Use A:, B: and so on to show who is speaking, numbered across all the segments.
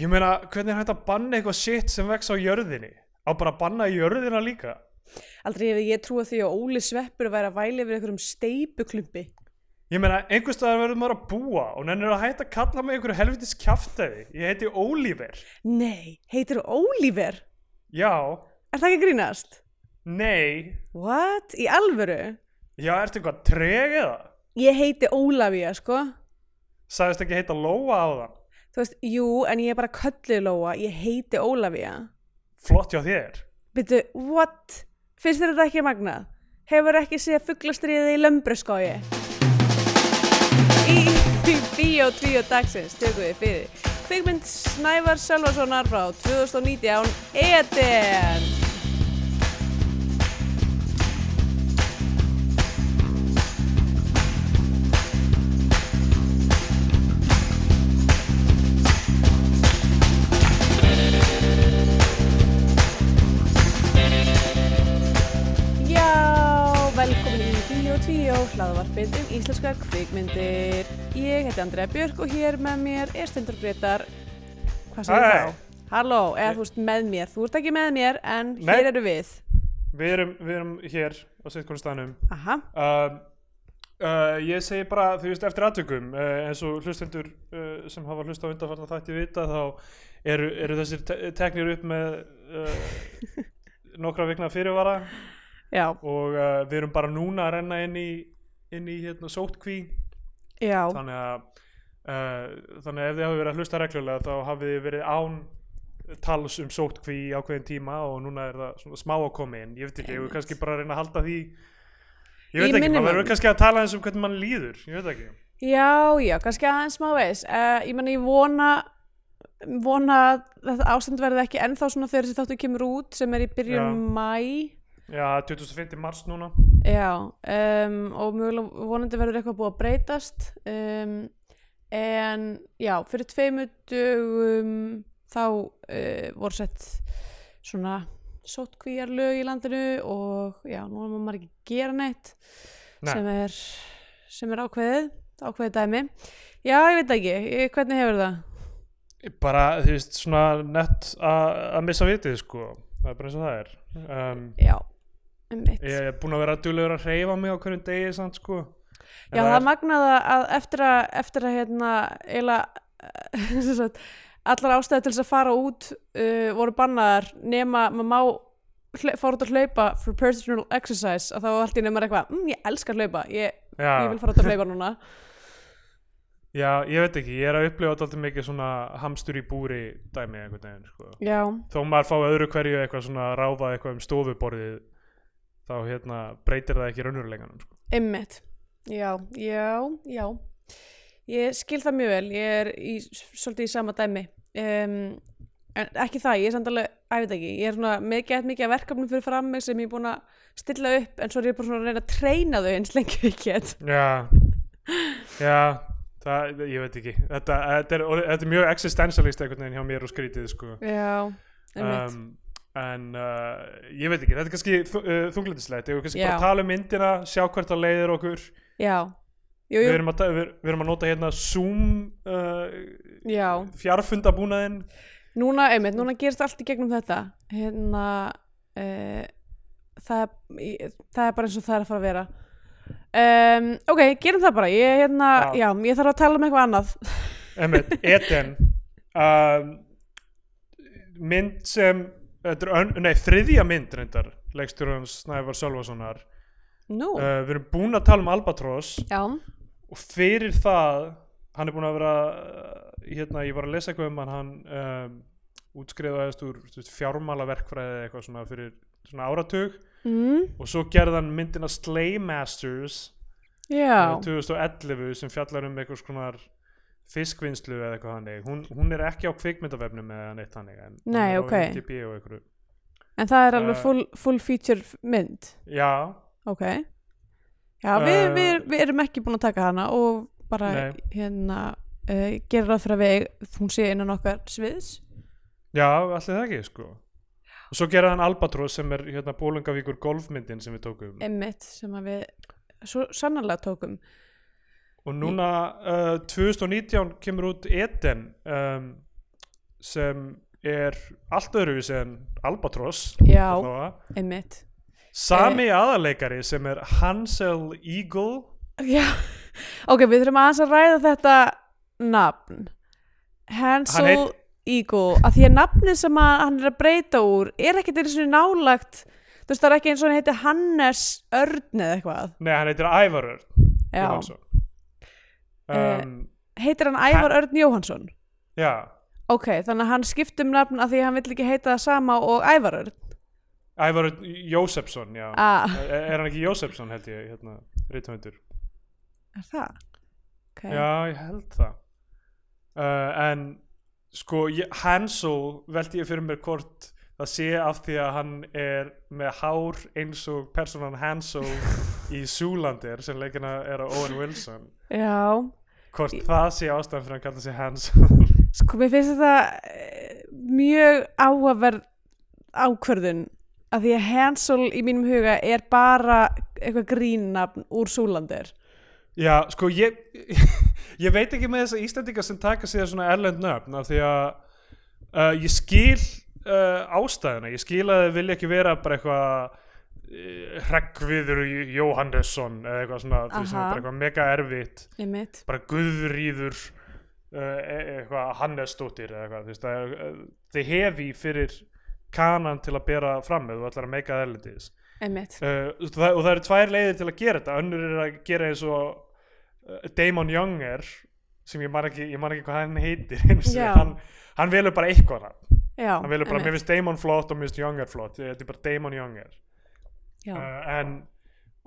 A: Ég meina, hvernig er hægt að banna eitthvað shit sem vex á jörðinni? Á bara að banna jörðina líka?
B: Aldrei hefði ég trúið því að Óli Sveppur væri að væli yfir einhverjum steipuklumpi.
A: Ég meina, einhvers staðar verður maður að búa og nennir að hætta að kalla mig einhverju helvitis kjaftaði. Ég heiti Ólífer.
B: Nei, heitir Ólífer?
A: Já,
B: Er það ekki að grínast?
A: nei,
B: What? Í alvöru?
A: já, ertu eitthvað treg eða?
B: Ég heiti Ólafía, sko.
A: Sæðist ekki heita Lóa á það.
B: Þú veist, jú, en ég er bara kölluð Lóa, ég heiti Ólafía.
A: Flott hjá þér.
B: Byrju, what? Finnst þér þetta ekki magnað? Hefur ekki séð fugglastriðið í lömbröskói? Í, í Bíó 2 dagsins tökum við fyrir kvikmynd Snævar Sölvasonar frá 2019 E Eden. Já, velkomin í Bíó 2, hlaðvarpið um íslenska kvikmyndir. Ég heiti Andrea Björk og hér með mér er Stendur Gretar. Hvað segir
A: Hæ.
B: þá? Halló, eða þú veist með mér. Þú ert ekki með mér, en
A: Nei.
B: hér eru við.
A: Við erum, við erum hér á sittkonu staðnum.
B: Aha,
A: Uh, uh, ég segi bara, þú veist, eftir aðtökum, uh, eins og hlustendur uh, sem hafa hlust á undanfarnar þætti vita, þá eru, eru þessir te teknir upp með uh, nokkra vikna fyrirvara
B: já,
A: og uh, við erum bara núna að renna inn í, inn í hérna, sótkví,
B: já,
A: þannig að, uh, þannig að ef þið hafi verið að hlusta reglulega þá hafið þið verið án tals um sótkví í ákveðin tíma og núna er það svona smá að koma inn ég veit ekki, ég veit kannski bara að reyna að halda því ég
B: Í
A: veit ekki, maður
B: minimum.
A: verður kannski að tala eins um hvernig mann líður, ég veit ekki
B: já, já, kannski aðeins má veis. Uh, ég menna, ég vona, vona að þetta ástand verði ekki ennþá svona þegar þessi þáttu kemur út sem er í byrjun
A: Já.
B: mæ.
A: já, 25. mars núna
B: Já, um, og mjögulega vonandi verður eitthvað búið að breytast um, en já, fyrir tveimur dögum þá uh, voru sett svona sótkvíjar lög í landinu og já, nú er maður ekki að gera neitt
A: Nei.
B: sem er, sem er ákveðið, ákveðið dæmi Já, ég veit ekki, ég, hvernig hefur það?
A: bara, þú veist, svona nett að að missa vitið, sko það er bara eins og það er um,
B: Já, um mitt
A: ég er búin að vera duglegur að reyfa mig á hverjum degi, samt, sko En
B: Já, það,
A: það
B: er magnaða að eftir að, eftir að hérna, eiginlega eh, sem sagt, allar ástæði til þess að fara út uh, voru bannaðar nema maður má hle- fór út að hlaupa for personal exercise og þá var allt í nema eitthvað, mm, ég elska að hlaupa ég,
A: já.
B: ég vil fara út að hlaupa núna
A: Já, ég veit ekki, ég er að upplifa alltaf mikið svona hamstur í búri dæmi einhvern veginn, sko.
B: Já,
A: Þó maður fá öðru hverju eitthvað svona að ráða eitthvað um stofuborðið, þá hérna breytir það ekki raunurleganum, sko.
B: ymmit Já, já, já Ég skil það mjög vel, ég er í, svolítið í sama dæmi um, en ekki það, ég er samt alveg, að ég veit ekki ég er svona með gett mikið af verkefnum fyrir fram mig sem ég er búin að stilla upp en svo er ég bara svona að reyna að treyna þau eins lengi og ég get
A: Já, já, það, ég veit ekki. Þetta, þetta, er, og þetta er mjög existentialist einhvern veginn hjá mér og skrítið, sko.
B: Já, einmitt
A: Um, en uh, ég veit ekki, þetta er kannski þu- uh, þunglindislegt, ég veit kannski bara
B: Já.
A: að tala um myndina, sjá hvert það leiðir okkur.
B: Já, jú,
A: Við
B: jú,
A: erum, að, ta- við, við erum að nota hérna Zoom uh,
B: já
A: fjarfundabúnaðinn
B: Núna, einmitt, núna gerist allt í gegnum þetta hérna uh, það, ég, það er bara eins og það er að fara að vera um, Ok, gerum það bara ég, hérna,
A: Já.
B: já. ég þarf að tala um eitthvað annað
A: Emmett, Eden um, mynd sem þetta er ön, nei, þriðja mynd reyndar leikstur hans Snævar Sölvasonar uh,
B: Nú,
A: við erum búin að tala um Albatross
B: já,
A: og fyrir það hann er búin að vera uh, hérna, ég var að lesa eitthvað um hann hann um, útskrifaðist úr þú veist, fjármála verkfræði eitthvað svona fyrir svona áratug
B: mm,
A: og svo gerði hann myndina Slaymasters Eh,
B: já.
A: 2011 sem fjallar um einhvers konar fiskvinnslu eða eitthvað hannig hún, hún er ekki á kvikmyndavefnum eða neitt hannig en hún
B: Nei,
A: er á
B: ok.
A: IMDb og einhverju.
B: En það er alveg
A: Eh,
B: full, full feature mynd,
A: já,
B: ok. Já, við,
A: Eh,
B: við, við erum ekki búin að taka hana og bara
A: Nei.
B: hérna uh, gera það fyrir að við, hún sé innan okkar sviðs.
A: já, allir það ekki sko og svo gera hann Albatross sem er hérna Bólingavíkur golfmyndin sem við tókum
B: Emmitt sem að við svo sannarlega tókum.
A: eh, og núna uh, 2019 kemur út Eden um, sem er allt öðruvísi en Albatross
B: Já. Eh.
A: allavega.
B: einmitt
A: sami aðarleikari sem er Hansel Eagle
B: Já, ok, við þurfum aðeins að ræða þetta nafn Hansel
A: Hann heit-
B: Eagle að því að nafnið sem að hann er að breyta úr er ekkert einu svona nálagt þú veist það er ekki eins og hann heiti Hannes Örn eða eitthvað
A: nei hann heitir Ævar Örn
B: Já.
A: Jóhannsson.
B: Eh.
A: um,
B: heitir hann Ævar Örn Jóhansson
A: já
B: ok, þannig að hann skipt um nafn að því að hann vill ekki heita það sama og Ævar Örn
A: Ævar Örn Jósefsson já.
B: ah,
A: er er hann ekki Jósefsson held ég hérna, rithöfundur
B: Eh. er það? ok,
A: Já, ég held það uh, En sko, ég, Hansel veldi ég fyrir mér hvort það sé af því að hann er með hár eins og personan Hansel í Zoolander sem leikina er á Owen Wilson
B: Já.
A: hvort það sé ástæðan fyrir að hann kalla sig Hansel
B: Sko, mér finnst þetta eh, mjög áhugaverð ákvörðun að því að Hansel í mínum huga er bara eitthvað grínnafn úr Súlandir.
A: Já, sko, ég ég veit ekki með þess að Íslendingar sem taka sér svona erlend nöfn af því að uh, ég skil uh, ástæðuna, ég skil að þið vilja ekki vera bara eitthvað uh, Hreggviður Jóhannesson eða eitthvað svona, þú veist, sem er
B: Aha.
A: bara eitthvað mega erfitt
B: Einmitt.
A: bara Guðríður uh, e- eitthvað Hannesdóttir eða eitthvað, þú veist, það er- uh, þið hefi fyrir kanan til að bera fram með þú ætlar að meika það erlendis
B: Einmitt.
A: uh, og það, og það eru tvær leiðir til að gera þetta önnur er að gera eins og uh, Damon Young er sem ég man ekki, ég man ekki hvað hann heitir einu sinni.
B: Já.
A: hann, hann velur bara eitthvað nafn.
B: Já.
A: hann velur bara,
B: einmitt.
A: mér finnst Damon flott og mér finnst Young er flott þetta er bara Damon Young er
B: Já.
A: uh, en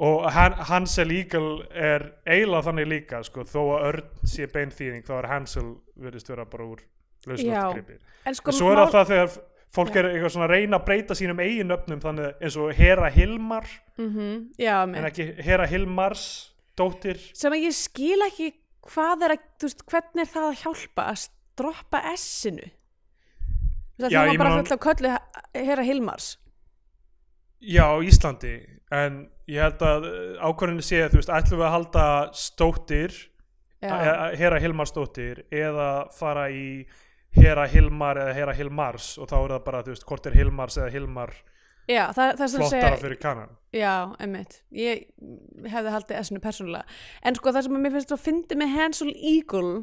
A: og han, Hansel Eagle er eiginlega þannig líka sko, þó að Örn sé bein þýðing þá er Hansel verðist vera bara úr
B: Já.
A: lauslóttgripi
B: En sko,
A: en svo er
B: mál-
A: það það þegar fólk
B: Já.
A: er eitthvað svona að reyna að breyta sínum eigin nöfnum þannig eins og Hera Hilmar
B: Mhm, Já,
A: en
B: einmitt.
A: ekki Hera Hilmars dóttir
B: Sem að ég skil ekki hvað er að, þú veist, hvernig er það að hjálpa að droppa S-inu? Það
A: Já, ég
B: er það bara
A: meina-
B: fullt á köllu herra Hilmars.
A: já, á Íslandi en ég held að ákvörðinu sé þú veist, ætlum við að halda stóttir
B: Já.
A: e- Hera Hilmars dóttir eða fara í Hera Hilmar eða Hera Hilmars og þá er það bara, þú veist, hvort er Hilmars eða Hilmar
B: Já, það, það er sem að segja,
A: flottara fyrir kanan
B: Já, emmitt. Ég hefði haldið S-inu persónulega. En sko það sem að mér finnst að fyndi með Hansel Eagle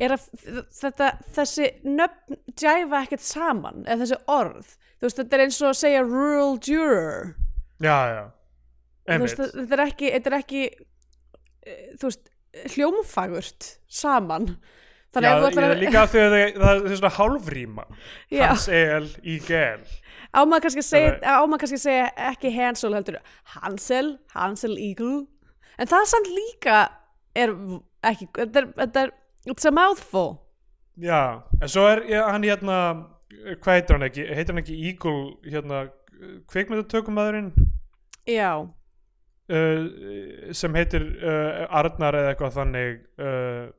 B: er að f- þetta, þessi nöfn djæfa ekkert saman, eða þessi orð. Þú veist, þetta er eins og að segja rural juror.
A: já, já,
B: Þú veist,
A: einmitt
B: það- þetta er ekki, þetta er ekki eh, þú veist, hljómfagurt saman.
A: Já,
B: ef þú ætlar
A: ég, líka af því að þau- það er svona hálfrýma
B: Já.
A: Hans E EL í GL
B: á maður kannski að segja,
A: Það
B: á maður kannski að segja ekki Hansel heldur Hansel, Hansel Eagle en það samt líka er v- ekki, þetta er, þetta er it's a mouthful
A: Já, en svo er ja, hann hérna hvað heitir hann ekki, heitir hann ekki Eagle hérna, kvikmyndatökumæðurinn
B: já,
A: uh, sem heitir uh, Arnar eða eitthvað þannig uh,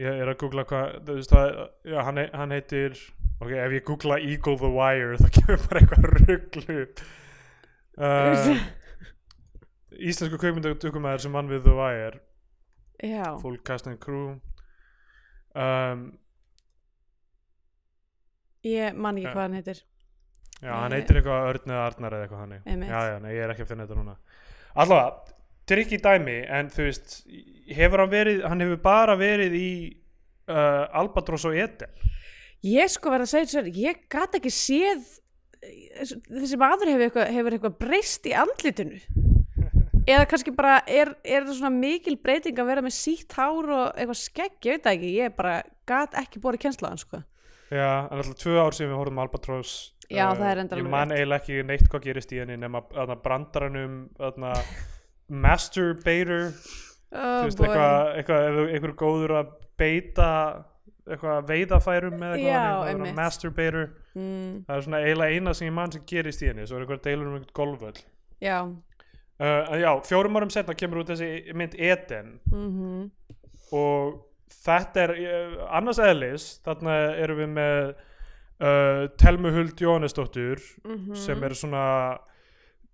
A: ég er að googla hvað, þú veist það já, hann, he- hann heitir, ok, ef ég googla Eagle the Wire þá kemur bara eitthvað rugglu uh, Íslensku kvikmyndatökumæður sem vann við the Wire
B: já
A: full cast and crew um,
B: ég man
A: Eh.
B: ekki hvað hann heitir
A: Já, hann
B: Eh.
A: heitir eitthvað Örn eða Arnar eða eitthvað hannig.
B: Einmitt.
A: Já, já, nei, ég er ekki að finna þetta núna. Allavega, trygg í dæmi, en þú veist, hefur hann verið, hann hefur bara verið í uh, Albatross og Eden.
B: ég sko verð að segja sér, ég gat ekki séð eh, þessi maður hefur eitthvað, hefur eitthvað breyst í andlitinu eða kannski bara er, er það svona mikil breyting að vera með sítt hár og eitthvað skegg, ég veit það ekki ég bara gat ekki búið kennsla á hann sko
A: Já, en alltaf tvö ár síðan við horfum á Albatross.
B: Já, það er reyndar
A: Ég
B: alveg
A: man
B: rétt.
A: eiginlega ekki neitt hvað gerist í henni nema að brandaranum, þarna, masturbator,
B: oh,
A: þú veist, eitthvað, eitthvað, eitthvað, eitthvað góður að beita, eitthvað veiðafærum eða eitthvað,
B: Já,
A: þannig, það er
B: einmitt.
A: svona masturbator.
B: mm,
A: það er svona eiginlega eina sem ég mann sem gerist í henni svo er eitthvað deilur um einhvern golfvöll
B: já
A: uh, en já, fjórum árum setna kemur út þessi mynd Eden
B: mm
A: og þetta er uh, annars eðlis þarna erum við með uh, Telmu Huld Jóhannesdóttur
B: Mhm.
A: sem er svona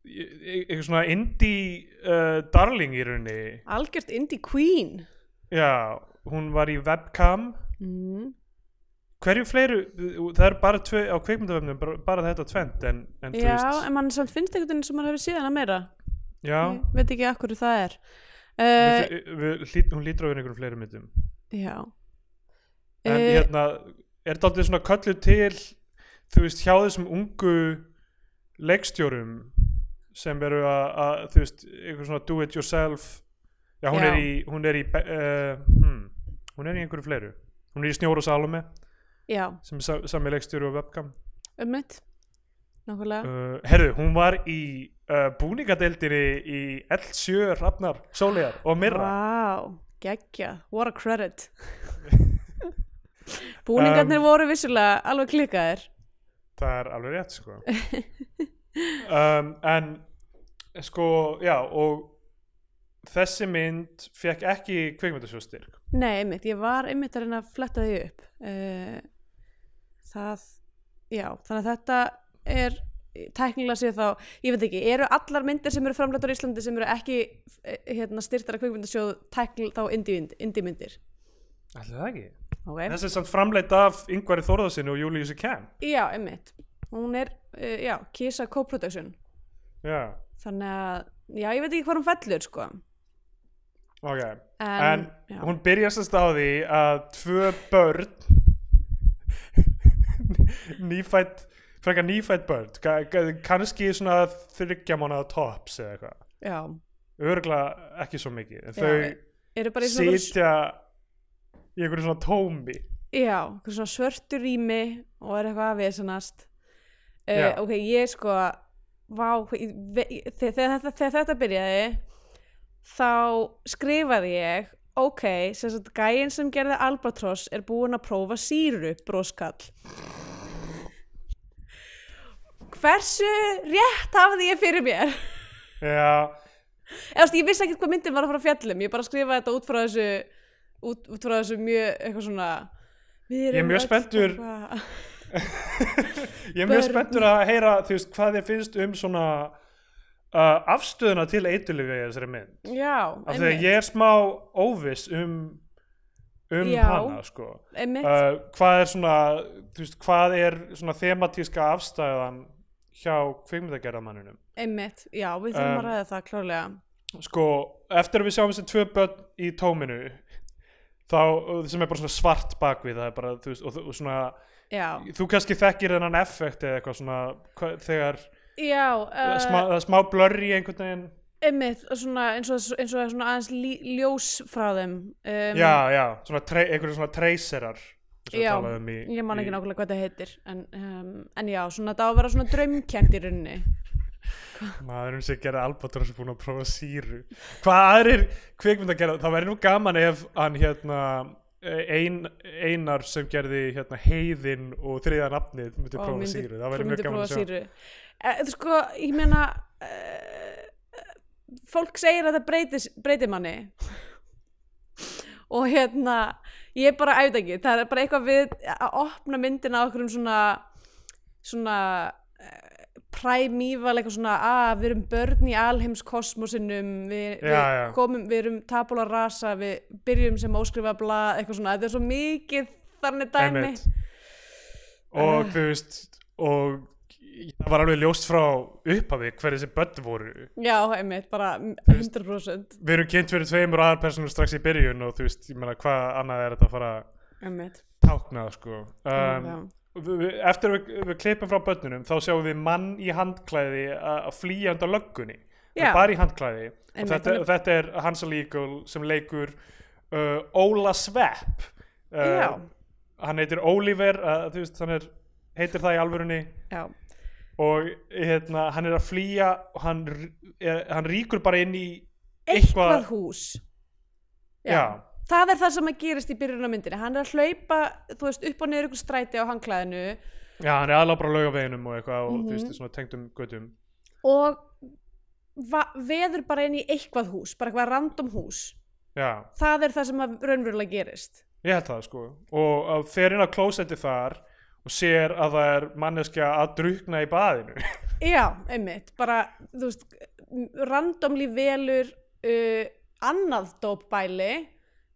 A: e- e- eitthvað svona indie uh, darling í rauninni
B: algjört indie queen
A: já, hún var í webcam
B: mm.
A: hverju fleiru það er bara tvei á kveikmyndavefnum bara, bara þetta tvent en, en þú
B: já,
A: veist
B: en mann samt finnst einhvern veginn sem maður hefur síðan að meira
A: já,
B: ég veit ekki af hverju það er
A: við,
B: uh,
A: við, við, hún lítur á einhverjum fleiri myndum
B: já
A: en
B: Eh,
A: hérna er þetta aldrei svona kallið til þú veist hjá þessum ungu leikstjórum sem eru að, að þú veist einhver svona do it yourself já hún
B: Já.
A: er í hún er í, be- eh, hmm, hún er í einhverju fleiru hún er í Snjóra Salome
B: já,
A: sem er sa- sami leikstjóri og webcam
B: ummitt nákvæmlega
A: uh, herru hún var í uh, búningadeildinni í L7 Rafnar, Sólegar og Mirra
B: Vá, geggja, what a credit
A: Um,
B: Búningarnir voru vissulega alveg klikkaðir
A: það er alveg rétt sko um, en sko já og þessi mynd fekk ekki kvikmyndasjóðstyrk
B: Nei, einmitt, ég var einmitt að reyna að fletta því upp uh, Það, já, þannig að þetta er tæknilega séð þá, ég veit ekki, eru allar myndir sem eru framlættur í Íslandi sem eru ekki eh, hérna, styrtar að kveikmyndasjóð tæknilega þá indie-mynd- indie-myndir
A: Ætli það ekki?
B: okay.
A: Þessi er samt framleitt af Ingvari Þórðarsinni og Júliusi Kemp
B: Já, einmitt, hún er, uh, já, Kisa Co-Production
A: Já,
B: þannig að, já, ég veit ekki hvað hún fellur sko.
A: ok En
B: en, já.
A: hún byrjast að stá því að tvö börn nýfætt frekar nýfætt börn ga- ga- kannski svona þryggja mánuða tops eða eitthvað
B: já,
A: örgla ekki svo mikið en
B: Já,
A: þau
B: eru bara í svona einhverju-
A: sitja í einhverju svona tómi
B: já, einhverju svona svörtu rými og er eitthvað að vesanast uh,
A: Já.
B: ok, ég sko vá, hvað- ég ve- ég- þegar, þegar, þetta, þegar þetta byrjaði þá skrifaði ég ok, sem sagt gæinn sem gerði Albatross er búin að prófa síru broskall hversu rétt hafði ég fyrir mér
A: já,
B: Eða, þú veist, ég vissi ekkert hvað myndin var að fara að fjallum ég bara skrifaði þetta út frá þessu út, út frá þessu mjög eitthvað svona
A: Ég er mjög spenntur. ég er mjög
B: Börn.
A: spenntur að heyra þú veist hvað þið finnst um svona uh, afstöðuna til eitulífi í þessari mynd
B: já,
A: af því að ég er smá óviss um um
B: Já.
A: hana sko
B: einmitt,
A: uh, hvað er svona þú veist hvað er svona thematíska afstæðan hjá kvikmyndagerðamanninum
B: einmitt já, við þurfum
A: um,
B: að ræða það klárlega
A: sko eftir að við sjáum þessi tvö börn í tóminu þá sem er bara svona svart bakvið það er bara þú veist og, og svona
B: já,
A: þú kannski þekkir þennan effekt eða eitthvað svona hva- þegar
B: já
A: uh,
B: uh,
A: smá, það er smá blurri einhvern veginn
B: einmitt, svona, eins og, eins og það er svona aðeins lí, ljós frá þeim um,
A: já, já, svona tre, einhverjum svona treyserar
B: Já,
A: um í,
B: ég man
A: í-
B: ekki nákvæmlega hvað það heitir en, um, en já, svona þetta á að vera svona draumkend í rauninni
A: maðurinn sem gerði Albatross er búin að prófa síru hvað aðrir kvikmynd að gera það væri nú gaman ef hann hérna ein, einar sem gerði hérna heiðin og þriða nafnið myndi
B: og
A: prófa
B: myndi-
A: síru það væri
B: myndi
A: mjög gaman
B: prófa
A: að sjá
B: sýru Eh, þú sko, ég meina eh, fólk segir að það breytis, breytir manni og hérna ég er bara æfði ekki, það er bara eitthvað við að opna myndina á okkur um svona svona eh, primeval, eitthvað svona að við erum börn í alheimskosmosinum við, við
A: Já, já.
B: komum, við erum tabula rasa við byrjum sem óskrifa bla eitthvað svona, þetta er svo mikið þannig dæmi Ah.
A: Einmitt. og þú veist og það var alveg ljóst frá upphafi hver þessi börn voru
B: Já, einmitt, bara 100%
A: við erum kynnt fyrir tveimur aðar personur strax í byrjun og þú veist, ég meina hvað annað er þetta að fara að
B: einmitt
A: tákna sko um, við- við- eftir að við, við klippum frá börnunum þá sjáum við mann í handklæði að að flýja undan löggunni Það
B: Já.
A: er bara í handklæði og
B: Einmitt,
A: þetta,
B: hann er-
A: þetta er Hansa Líkul sem leikur uh, Óla Svepp Uh,
B: Já.
A: hann heitir Oliver uh, þú veist, hann er, heitir það í alvörunni
B: Já,
A: og hérna, hann er að flýja og hann, r- er, hann ríkur bara inn í
B: eitthvað hús
A: já,
B: Það er það sem að gerist í byrjun á myndinni Hann er að hlaupa, þú veist, upp og niður ykkur stræti á hangklæðinu
A: já, hann er aðlega bara á laugaveginum og eitthvað og
B: Mhm.
A: þú veist, svona tengdum göttum
B: og va- veður bara inn í eitthvað hús bara eitthvað random hús
A: já,
B: Það er það sem að raunverulega gerist
A: Ég held það sko og að fer inn á klósetti þar og sér að það er manneskja að drukna í baðinu
B: Já, einmitt, bara, þú veist, randomli velur uh, annað dópbæli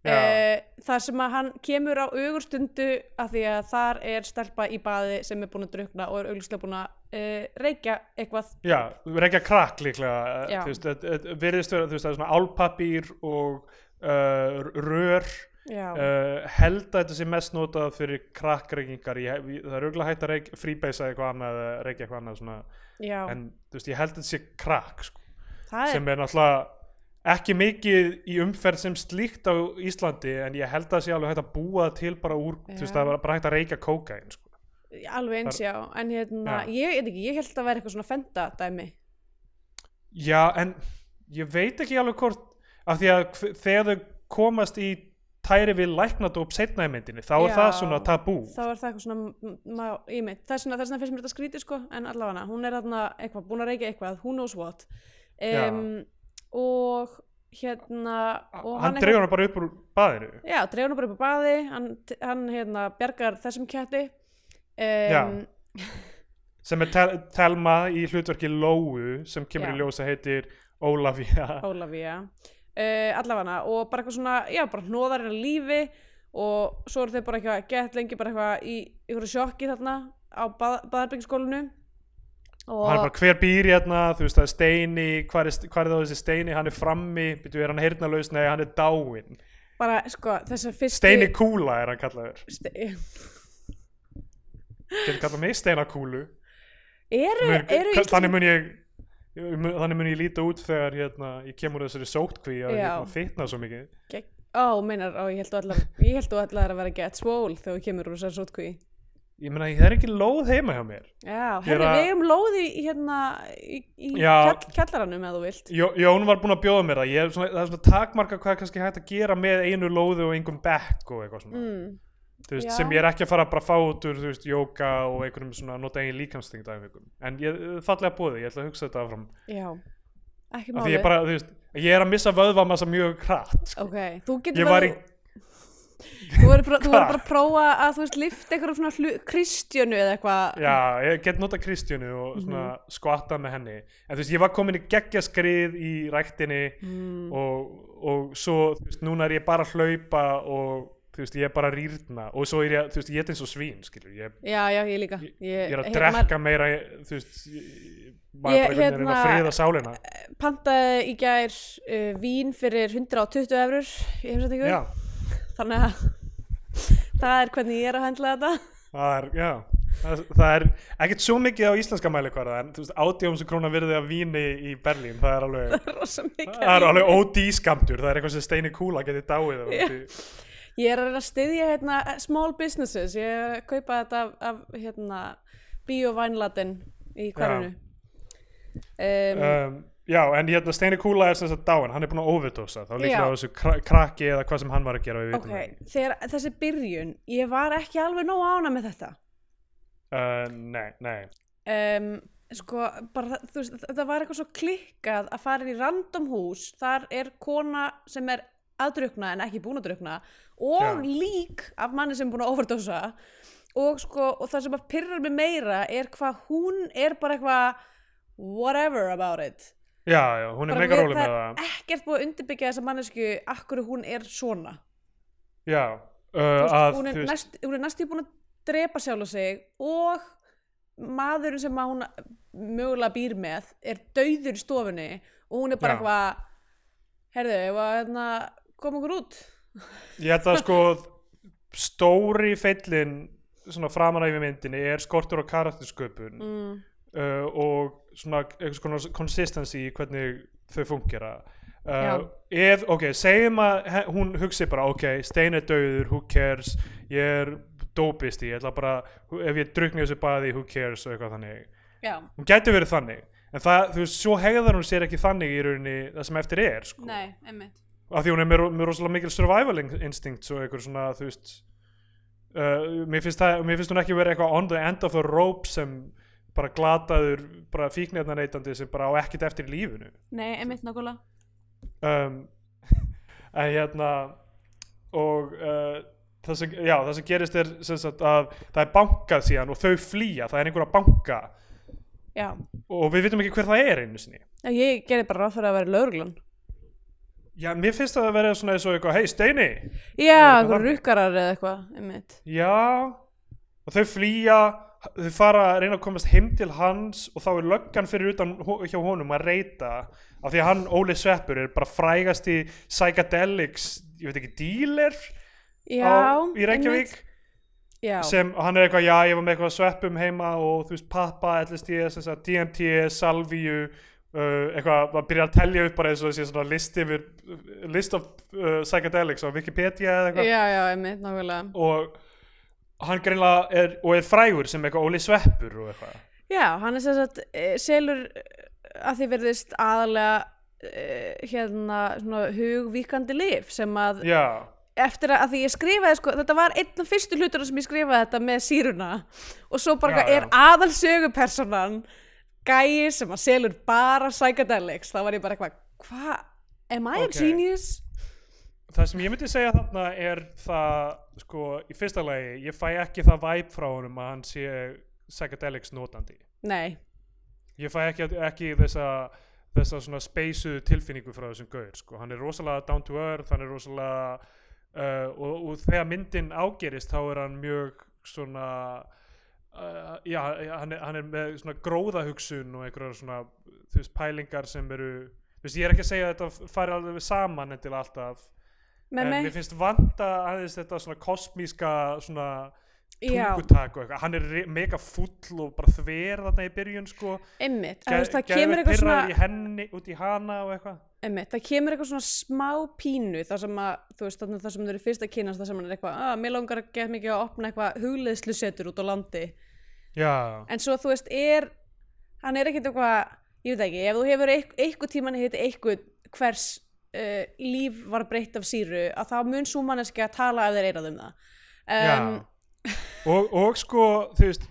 A: Já.
B: Eh, þar sem að hann kemur á augurstundu af því að þar er stelpa í baði sem er búin að drukna og er augustlega búin að eh, reykja eitthvað
A: Já, reykja krakk líklega, eh,
B: Já.
A: þú veist, þetta- þetta virðist vera, þú veist, það er svona álpapír og uh, rör,
B: já,
A: uh, held að þetta sé mest notað fyrir krakkreikingar, ég, ég- það er auðvitað hægt að reik, fríbeisa eitthvað annað eða reykja eitthvað annað svona,
B: já,
A: en þú veist, ég held að þetta sé krakk, sko,
B: það er
A: sem er náttúrulega ekki mikið í umferð sem slíkt á Íslandi, en ég held að það sé alveg hægt að búa það til bara úr, þú veist,
B: Já.
A: það er bara hægt að reykja kókain, sko.
B: alveg eins já, en hérna,
A: Já.
B: ég, ég, veit ekki, ég held að vera eitthvað svona fenda dæmi
A: Já, en ég veit ekki alveg hvort af því að hv- þegar þau komast í tæri við læknadóp setna í myndinni, þá er
B: Já.
A: það svona tabú
B: þá er það eitthvað svona m- m- má- í mitt það er svona, það er svona fyrst mér þetta skrítið sko en allavega hún er þarna eitthvað, búin að reykja eitthvað who knows what um, og hérna og
A: Hann dregur hana bara upp úr baðinu
B: Já, dreifnum bara upp á baði, hann, hann hérna, bjargar þessum ketti.
A: Já.
B: Um,
A: sem er tel Telma í hlutverki Lóu sem kemur
B: Já.
A: í ljósa heitir Ólafía
B: Ólafía. Uh, allafana og bara eitthvað svona, já, bara hnóðar hennar lífi og svo eru þau bara eitthvað gett lengi bara eitthvað í ykkur sjokki þarna á bað, baðarbyggiskólinu. Og
A: hann er bara hver býr hérna, þú veist það er Steini hvað er, hvað er það þessi Steini, hann er frammi byrju, er hann heyrnalaus, nei hann er dáin
B: bara, sko, þessar fyrstu...
A: Steini Kúla er hann kallaður
B: Ste
A: getur kallað mig Steina Kúlu
B: eru,
A: mun,
B: eru
A: hva- þannig mun ég ég mun- þannig mun ég líta út þegar hérna, ég kemur úr þessari sótkví að
B: Já.
A: hérna, fitna svo mikið
B: Ísland... Ó, meinar, ó, ég held þú allar, ég held þú allar að vera gett svól þegar þú kemur úr þessar sótkví.
A: ég meina það er ekki lóð heima hjá mér
B: Já,
A: Ég er
B: herri,
A: að-
B: við eigum lóð í, í hérna, í, í
A: Já.
B: kjall, kjallaranum eða þú vilt.
A: Jó, Jón var búin að bjóða mér það ég, er svona, það er svona takmarka hvað er kannski hægt að gera með einu lóðu og engum bekk og eitthvað svona
B: Mm.
A: Þú veist,
B: já.
A: sem ég er ekki að fara bara að fá út úr þú veist, jóka og einhverjum svona nota eigin líkamsting dæmikum. en ég uh, fallega búið ég ætla að hugsa þetta áfram
B: Já, ekki
A: af því
B: máli.
A: ég, bara, þú veist, ég er að missa vöðvamassa mjög hratt
B: Ok, þú getur
A: ég var í,
B: bara, þú verður bara, þú
A: Hvar?
B: verður bara að prófa að þú veist lift eitthvað svona hlu, kristjönu eða eitthvað.
A: já, ég get nota Kristjánu
B: Mhm.
A: og svona skvatta með henni en þú veist, ég var komin í geggjaskrið í ræktinni
B: Mm.
A: og, og svo, þú veist, núna er ég bara að hlaupa og, þú veist, ég er bara að rýrna og svo er ég, þú veist, ég er eins og svín, skilur ég,
B: Já, já, ég líka.
A: ég
B: Ég,
A: er að
B: hérna,
A: drekka meira, ég- þú veist ég- maður
B: Ég-
A: bara einhvern veginn er að
B: hérna-
A: friða sálina
B: Pantaði í gær uh, vín fyrir 120 eurur í heimsætingu.
A: já,
B: Þannig að það er hvernig ég er að hendla þetta.
A: það er, já Það, það er ekkert svo mikið á íslenska mælikvarða en þú veist, átjómsu króna virði af víni í Berlín, það er alveg
B: Rosa mikið.
A: það er
B: vín.
A: alveg ódískamtur, það er eitthvað sem Steini Kúla geti dáið af,
B: Já.
A: því-
B: Ég er að reyna að styðja hérna, small businesses, ég er að kaupa þetta af, af hérna, biovænlatin í hverjunu. Um,
A: um, já, en hérna Steini Kúla er sem sagt dáin, hann er búin að overdosa þá líklega
B: Já.
A: á þessu kra krakki eða hvað sem hann var að gera við
B: ok,
A: vitum það.
B: þegar þessi byrjun, ég var ekki alveg nóg ána með þetta.
A: uh, Nei, nei
B: Um, sko, bara, það- þú veist, þetta var eitthvað svo klikkað að fara inn í random hús, þar er kona sem er aðdrukna en ekki búin að drukna og
A: Já.
B: lík af manni sem er búin að overdosa og sko, og það sem að pyrrar mig meira er hvað hún er bara eitthvað whatever about it
A: Já, já, hún er
B: Bara
A: mega
B: við-
A: róli með
B: það
A: það
B: er ekkert búið að undirbyggja þessa mannesku akkur hún er svona
A: Já, uh,
B: Þú veist,
A: að
B: hún, er
A: þú veist,
B: næst, hún er næstu búin að drepa sjálf sig og maðurinn sem að hún mögulega býr með er dauður í stofunni og hún er bara
A: Já.
B: eitthvað herðu, ef að hérna, koma okkur út
A: ég held að sko stóri feillin svona framan af í myndinni er skortur á karaktersköpun
B: mm.
A: uh, og svona einhvers konar consistency í hvernig þau fungera uh, ef, ok, segjum að he- hún hugsi bara, ok, Stein er döður who cares, ég er dópist ég ætla bara, ef ég drukni þessu baði who cares og eitthvað þannig
B: já,
A: hún gæti verið þannig, en það, þú veist, svo hegðar hún sér ekki þannig í rauninni það sem eftir er, sko,
B: nei, einmitt
A: af því hún er með, ro- með rosalega mikil survival in- instincts og einhver svona, þú veist uh, mér, finnst það, mér finnst hún ekki verið eitthvað on the end of the rope sem bara glataður, bara fíknefnarneitandi sem bara á ekkert eftir í lífinu
B: nei, einmitt nákvæmlega
A: um, en hérna og uh, það, sem, já, það sem gerist er sem sagt, að það er bankað síðan og þau flýja, það er einhverja banka
B: já,
A: og við vitum ekki hver það er einu sinni
B: ég gerði bara ráð fyrir að vera lögreglan
A: Já, mér finnst það að vera svona eins og eitthvað, hei Steini,
B: Já,
A: eitthvað
B: einhver
A: þannig.
B: rukkarar eða eitthvað, einmitt.
A: já, og þau flýja, þau fara að reyna að komast heim til hans og þá er löggan fyrir utan ho- hjá honum að reyta af því að hann, Óli Sveppur, er bara frægasti psychedelics, ég veit ekki, dealer
B: Já,
A: á, í Reykjavík
B: einmitt. Já,
A: sem, og hann er eitthvað, já, ég var með eitthvað sveppum heima og þú veist, pappa, LSD, sem sagt, DMT, salvíu Uh, eitthvað, maður byrjar að telja upp bara eins og þessi svona list yfir list of uh, psychedelics á Wikipedia eða eitthvað
B: já, já, einmitt, nákvæmlega.
A: og hann greinlega er, og er frægur sem eitthvað Óli Sveppur og eitthvað
B: Já, hann er sem sagt, eh, selur eh, að því verðist aðalega eh, hérna svona hugvíkandi lif sem að
A: já,
B: eftir að, að því ég skrifaði sko, þetta var einn af fyrstu hlutur sem ég skrifaði þetta með síruna og svo bara
A: Já,
B: eitthvað er
A: já.
B: aðal sögupersonan gæi sem að selur bara psychedelics, þá var ég bara eitthvað hva, am I
A: Ok.
B: a genius?
A: það sem ég myndi segja þarna er það sko, í fyrsta lagi, ég fæ ekki það væp frá honum að hann sé psychedelics notandi
B: Nei,
A: ég fæ ekki, ekki þessa þessa svona speysu tilfinningu frá þessum gaur sko. hann er rosalega down to earth hann er rosalega uh, og, og þegar myndin ágerist þá er hann mjög svona uh, já, hann er, hann er með svona gróðahugsun og einhverjar svona þú veist, pælingar sem eru þú veist, ég er ekki að segja að þetta fari alveg saman til alltaf,
B: með
A: en
B: mig,
A: mér finnst vanda aðeins þetta svona kosmíska svona
B: já,
A: tungutak og eitthvað, hann er re- mega fúll og bara þver þarna í byrjun sko
B: einmitt,
A: Ge-
B: Ge veist, það
A: geðveikt
B: kemur eitthvað
A: pirraður
B: svona
A: í henni, út í hana og eitthvað
B: Einmitt, það kemur eitthvað svona smá pínu þar sem að, þú veist, þannig þar sem þau eru fyrst að kynast þar sem hann er eitthvað, að mér langar að geta mikið að opna eitthvað hugleiðslusetur út á landi
A: já,
B: en svo þú veist, er hann er ekkert eitthvað, ég veit ekki ef þú hefur eitth- eitthvað tíman hitt eitthvað hvers uh, líf var breytt af síru, að þá mun svo manneski að tala ef þeir eirað um það um,
A: og, og sko þú veist,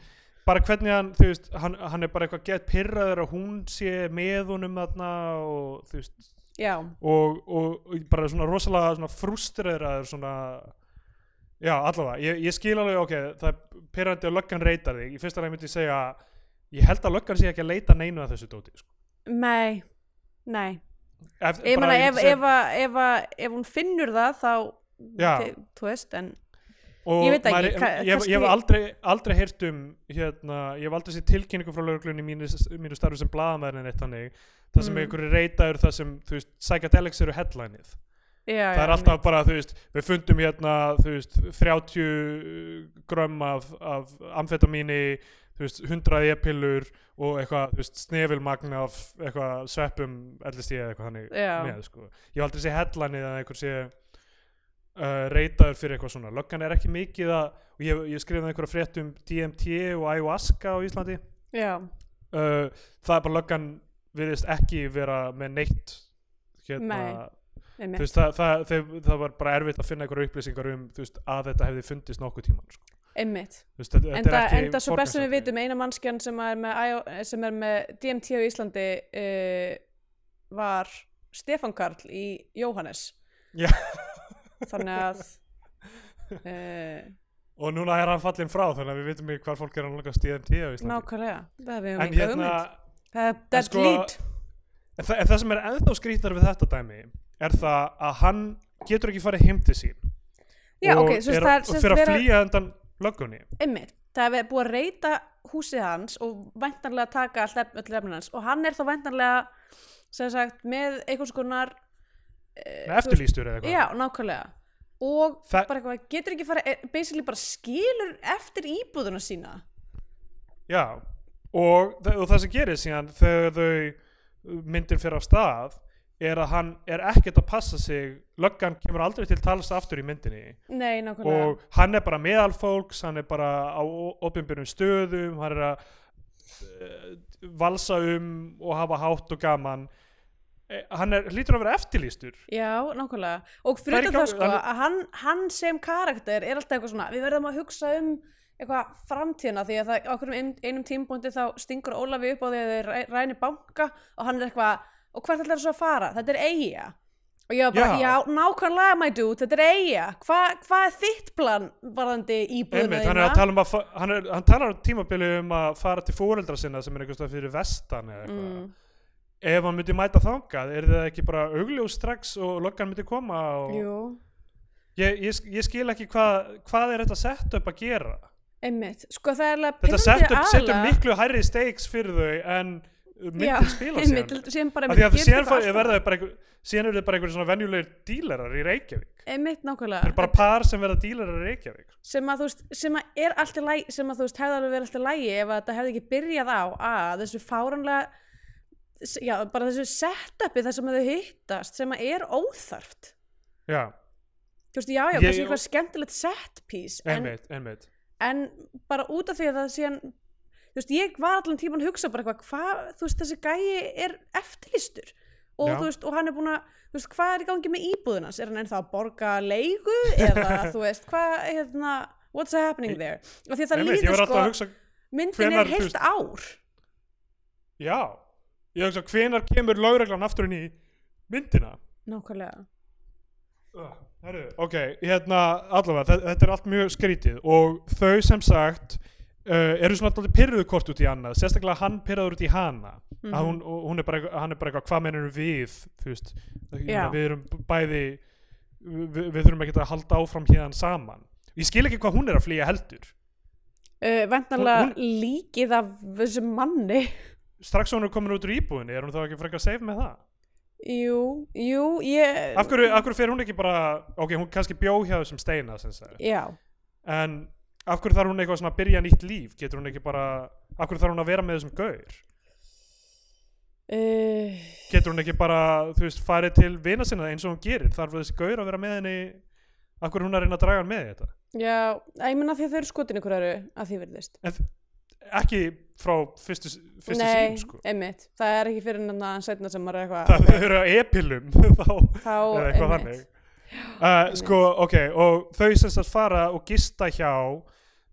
A: bara hvernig hann þú veist, hann, hann er bara eitthvað gett pirraður að hún sé með honum þarna og þú veist
B: já,
A: og, og, og bara svona rosalega svona frustreraður svona já, allavega, ég, ég skil alveg ok, það er pirrandi að löggan reytar þig í fyrsta leið myndi ég segja ég held að löggan sé ekki að leita neinu að þessu dóti sko.
B: nei nei,
A: ef,
B: ég
A: bara
B: meina ef,
A: sem-
B: ef, að- ef, ef, ef hún finnur það þá,
A: Já.
B: te- þú veist, en
A: og
B: Ég veit það
A: maður-
B: ekki, ka-
A: ég, ég hef
B: kannski-
A: aldrei, aldrei heyrt um hérna, ég hef aldrei sér tilkynningu frá lauruglunni mínu, mínu starfi sem blaðamæðin eitt þannig, það sem
B: Mm.
A: mm. einhverju reytaður það sem, þú veist, psychedelics eru headlineið
B: já,
A: það
B: já,
A: er alltaf bara, þú veist, við fundum hérna, þú veist, 30 grömm af, af amfetamíni, þú veist, 100 e-pillur og eitthvað, þú veist, snefilmagn af eitthvað sveppum, ellist ég eitthvað þannig
B: Já.
A: með, sko. Ég hef aldrei sé headlinið að einhver sé uh, reytaður fyrir eitthvað svona. Löggan er ekki mikið að, og ég, ég skrifaði einhverja frétt um DMT og ayahuasca á Íslandi.
B: já.
A: Uh, það er bara löggan virðist ekki vera með neitt hérna,
B: Nei.
A: þú
B: Einmitt.
A: veist, það, það, það, það var bara erfitt að finna einhverja upplýsingar um þú veist, að þetta hefði fundist nokkuð tíman sko.
B: Einmitt.
A: Þú veist, þetta,
B: Enda,
A: þetta er ekki
B: enda svo best sem við
A: forgangsatriði.
B: vitum eina mannskjan sem er með, IO- sem er með DMT á Íslandi uh, var Stefán Karl í Jóhannes
A: Já.
B: þannig að uh,
A: og núna er hann fallin frá þannig að við vitum ekki hvar fólk er að langast í DMT á Íslandi
B: nákvæmlega það
A: en
B: hefum við um
A: hérna
B: hugmynd það er
A: en
B: dead
A: sko-
B: lead
A: en það, en það sem er ennþá skrýtnar við þetta dæmi er það að hann getur ekki farið heim til sín
B: já
A: og
B: ok, svo
A: er,
B: það er
A: og
B: sem
A: fyrir að
B: vera-
A: flýja undan löggunni
B: einmitt, það er búið að reyta húsið hans og væntanlega taka hlef, öll lefnin hans og hann er þá væntanlega sem sagt með einhvers konar
A: Nei, eftirlýstur eða eitthvað
B: Eh, Já, nákvæmlega og
A: Þa-
B: bara eitthvað, getur ekki fara eh, basically bara skilur eftir íbúðuna sína
A: Já, og, þa- og það sem gerist síðan þegar þau myndin fyrir af stað er að hann er ekkert að passa sig löggan kemur aldrei til tals aftur í myndinni
B: Nei, nákvæmlega
A: og hann er bara meðal fólks hann er bara á opinbyrjum stöðum hann er að eh, valsa um og hafa hátt og gaman Eh, hann er, hlýtur að vera eftirlýstur
B: Já, nákvæmlega
A: Það er
B: og fyrir
A: ekki
B: það, það
A: alveg-
B: sko
A: alveg-
B: að hann, hann sem karakter er alltaf eitthvað svona við verðum að hugsa um eitthvað framtíðina því að það á okkur einum, einum tímpúndi þá stingur Ólafi upp á því að þau ræ- ræni banka og hann er eitthvað og hvert ætlar svo að fara? Þetta er eiga og ég var bara,
A: Já.
B: já, nákvæmlega my dude, þetta er eiga hvað hva er þitt plan varðandi íbúðuna
A: Einmitt, hann, er að tala um að, fa- hann, er, hann talar um tímabili um að fara til fóreldra sinna sem er einhvers stað fyrir vestan eða eitthvað
B: Mm.
A: ef hann myndi mæta þangað er það ekki bara augljós strax og löggan myndi koma og
B: Jú,
A: ég, ég, sk- ég skil ekki hvað, hvað er þetta setup að gera
B: einmitt. Sko það er alveg
A: þetta
B: pirrandi
A: setup setur
B: aðalega-
A: miklu hærri stakes fyrir þau en
B: Já,
A: myndin spila
B: einmitt,
A: síðan
B: Síðan bara
A: af því að
B: gerist
A: síðan
B: eitthvað
A: fá-
B: allt
A: verða þau bara einhver- síðan eru þau bara einhverjir svona venjulegir dílarar í Reykjavík
B: annað. Einmitt nákvæmlega.
A: þeir eru bara par sem verða dílarar í Reykjavík
B: sem að þú veist, sem að er allt í lægi sem að þú veist, hefði alveg verið allt í lægi ef að þetta hefði ekki byrjað á að þessu fáranlega já, bara þessu setupi þar sem að þau hittast sem að er óþarft
A: já,
B: þú veist, já, já,
A: Ég-
B: kannski eitthvað skemmtilegt set piece en,
A: einmitt, einmitt
B: en bara út af því að það síðan þú veist, ég var allan tíman að hugsa bara eitthvað, hvað, þú veist, þessi gæi er eftirlýstur og
A: Já.
B: þú veist, og hann er búin að þú veist, hvað er í gangi með íbúðunans, er hann ennþá að borga leigu eða þú veist, hvað, hérna what's happening there, af því að það
A: einmitt, ég
B: líður
A: var alltaf
B: sko
A: að hugsa
B: myndin
A: hvenær,
B: er
A: þú
B: heilt
A: veist-
B: ár
A: já, ég hugsa hvenar kemur lögreglan aftur inn í myndina
B: nákvæmlega,
A: Uh, Herru, ok, hérna allavega, þe- þetta er allt mjög skrítið og þau sem sagt uh, eru svona alltaf pyrruðu kort út í annað sérstaklega hann pyrraður út í hana mm
B: Mhm.
A: hún, og hún er bara, eitthvað- hann er bara eitthvað hvað mennur við, þú veist Ég meina,
B: Já.
A: við erum b- bæði við, við þurfum ekki að halda áfram hérna saman ég skil ekki hvað hún er að flýja heldur
B: uh, vendanlega
A: Hún-
B: líkið af þessum manni
A: strax og hún er komin út úr íbúðinni er hún þá ekki frekar safe með það
B: jú, jú, ég
A: af hverju, af hverju fer hún ekki bara ok, hún kannski bjó hjá þessum steina sem sagt
B: já,
A: en af hverju þarf hún eitthvað svona að byrja nýtt líf getur hún ekki bara af hverju þarf hún að vera með þessum gaur
B: uh,
A: getur hún ekki bara, þú veist, farið til vina sinna eins og hún gerir, þarf þessi gaur að vera með henni af hverju er hún að reyna að draga hann með í þetta
B: já að ég menna því að þau eru skotin ykkur eru að því verðist
A: en þ- ekki frá fyrstu, s- fyrstu
B: Nei,
A: sín sko
B: einmitt, það er ekki fyrir en að setna sem maður er eitthvað
A: það þau eru að epilum þá,
B: þá,
A: eða eitthvað
B: einmitt.
A: þannig uh, sko, ok, og þau sem sagt fara og gista hjá uh,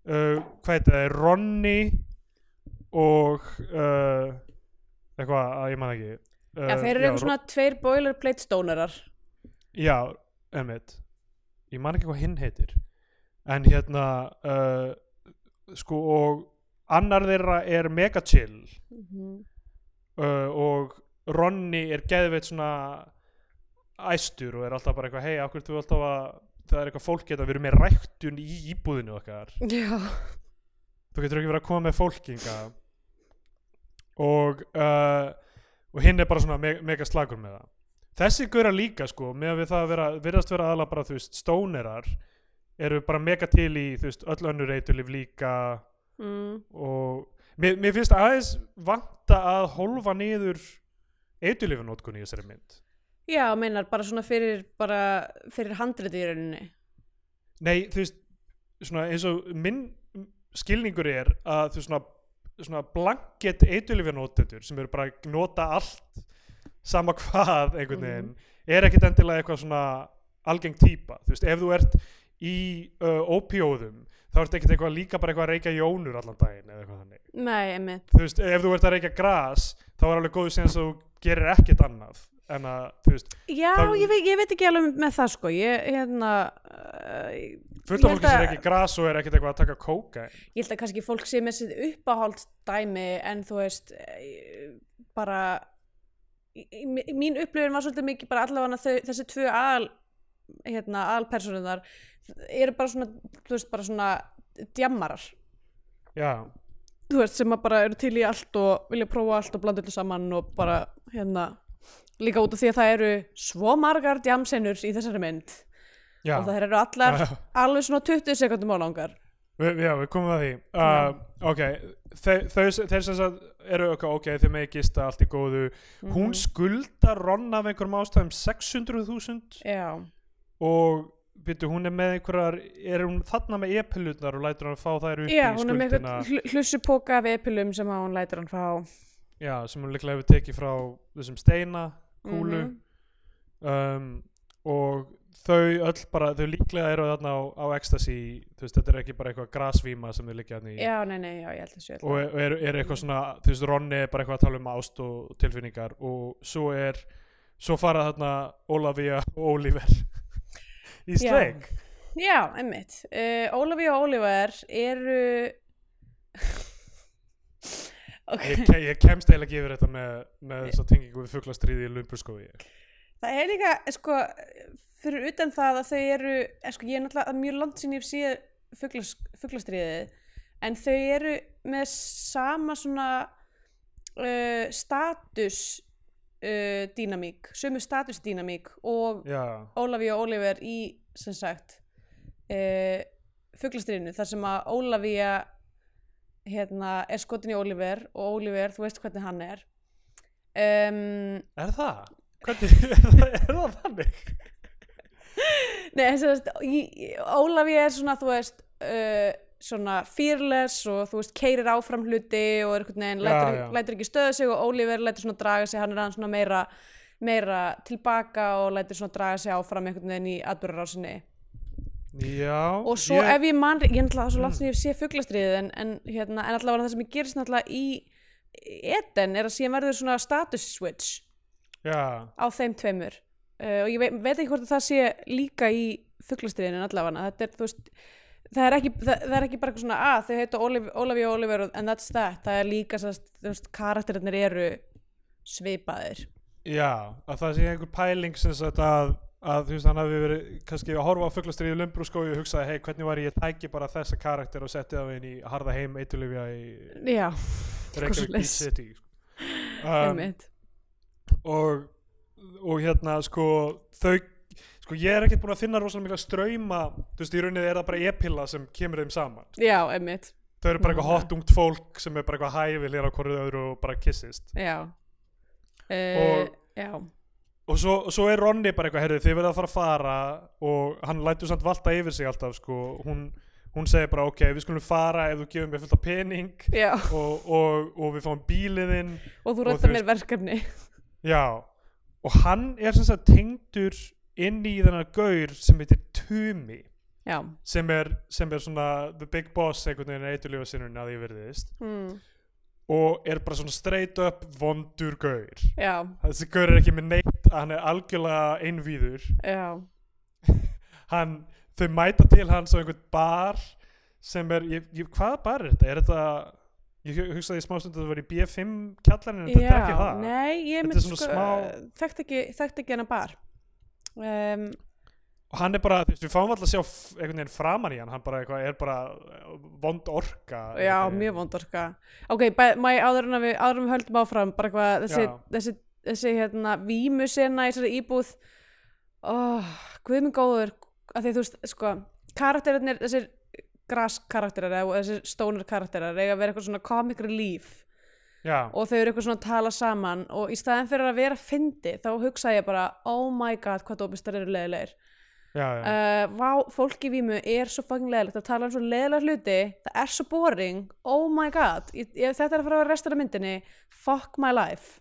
A: hvað heitir það, Ronny og uh, eitthvað, að ég man það ekki Uh,
B: já, þeir eru eitthvað svona tveir boilerplate stónarar
A: Já, emmitt Ég man ekki hvað hinn heitir En hérna uh, Sko og Annar þeirra er mega chill
B: Mhm.
A: uh, Og Ronny er geðveitt svona Æstur og er alltaf bara eitthvað Hei, akkur þú alltaf að Það er eitthvað fólk geta, við erum með ræktun í íbúðinu okkar
B: já,
A: Þú getur ekki verið að koma með fólkinga Og uh, Og hinn er bara svona me mega slagur með það Þessi gura líka sko með við það að vera, virðast vera aðla bara þú veist, stónerar eru bara mega til í þú veist, öll önnur eitulif líka
B: mm.
A: og mér, mér finnst aðeins vanta að hólfa niður eitulifinótkun í þessari mynd
B: já, meinar bara svona fyrir bara fyrir handrið í rauninni
A: Nei, þú veist, svona eins og minn skilningur er að þú veist, svona, svona blanket eitulífinótendur sem eru bara að nota allt sama hvað einhvern
B: Mhm.
A: veginn, er ekkit endilega eitthvað svona algeng típa, þú veist, ef þú ert í uh, ópíóðum þá ert ekkit eitthvað líka bara eitthvað að reykja jónur allan daginn eða eitthvað þannig
B: nei, einmitt
A: þú veist, ef þú ert að reykja gras þá er alveg góðu síðan að þú gerir ekkit annað en að, þú veist,
B: Já,
A: Það-
B: ég, veit, ég veit ekki alveg með það sko Ég, hérna, uh, ég
A: fullt af
B: Ég held
A: fólki sem
B: að-
A: reykja gras og er ekkit eitthvað að taka kóka
B: held að kannski fólk sé með sitt uppáhald dæmi en þú veist eh, bara í- í- mi- mín upplifin var svolítið mikið bara allavega þau, þessi tvö aðal hérna, aðalpersonunar eru bara svona, þú veist, bara svona djammarar,
A: Já,
B: þú veist, sem að bara eru til í allt og vilja prófa allt og blanda öllu saman og bara, hérna líka út af því að það eru svo margar djamsenur í þessari mynd
A: já
B: og það eru allar
A: Já.
B: alveg svona 20 sekundum á langar
A: Við, já, við komum að því. Uh, ok, þau, þau, þeir sem sagt eru ok, ok, þau megi gista allt í góðu.
B: Mhm.
A: Hún skuldar Ronna af einhverjum ástæðum 600.000
B: já,
A: og byrju, hún er með einhverjar, er hún þarna með e-pillutnar og lætur hann fá þær upp
B: já
A: í
B: hún er með
A: skuldina.
B: eitthvað hl- hlussupoka af epilum sem að hún lætur hann fá
A: Já, sem hún líklega hefur tekið frá þessum steina, kúlu.
B: Mhm.
A: um, og þau öll bara, þau líklega eru þarna á, á ecstasy, þú veist, þetta er ekki bara eitthvað grasvíma sem þau liggja hann í.
B: já, nei, nei, já, ég held þessu ég held
A: og
B: þessu.
A: er, og er, er eitthvað svona þú veist, Ronni er bara eitthvað að tala um ást og tilfinningar og svo er svo fara þarna Ólafía og Ólífer í
B: Já.
A: sleik
B: já, einmitt Eh, uh, Ólafí og Ólífer eru
A: Ég,
B: ok
A: ke- ég kemst eiginlega ekki yfir þetta með, með þess að tengingu við fugglastriði í Lumburskói.
B: það er líka, eh, sko fyrir utan það að þau eru eh, sko, ég er náttúrulega það er mjög langt sinni ég séð fuglas, fuglastriðið en þau eru með sama svona uh, status uh, dýnamík sömu status dýnamík og
A: Já,
B: Ólafí og Ólífer í sem sagt uh, fuglastriðinu þar sem að Ólafí hérna, er skotin í Ólífer og Ólífer, þú veist hvernig hann er um,
A: er það? Hvernig, er það, er það þannig?
B: Nei, þess að Ólafí er svona, þú veist uh, svona fearless og þú veist keirir áfram hluti og er einhvern veginn,
A: Já,
B: lætur,
A: já.
B: lætur ekki stöða sig og Ólífer lætur svona draga sig, hann er hann svona meira meira tilbaka og lætur svona draga sig áfram einhvern veginn í atbyrðarásinni
A: Já.
B: og svo ef ég Mm. man ég er náttúrulega svo langt sem ég sé fuglastriðið en, en, hérna, en allavega það sem ég gerist náttúrulega í eten er að síðan verður svona status switch
A: Já,
B: á þeim tveimur uh, og ég veit, veit ekki hvort að það sé líka í fuglastriðinu allavega þetta er, þú veist, það er ekki það, það er ekki bara eitthvað svona að þau heita Ólaf- Ólafía og Oliver and that's that, það er líka sest, þú veist, karakterinir eru svipaðir
A: já, að það sé einhver pæling sem sagt að, að þú veist hann hafi verið kannski að horfa á fugglastriði í Lumburskói og hugsaði, hei, hvernig var ég að tæki bara þessa karakter og setti það inn í harða heim eitulifja í
B: já,
A: Reykjavík Beach
B: svoleiðis.
A: City. sko. Um,
B: einmitt
A: og, og hérna sko þau sko ég er ekkert búin að finna rosalega mikla ströyma þú veist í rauninni er það bara e-pilla sem kemur þeim saman
B: já, einmitt,
A: þau eru bara eitthvað
B: Nákvæmlega.
A: hot ungt fólk sem er bara eitthvað hæfil hér á hverju öðru og bara kissist
B: já uh,
A: Og-
B: já,
A: og svo, og svo er Ronni bara eitthvað heyrðu þið verða að fara að fara og hann lætur samt valta yfir sig alltaf sko hún, hún segir bara ok við skulum fara ef þú gefur mér fullt af pening
B: já
A: og, og, og við fáum bíliðinn
B: og þú
A: Og
B: rættar
A: þú
B: mér verkefni
A: já og hann er sem sagt tengdur inn í þennan gaur sem heitir Tumi
B: já,
A: sem er, sem er svona the big boss einhvern veginn eitthulífa sinnun að ég verðist
B: mm.
A: og er bara svona straight up vondur gaur
B: já,
A: þessi gaur er ekki með neitt hann er algjörlega einvíður
B: já
A: hann, þau mæta til hans á einhvern bar sem er, ég, ég, hvað bar er þetta? er þetta, ég hu- hugsaði í smástund að það var í B5 kjallarinn en þetta er ekki það
B: nei, ég
A: Þetta er
B: myndi
A: svona
B: sko
A: smá-
B: þekkt ekki, þekkt ekki hana bar um,
A: og hann er bara, þú veist, við fáum alltaf að sjá f- einhvern veginn framan í hann, hann bara eitthvað er bara uh, vond orka
B: já,
A: einhvern veginn.
B: mjög vondorka ok, bæ- má ég áður en að við, áður en við höldum áfram bara hvað, þessi,
A: Já.
B: þessi, þessi hérna, vímusena í þessari íbúð oh, guð minn góður að því þú veist, sko karakterinir, þessir graskarakterar eða þessir stónur karakterar eiga að vera eitthvað svona comic relief
A: já,
B: og þau eru eitthvað svona að tala saman og í staðan fyrir að vera fyndi þá hugsa ég bara, oh my god, hvað dópistar eru leiðilegir
A: já, já,
B: uh, vá, fólk í vímu er svo fucking leiðilegt að tala um svo leiðilega hluti það er svo boring, oh my god ég, ég, þetta er að fara að vera restur af myndinni fuck my life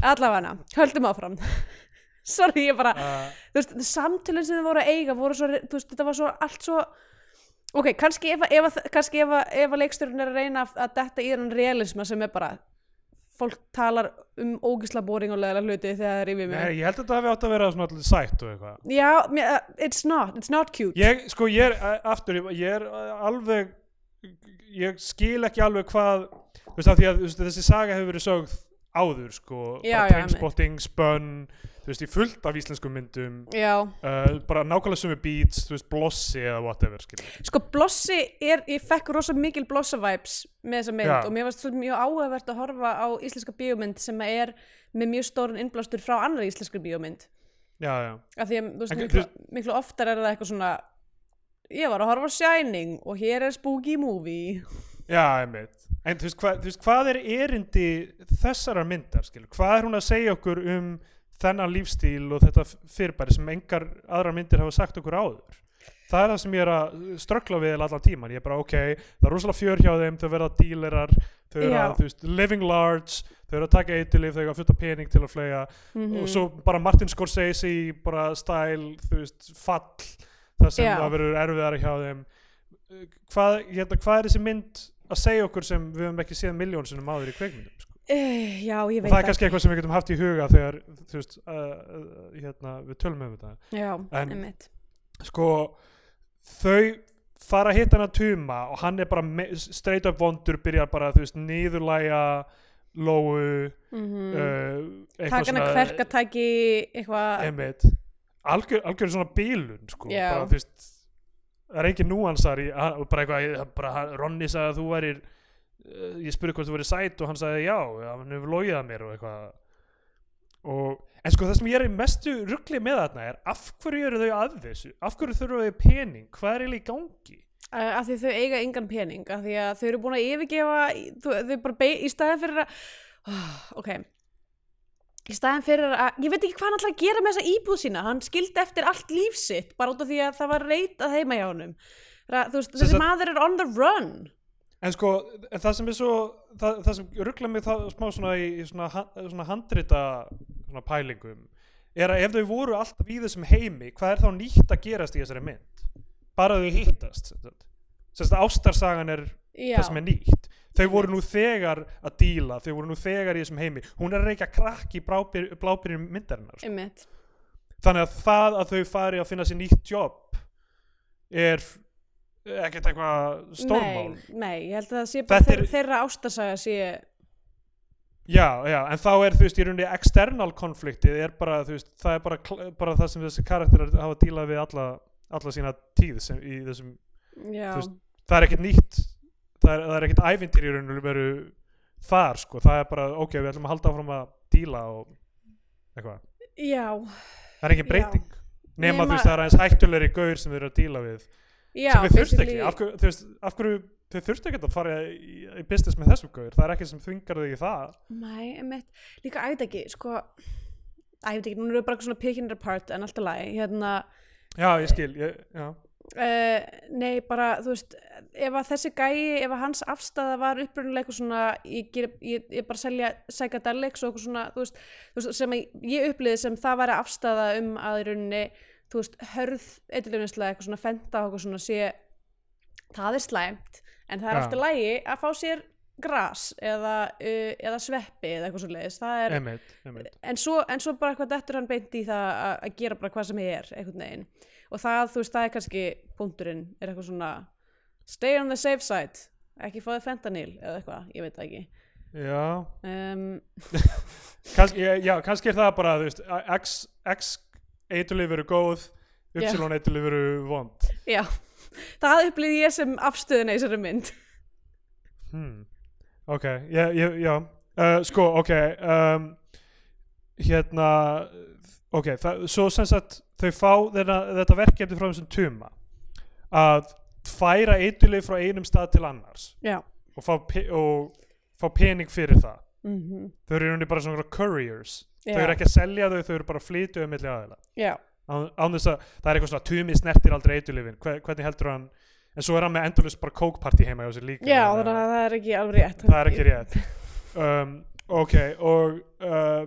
B: allavega, höldum áfram sorry, ég bara
A: Uh,
B: þú veist, samtölinn sem þið voru að eiga voru svo, þú veist, þetta var svo allt svo ok, kannski ef, að- ef, að- kannski ef, að- ef að leiksturinn er að reyna að- að detta í þennan realisma sem er bara fólk talar um ógisla boring og leðilega hluti þegar það er í við
A: Nei, ég held að þetta hafi átt að vera svona allir sætt og eitthvað
B: já, mér, uh, it's not, it's not cute
A: Ég, sko, ég er, a- aftur, ég- ég er uh, alveg ég skil ekki alveg hvað þú veist, af því að þú veist, þessi saga hefur verið sögð áður, sko
B: Já,
A: bara
B: já,
A: Trainspotting, Spun, þú veist, í fullt af íslenskum myndum
B: já,
A: uh, bara nákvæmlega sömu beats, þú veist, Blossi eða whatever, skil
B: sko blossi er, ég fekk rosa mikil blossa vibes með þessa mynd
A: Já.
B: og mér varst svo mjög áhugavert að horfa á íslenska bíómynd sem er með mjög stórun innblástur frá annar íslenska bíómynd
A: Já, já,
B: af því að þú veist,
A: En
B: miklu, miklu oftar er það eitthvað svona ég var að horfa á Shining og hér er Spooky Movie
A: já, einmitt En þú veist, hva, þú veist, hvað er erindi þessarar myndar, skil Hvað er hún að segja okkur um þennan lífstíl og þetta f- fyrirbæri sem engar aðrar myndir hafa sagt okkur áður það er það sem ég er að ströggla við allan tíman, ég er bara ok, það er rosalega fjör hjá þeim þau verða dílerar, þau eru að
B: Já.
A: þú veist, living large, þau eru að taka eitilif þau eru að fulla pening til að flega
B: Mhm.
A: og svo bara Martin Scorsese í bara stæl, þú veist, fall það sem
B: Já.
A: það verður erfiðara hjá þeim Uh, hvað, hérna, hvað er þessi mynd að segja okkur sem við höfum ekki séð miljón sinnum áður í kveikmyndum sko?
B: uh, já, ég
A: og
B: veit
A: það er kannski eitthvað sem við getum haft í huga þegar þú veist, uh, uh, hérna, við tölum um þetta
B: já,
A: En-
B: einmitt
A: sko þau fara að hitta hann að tuma og hann er bara me- straight up vondur byrjar bara, þú veist, niðurlæja lóu
B: mm
A: mm. uh,
B: taka hann að kverka tæki eitthvað
A: einmitt algjör, algjör svona bílun sko,
B: Já.
A: bara, þú veist það er engin núansar í, hann- og bara eitthvað, bara, hann- Ronny sagði að þú værir eh, ég spurði hvort þú verið sæt og hann sagði já, hann hefur logið að mér og eitthvað og, en sko það sem ég er í mestu ruggli með þarna er af hverju eru þau að þessu af hverju þurfa þau pening, hvað er eiginlega í gangi
B: uh, af því þau eiga engan pening af því að þau eru búin að yfirgefa þau, þau bara beig, í staðin fyrir að oh, ok í staðin fyrir að, ég veit ekki hvað hann ætlaði að gera með þessa íbúð sína, hann skildi eftir allt líf sitt bara út af því að það var reytað heima hjá honum Ra, þú veist,
A: Sem
B: þessi
A: sagt-
B: maður er on the run
A: En sko, en það sem er svo það, það sem ruggla mig það smá svona í, í svona, ha- svona handrita svona pælingum er að ef þau voru alltaf í þessum heimi hvað er þá nýtt að gerast í þessari mynd? Bara þau hittast sem sagt. Sem sagt, ástarsagan er
B: já,
A: það sem er nýtt þau voru nú þegar að díla þau voru nú þegar í þessum heimi hún er að reykja krakk í blábyrjum myndarinnar sko.
B: einmitt
A: þannig að það að þau fari að finna sér nýtt jobb er ekkert eitthvað stórmál
B: nei, nei, ég held að það sé bara
A: Þetta
B: þeir,
A: er-
B: þeirra ástasaga sé
A: Já, já, en þá er þú veist í rauninni external konfliktið er bara þú veist, það er bara, kl- bara það sem þessi karakterar hafa dílað við alla, alla sína tíð sem, í þessum,
B: já,
A: Þú veist, það er ekkert nýtt það er, það er ekkert ævindir í rauninni veru þar sko, það er bara ok, við ætlum að halda áfram að díla og eitthvað,
B: já,
A: það er
B: Já.
A: engin breyting nema,
B: Nema-
A: þú veist það er aðeins hættulegri gaur sem þau eru að díla við
B: já
A: sem við þurft ekki,
B: basically-
A: af hverju, þú veist, af hverju þau þurft ekki að fara í, í business með þessum gaur, það er ekki sem þvingar þau í það
B: Nei, emitt, líka æfði ekki, sko, æfði ekki, núna eru bara svona picking it apart en alltaf lagi, hérna,
A: Já, ég skil, ég, já
B: uh, nei, bara, þú veist, ef að þessi gæi, ef að hans afstæða var upprunulega eitthvað svona, ég, ger, ég, ég bara selja psychedelics og eitthvað svona, þú veist, þú veist sem að ég upplýði sem það væri afstæða um að í rauninni, þú veist, hörð, eh, eitthvað eitthvað svona, fenda og eitthvað svona, sé, það er slæmt, en það er
A: Já.
B: alltaf lagi að fá sér gras eða, uh, eða sveppi eða eitthvað svo það er
A: Einmitt, einmitt.
B: en svo, en svo bara eitthvað dettur hann beint í það að, að gera bara hvað sem er einhvern veginn og það, þú veist, það er kannski punkturinn, er eitthvað svona stay on the safe side, ekki fáið fentanyl eða eitthvað, ég veit það ekki
A: Já,
B: um,
A: kannski, já, kannski er það bara þú veist, X, X eitulif eru góð, Y
B: Já.
A: eitulif eru vond
B: já, það upplýði ég sem afstöðuna í þessari mynd
A: hmm. Ok, já, já, já. Uh, sko, ok um, hérna ok, það, svo sem sagt þau fá þeirna, þetta verkefni frá þessum tuma að færa eitulif frá einum stað til annars
B: já,
A: og fá, pe- og fá pening fyrir það
B: mm
A: þau eru í rauninni bara svona couriers Mhm.
B: já.
A: þau eru ekki að selja þau, þau eru bara að flytja um milli aðeila
B: já,
A: án án þess að það er eitthvað svona tumi snertir aldrei eitulifin, Hve, hvernig heldur hann en svo er hann með endurlust bara kókparti heima hjá sér líka
B: já,
A: þannig
B: þannig
A: að
B: að það er ekki alveg rétt
A: það er ekki rétt um, ok, og uh,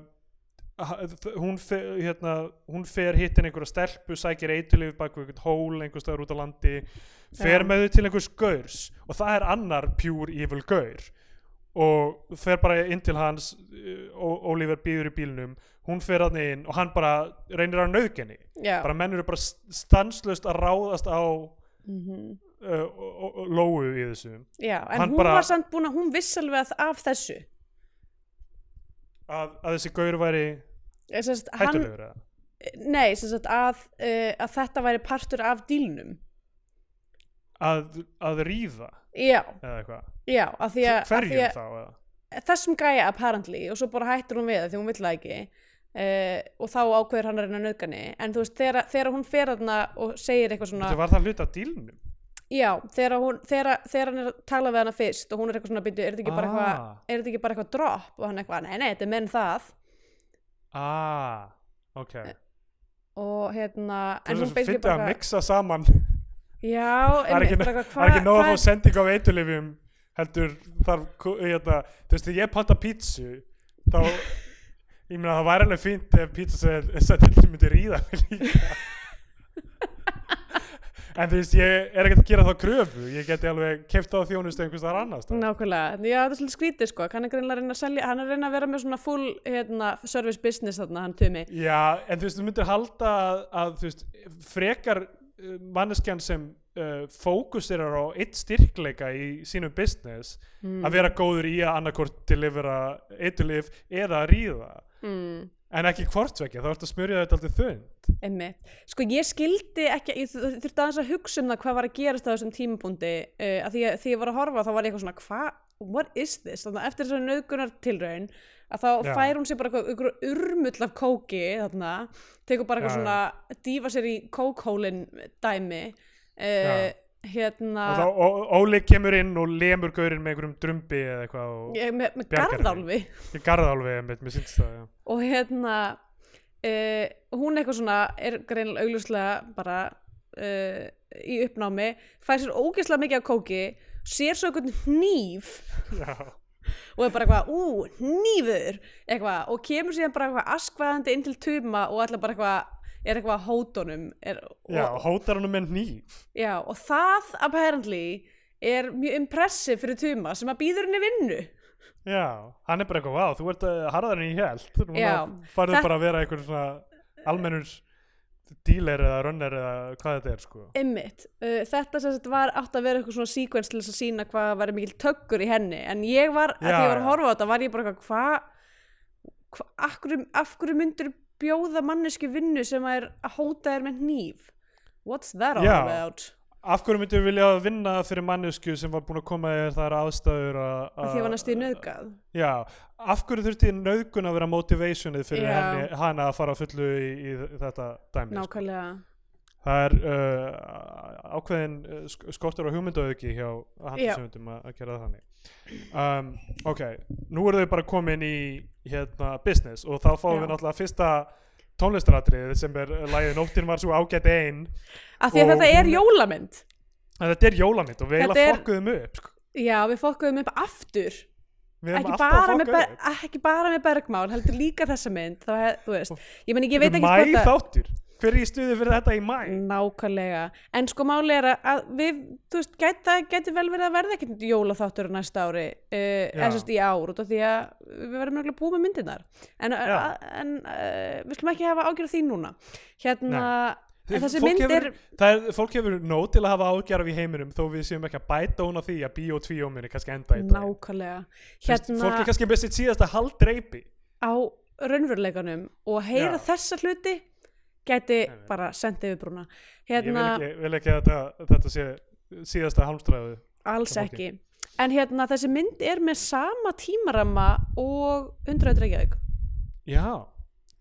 A: ha- þ- hún fer, hérna, hún fer hittin einhverja stelpu, sækir eitulif bak við einhvern hól einhver staðar út á landi fer
B: Já.
A: með þau til einhvers gaurs og það er annar pure evil gaur og fer bara inn til hans uh, Ó- Oliver býður í bílnum hún fer hann inn og hann bara reynir að nauðgenni
B: já,
A: bara menn eru bara stanslust að ráðast á uh,
B: mm
A: o- o- lóu í þessu
B: já en
A: Hann
B: hún
A: bara-
B: var samt búin að hún viss alveg að- af þessu
A: að, að þessi gaur væri
B: Eh, sem sagt, hann,
A: hættulegur eða?
B: nei, sem sagt að, uh, að þetta væri partur af dílnum
A: að, að ríða
B: já,
A: eða eitthvað
B: Já, af því að, af því
A: hverjum
B: að
A: þá eða?
B: þessum gæja apparently og svo bara hættur hún við það því hún vill það ekki uh, og þá ákveður hann að reyna nöðgani en þú veist, þegar, þegar hún fer þarna og segir eitthvað svona
A: þetta var það hluti af dílnum
B: já, þegar, hún, þegar, þegar hann er að tala við hana fyrst og hún er eitthvað svona byrju, er þetta ekki bara eitthvað
A: Ah.
B: er þetta ekki bara eitthvað drop og hann eitthvað, nei, nei, þetta er menn það
A: ah, ok
B: og hérna,
A: það
B: en hún
A: finnst
B: basically
A: að
B: bara eitthvað-
A: mixa saman það
B: já,
A: er ekki,
B: einmitt, bara eitthvað,
A: það er ekki
B: hvað-
A: nóg að
B: hvað
A: fá sending af eitulifjum heldur þarf ku- hérna, þú veist þegar ég panta pítsu þá ég meina það væri alveg fínt ef pítsa sending myndi ríða mig líka en þú veist ég er ekkert að gera þá kröfu ég geti alveg keft á þjónustu einhvers þar annars staðar.
B: Nákvæmlega, já þetta er svolítið skrítið sko, hann er greinlega að reyna að selja, hann er að reyna að vera með svona full hérna, service business þarna, hann tumi.
A: Já, en þú veist, þú myndir halda að, að þú veist, frekar uh, manneskjan sem uh, fókusirar á eitt styrkleika í sínum business
B: Mm.
A: að vera góður í að annarkort delivera eitulif eða að ríða
B: Mm.
A: en ekki hvortvekja, þá ertu að smurja þetta alltaf þund
B: Einmitt. Sko ég skildi ekki, ég þur- þurfti aðeins að hugsa um það hvað var að gerast á þessum tímabundi uh, að því að því ég var að horfa þá var ég eitthvað svona hvað, what is this? Þannig að eftir þessar nöðgunar tilraun að þá
A: Já.
B: fær hún sér bara eitthvað einhver urmull af kóki þarna, tekur bara eitthvað
A: Já,
B: svona dýfa sér í kókhólin dæmi uh,
A: Já.
B: hérna
A: og þá Ó- Óli kemur inn og lemur gaurinn með einhverjum drumbi eða eitthvað og
B: ég, með, með
A: bjargar henni.
B: garðálfi
A: ég garða alveg með, með sínst það já.
B: og hérna uh, hún eitthvað svona er greinilega augljóslega bara uh, í uppnámi fær sér ógeðslega mikið af kóki sér svo einhvern hníf
A: Já.
B: og er bara eitthvað, ú, hnífur eitthvað, og kemur síðan bara eitthvað askvaðandi inn til tuma og allar bara eitthvað er eitthvað að hótonum er,
A: já,
B: og,
A: hótar hann með nýf
B: já, og það apparently er mjög impressive fyrir tuma sem að býður henni vinnu
A: já, hann er bara eitthvað, vá, þú ert uh, harðar en ég held núna
B: Já.
A: farðu
B: Þetta-
A: bara að vera einhver svona almennur dealer eða runner eða hvað þetta er sko
B: Einmitt, uh, þetta sem þetta var átt að vera eitthvað svona sequence til þess að sína hvað var mikil töggur í henni, en ég var að
A: Já,
B: því ég var að
A: já.
B: horfa á þetta, var ég bara eitthvað hvað, hva, af, hverju- af hverju myndur bjóða mannesku vinnu sem er að hóta þér með hníf What's that all
A: Já.
B: about?
A: Af hverju myndum við vilja vinna fyrir mannesku sem var búin að koma yfir þær aðstæður að...
B: Af því ég var
A: Uh,
B: næstu í nöðgað
A: Já, af hverju þurfti nöðgun að vera motivationið fyrir
B: Já.
A: henni, hana að fara á fullu í, í þetta dæmi. sko.
B: Nákvæmlega,
A: Það er uh, ákveðin uh, sk- skortur á hugmyndaauki hjá handlisöfundum að að gera það þannig. Um, ok, nú eru þau bara komin í hérna, business og þá fáum
B: Já.
A: við náttúrulega fyrsta tónlistaratriðið sem er uh, lagið Nóttin var svo ágætt einn.
B: af því að
A: Og
B: þetta er
A: hún-
B: jólamynd
A: En Þetta er jólamitt og við
B: Þetta
A: eiginlega
B: er-
A: fokkuðum upp. Sko.
B: Já, við fokkuðum upp aftur
A: Við erum
B: ekki
A: alltaf
B: bara,
A: að
B: með,
A: fokka upp.
B: Ber- ekki bara með bergmál, heldur líka þessa mynd þá, hef- þú veist, ég meni, ég veit
A: Þetta
B: ekki
A: er
B: hvort
A: mæ
B: að-
A: þáttur Hver er í stuði fyrir þetta í mæ?
B: Nákvæmlega, en sko máli er að- að við, þú veist, gæt, það gæti vel verið að verða ekkert jólaþáttur á næsta ári uh, eða sérst í ár út af því að við verðum nögglega búið með myndirnar en,
A: Já.
B: a, en uh, við slum ekki hafa ágjörð því núna hérna, en þessi
A: Fólk
B: mynd
A: hefur,
B: er
A: það er, fólk hefur nóg til að hafa ágjara í heiminum þó við séum ekki að bæta hún á því að bíó og tvíó minni kannski enda í dag
B: nákvæmlega
A: Þú veist, Fólk er
B: hérna
A: kannski með sitt síðasta halddreipi
B: á raunveruleikanum og að heyra
A: Já.
B: þessa hluti gæti
A: Einmitt.
B: bara sendið við brúna
A: Ég vil
B: hérna,
A: ekki, vil ekki að þetta, þetta sé síðasta halmstræðu
B: alls
A: Ok.
B: ekki en hérna, þessi mynd er með sama tímaramma og 100 reykjavík
A: Já,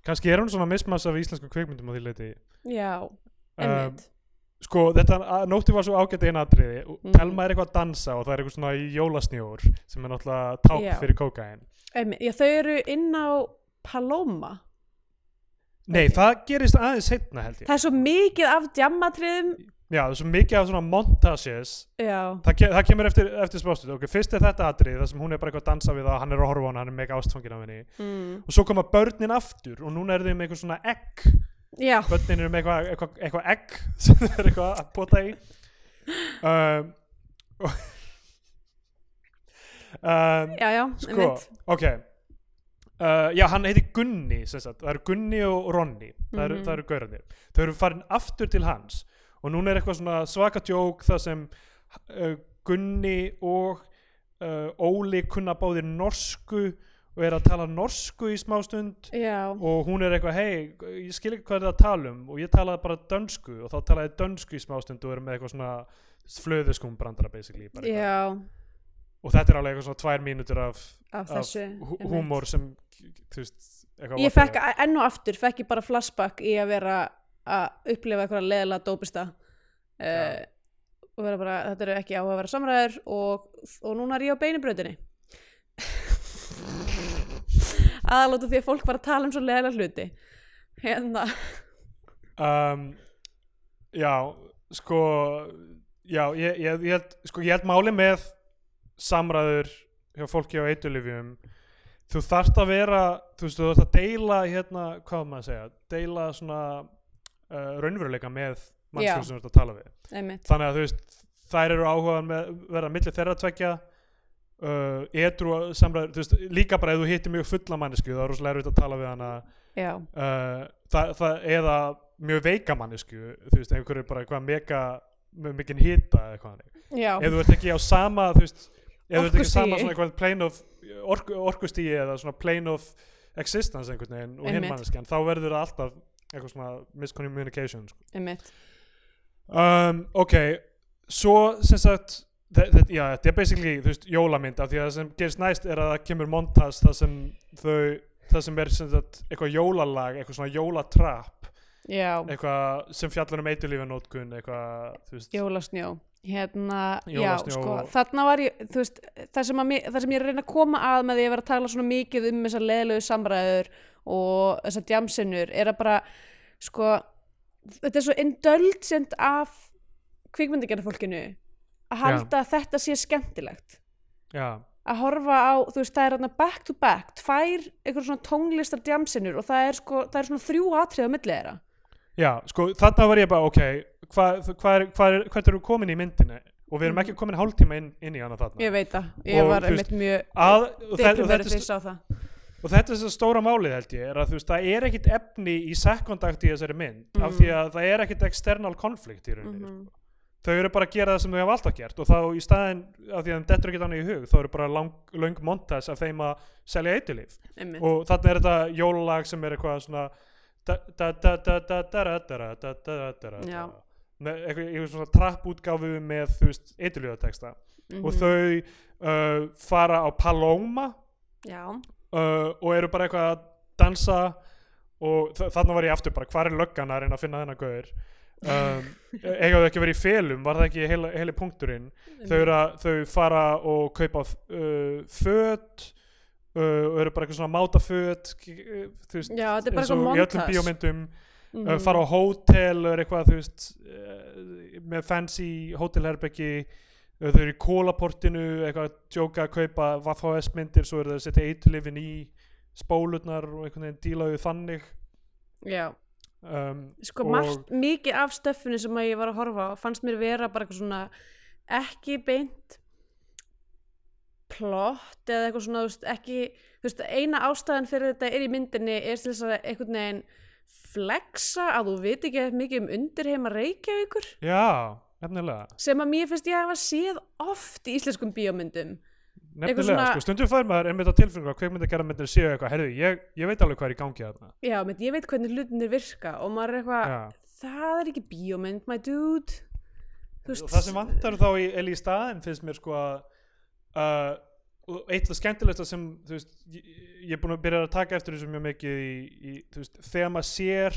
A: kannski er hún svona mismassa af íslensku kvikmyndum á því leiti
B: Já, einmitt.
A: Sko, þetta að- nótti var svo ágætt eina atriði
B: Mhm.
A: mm. Telma er eitthvað að dansa og það er eitthvað svona í jólasnjór sem er náttúrulega ták
B: Já.
A: fyrir kókain
B: einmitt. Já, þau eru inn á Paloma.
A: Nei, það gerist aðeins seinna held ég
B: Það er svo mikið af djammatriðum.
A: Já, það er svo mikið af svona montages
B: Já,
A: það, ke það kemur eftir, eftir smástund ok, fyrst er þetta atrið, það sem hún er bara eitthvað að dansa við það, hann er að horfa á hana, hann er mega ástfangin af henni
B: mm.
A: og svo koma börnin aftur og núna er þau með eitthvað svona egg
B: já,
A: börnin eru með eitthvað eitthva, eitthva egg sem þau eru eitthvað að pota í um, og- um,
B: já, já,
A: sko,
B: einmitt.
A: ok Uh, já, hann heiti Gunni sem sagt. það eru Gunni og Ronni það eru,
B: Mhm.
A: það eru gaurarnir, þau eru farin aftur til hans og núna er eitthvað svona svaka djók það sem uh, Gunni og uh, Óli kunna báðir norsku og er að tala norsku í smástund
B: Já,
A: og hún er eitthvað, hei, ég skil ekki hvað er það að tala um og ég talaði bara dönsku og þá talaði dönsku í smástund og er með eitthvað svona flöðuskum brandara basically bara eitthvað.
B: já,
A: og þetta er alveg eitthvað svona tvær mínútur af,
B: af þessu.
A: hú-
B: einmitt.
A: húmor sem þú veist, eitthvað
B: Ég
A: vantar
B: fekk enn og aftur, fekk ég bara flashback í að vera að upplifa eitthvað leðilega dópista. Uh,
A: Já.
B: og vera bara, þetta eru ekki áhugaverðar samræður og, og núna er ég á beinibröðinni. Aðalóta því að fólk var að tala um svo leðilega hluti. Hérna.
A: um, já sko já, ég, ég, ég, held, sko, ég held máli með samræður hjá fólki á eitulifjum þú þarft að vera þú veist, þú þarft að deila hérna, hvað á maður að segja, deila svona uh, raunveruleika með
B: Já.
A: mannskjöld sem þú ert að tala við
B: Einmitt.
A: þannig að þú veist, þær eru áhugaðan með verða milli þeirra tvekja uh, edru samræður, þú veist, líka bara ef þú hittir mjög fulla mannesku, það er rosalega erfitt að tala við hana
B: Já,
A: Eh, uh, það, það eða mjög veika mannesku þú veist, einhverju bara eitthvað mega með mikinn hita eða eitthvað þannig.
B: já,
A: ef þú ert ekki á sama þú veist, ef þú ert ekki á sama
B: Orkustigi.
A: svona eitthvað plane of orku, orkustíi eða svona plane of existence einhvern veginn og hinn
B: Einmitt.
A: manneskjan þá verður það alltaf eitthvað svona miscommunication sko.
B: einmitt
A: um, ok, svo sem sagt þe- þe- já, þetta er basically þú veist, jólamynd af því að það sem gerist næst er að það kemur montas það sem þau það sem er sem sagt, eitthvað jólalag eitthvað svona jólatrap
B: já,
A: eitthvað sem fjallar um eitulífanótkun eitthvað, þú veist
B: jólasnjó hérna,
A: Jólasnjó
B: já, sko,
A: og-
B: þarna var ég þú veist, það sem, að mér, það sem ég er að reyna að koma að með því að vera að tala svona mikið um þessar leðlegu samræður og þessar djamsinnur er að bara, sko þetta er svo indulgent af kvikmyndagerðarfólkinu að halda að þetta sé skemmtilegt
A: já,
B: að horfa á, þú veist, það er hérna back to back, tvær einhver svona tónlistar djamsinnur og það er sko, það er svona þrjú atrið á milli þeirra
A: Já, sko, þarna var ég bara, ok, hvað hva er, hva er, hvert erum við komin í myndinni? Og við erum ekki komin hálftíma inn, inn í hana þarna.
B: Mm. ég veit það, ég
A: Og,
B: var
A: þú veist,
B: einmitt mjög
A: Að, og, þe- og,
B: deprimerið
A: þetta,
B: þegar ég
A: er-
B: sá það
A: og þetta er þess stóra málið held ég, er að þú veist, það er ekkit efni í sekundakt í þessari mynd, af því að það er ekkit external konflikt í rauninni.
B: Mm. Mhm.
A: Þau eru bara að gera það sem þau hafa alltaf gert og þá í staðin, af því að þeim dettur ekkit annað í hug, þá eru bara lang, löng montas af þeim að selja eitulíf.
B: Einmitt.
A: og þarna er þetta jólalag sem er eitthvað svona da- da- da- da- da- da- da- da- da- da- da- da-
B: Já.
A: með eitthvað, eitthvað svona trappútgáfu með þú veist eiturljóðateksta
B: Mhm.
A: og þau uh, fara á Paloma
B: Já,
A: uh, og eru bara eitthvað að dansa og þa- þarna var ég aftur bara hvar er löggan að reyna að finna þennan gauður um, eiga þau ekki verið í felum var það ekki heila, heili punkturinn þau, eru að, þau fara og kaupa uh, föt uh, og eru bara eitthvað svona að máta föt k- uh, þú veist
B: já, þetta er bara
A: eins og
B: eitthvað
A: í öllum
B: montas
A: bíómyndum
B: mm.
A: uh, fara á hótel og eru eitthvað þú veist uh, með fancy hótelherbeggi uh, þau eru í kólaportinu eitthvað að djóka að kaupa VHS myndir svo eru þau að setja eitlifin í spólurnar og einhvern veginn díla við þannig
B: Já,
A: um,
B: sko
A: Og-
B: margt, mikið af stöffinu sem að ég var að horfa á fannst mér vera bara eitthvað svona ekki beint plott eða eitthvað svona, þú veist, ekki þú veist, eina ástæðan fyrir þetta er í myndinni er til þess að einhvern veginn flexa að þú veit ekki mikið um undirheima Reykjavíkur
A: já, nefnilega
B: sem að mér finnst ég hafa séð oft í íslenskum bíómyndum
A: Nefnilega,
B: svona-
A: sko, stundum fær maður einmitt á tilfengur að kveikmynda gera myndir séu eitthvað, herðu, ég, ég veit alveg hvað er í gangi þarna.
B: Já, menn, ég veit hvernig hlutinir virka og maður er eitthvað,
A: Já.
B: það er ekki bíómynd, my dude Þú
A: og það sem vantar þá í, er í staðin finnst mér sko að uh, og eitt af skemmtilegsta sem þú veist, ég, ég er búin að byrja að taka eftir þessu mjög mikið í, í þú veist, þegar maður sér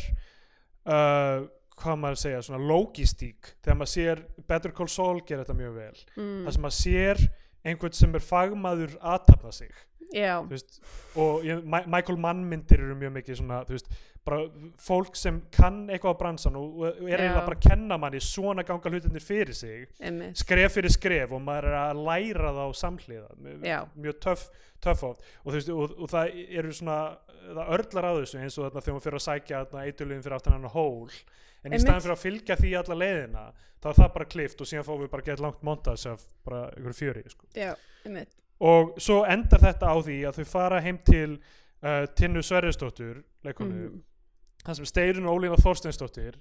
A: uh, hvað maður að segja, svona logistík þegar maður sér Better Call Saul gera þetta mjög vel,
B: mm,
A: það sem maður sér einhvern sem er fagmaður aðtapna sig
B: Já,
A: þú veist, og ég, Ma Michael Mann myndir eru mjög mikið svona þú veist, bara fólk sem kann eitthvað á bransan og, og er
B: Já.
A: eiginlega bara að kenna manni svona ganga hlutinir fyrir sig
B: emmitt
A: skref fyrir skref og maður er að læra það á samhliða Mjög-
B: Já.
A: mjög töff töff oft og, þú veist, og, og það eru svona það örlar á þessu eins og þarna þegar maður fyrir að sækja þarna eiturliðin fyrir aftan hann hól en í
B: Einmitt.
A: staðan fyrir að fylgja því alla leiðina þá er það bara klift og síðan fáum við bara að geta langt montas af bara ykkur fjöri sko.
B: Já, emmitt
A: og svo endar þetta á því að þau fara heim til uh, Tinnu Sverrisdóttur leikonu
B: Mhm.
A: þar sem Steirun og Ólína Þorsteinsdóttir uh,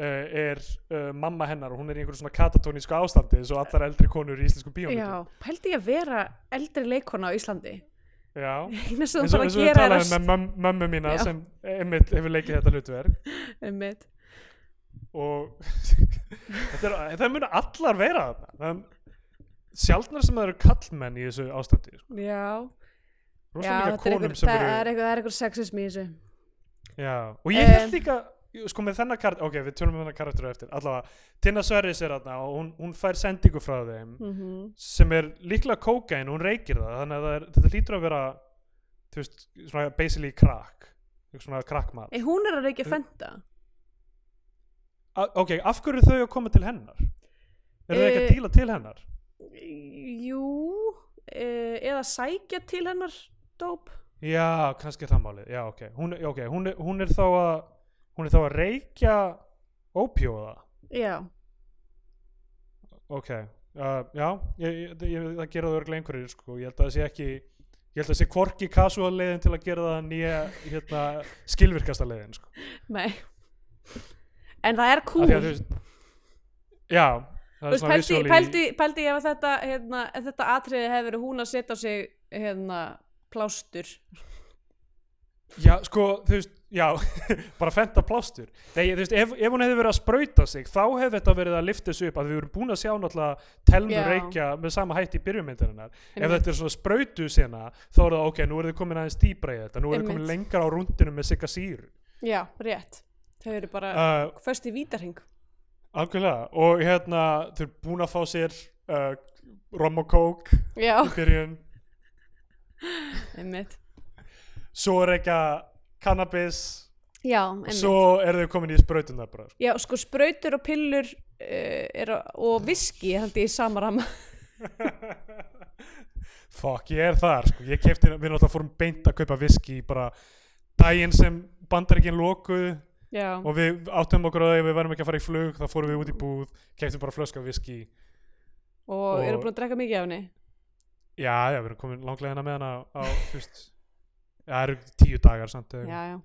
A: er uh, mamma hennar og hún er í einhverju svona katatónísku ástandi eins og allar eldri konur í íslensku bíómyndum
B: Já, pældi ég að vera eldri leikona á Íslandi
A: Já.
B: Eina sem
A: eins og
B: þú þarf
A: eins og
B: að
A: við
B: gera er
A: talaðum um-
B: að
A: með möm, mömmu mína
B: Já.
A: sem einmitt hefur leikið þetta hlutverk
B: Emmitt
A: og þetta er, það muna allar vera þarna það er sjaldnar sem það eru kallmenn í þessu ástandi sko.
B: Já, já
A: rosa mikið af
B: þetta er
A: konum
B: eitthvað,
A: sem
B: það
A: eru
B: er eitthvað, það er eitthvað sexism í þessu
A: Já, og ég
B: Eh.
A: held líka sko með þennan karakter, ok við tölum með þennan karakter á eftir allavega, Tina Sverris er þarna og hún, hún fær sendingu frá þeim
B: Mhm.
A: sem er líklega kókain og hún reykir það þannig að það er, þetta lítur að vera þú veist, svona basically krakk svona krakkmat
B: Eh, Hún er að reykja fenda
A: A ok, af hverju eru þau að koma til hennar? eru þau ekki
B: Eh.
A: að díla til hennar?
B: Jú, eh, eða sækja til hennar dóp
A: já, kannski er það málið, já ok hún, já, ok, hún, er- hún er þá að hún er þá að reykja ópjóða
B: Já,
A: ok, uh, já ég, ég, ég, það gera það örglega einhverjir sko. ég held að það sé ekki ég held að það sé hvorki casual leiðin til að gera það nýja hérna, skilvirkasta leiðin sko.
B: nei En það er
A: Af
B: cool
A: því að þú veist- já það
B: Þú
A: er
B: veist,
A: svona
B: pældi,
A: visually-
B: pældi, pældi ef að þetta, hérna, ef þetta atriði hefur verið hún að setja á sig hérna, plástur
A: Já, sko, þú veist, já, bara fenta plástur. Nei, þú veist, ef, ef hún hefði verið að sprauta sig, þá hefði þetta verið að lifta þessu upp að við vorum búin að sjá náttúrulega telmu
B: Já.
A: reykja með sama hætti í byrjumyndarinnar. Ef
B: Einmitt.
A: þetta er svona sprautu sena, þá er það, ok, nú er þið komin aðeins dýbra í þetta, nú er þið komin
B: Einmitt.
A: lengra á rúndinu með sigga síru.
B: Já, rétt Þau eru bara uh,
A: Uh,
B: föst í vítarhing
A: algjörlega, og hérna, þau eru búin að fá sér uh, rom og kók í
B: Já,
A: byrjun,
B: einmitt
A: svo er ekki kannabis,
B: Já, einmitt
A: svo eru þau komin í sprautunar bara. sko.
B: Já, sko sprautur og pillur uh, er, á- og viski held ég í samarama
A: Fuck, ég er þar sko. Ég kefti, við náttúrulega fórum beint að kaupa viski bara daginn sem bandaríkinn lokuð
B: Já,
A: og við áttum okkur á því að við verðum ekki að fara í flug þá fórum við út í búð, keftum bara flösku af viski
B: og, eru
A: og-
B: búin að drekka mikið af henni
A: Já, já, við erum komin langlega hérna með hana á, þú veist Já, það eru tíu dagar samt
B: Já, já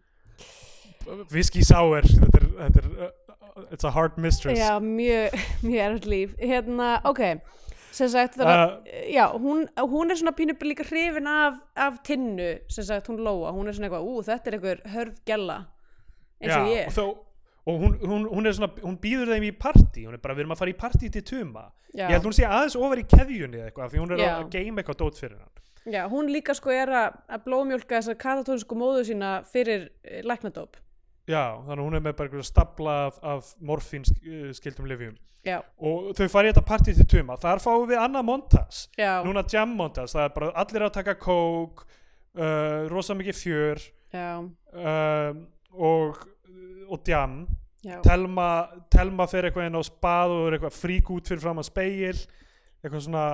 A: Viski sour, þetta er, þetta er uh, It's a hard mistress
B: Já, mjög, mjög erfitt líf Hérna, ok sem sagt, það var,
A: uh,
B: já, hún, hún er svona pínu líka hrifin af, af tinnu sem sagt, hún Lóa, hún er svona eitthvað ú, þetta er eitthvað hörð gælla eins og
A: já,
B: ég
A: og, þó, og hún, hún, hún er svona hún býður þeim í partí, hún er bara, við erum að fara í partí til tuma
B: já,
A: Ég held hún sé aðeins ofar í keðjunni eða eitthvað af því hún er
B: Já.
A: að geima eitthvað dót fyrir hann.
B: já, hún líka sko er að, að blómjólka þessar katatónsku móðu sína fyrir eh, læknadóp
A: Já, þannig að hún er með bara einhverja stapla af, af morfínskildum livjum.
B: já,
A: Og þau fara í þetta partí til tuma. Þar fáum við annað montas.
B: já,
A: Núna jam montas. Það er bara allir að taka kók, uh, rosa mikið fjör
B: já,
A: um, og, og jam.
B: já
A: Telma, telma fer eitthvað inn á spað og er eitthvað frík út fyrir fram að speil. Eitthvað svona,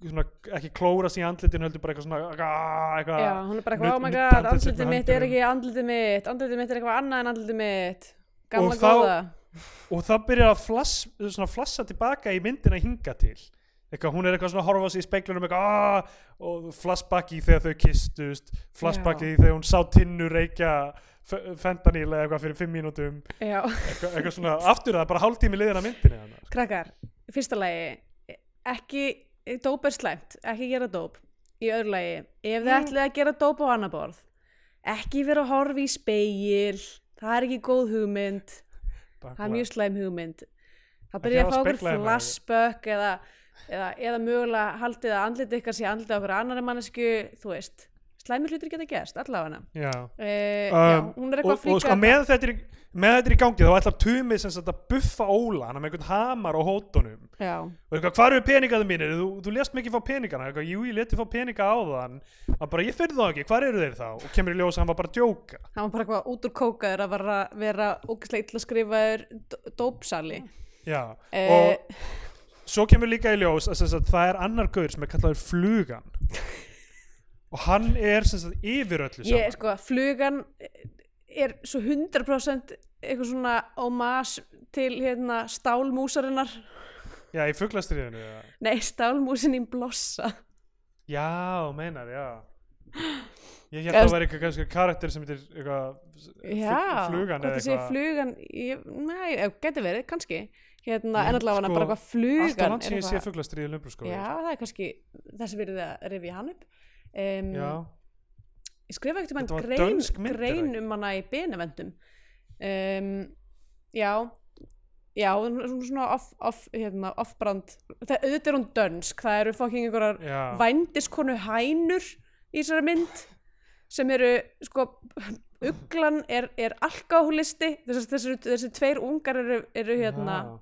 A: svona ekki klóra sig í andlitinu heldur bara eitthvað svona eitthvað,
B: Já, hún er bara eitthvað,
A: Nudd-
B: oh my
A: nudda
B: god,
A: andlitið
B: andlitið
A: með
B: mitt er
A: höndunum."
B: ekki andlitið mitt, andlitið mitt er eitthvað annað en andlitið mitt,
A: Og
B: gamla
A: þá-
B: góða.
A: og það byrjar að flass, svona, flassa tilbaka í myndina hinga til eitthvað, hún er eitthvað svona að horfa á sig í speiklunum eitthvað, aah, og flashback í þegar þau kistust flashback í þegar hún sá tinnu reykja f- fentanyl eða eitthvað fyrir fimm mínútum
B: Já.
A: eitthvað, eitthvað svona, aftur það er bara hálftími liðin að myndinni þannig.
B: Krakkar, í fyrsta lagi ekki, dóp er slæmt ekki gera dóp, í öðru lagi ef þið
A: Mm.
B: ætlið að gera dóp á annar borð ekki vera að horfa í speil það er ekki góð hugmynd
A: sko.
B: það er mjög slæm hugmynd það byrja
A: hafa
B: að fá okkur
A: spegla hérna.
B: flashback eða, eða, eða mögulega haldið að andlið ykkar sé andlið okkur annari mannesku þú veist, slæmi hlutir geta gerst allavega hana
A: já
B: Uh, já,
A: Um,
B: hún er
A: og,
B: eitthvað
A: og sko,
B: fríkað
A: með þetta, er, í- með þetta er í gangi þá ætlar Tumi sem sagt að buffa Óla hann er með einhvern hamar á hótunum
B: já,
A: og eitthvað, hvað eru peningaðu mínir, þú, þú lést mikið fá peningana, eitthvað, jú, ég leti fá peninga á þann, hann bara, ég fyrir þá ekki, hvað eru þeir þá, og kemur í ljós að hann var bara að djóka,
B: hann var bara eitthvað út úr kókaður að vera, vera ógislega illa skrifaður d- dópsali
A: já,
B: Eh,
A: og svo kemur líka í ljós að, sem sagt, það er annar gaur sem er kallaður flugan, og hann er sem sagt yfir öllu saman,
B: ég, sko, flugan er svo 100% eitthvað svona ómas til hérna stálmúsarinnar
A: já, í fuglastriðinu, já,
B: nei, stálmúsin í blossa
A: já, þú meinar, já, ég
B: Eða-
A: hérna það væri eitthvað kannski karakter sem heitir eitthvað,
B: já,
A: fl- flugan
B: hvort
A: eða
B: það sé
A: eitthvað,
B: flugan ég, nei, eh, geti verið, kannski hérna,
A: Ég-
B: en
A: sko,
B: allavega bara eitthvað
A: alltaf
B: flugan
A: langt sem
B: er
A: ég sé sko.
B: eitthvað-
A: fuglastriðið lumbrúskóla,
B: já, það er kannski þess að verið að rifja hann upp um,
A: já,
B: ég skrifa ekkert um
A: Þetta var
B: hann grein,
A: dönsk mynd, er það
B: grein
A: ekki?
B: um hana í benavendum um, já já, hún er svona svona off, off, hérna, off-brand Það- auðvitað er hún dönsk, það eru fokking einhverjar
A: já,
B: vændiskonu hænur í þessari mynd sem eru sko uglan er, er alkoholisti þessi, þessi, þessi tveir ungar eru, eru hérna
A: já.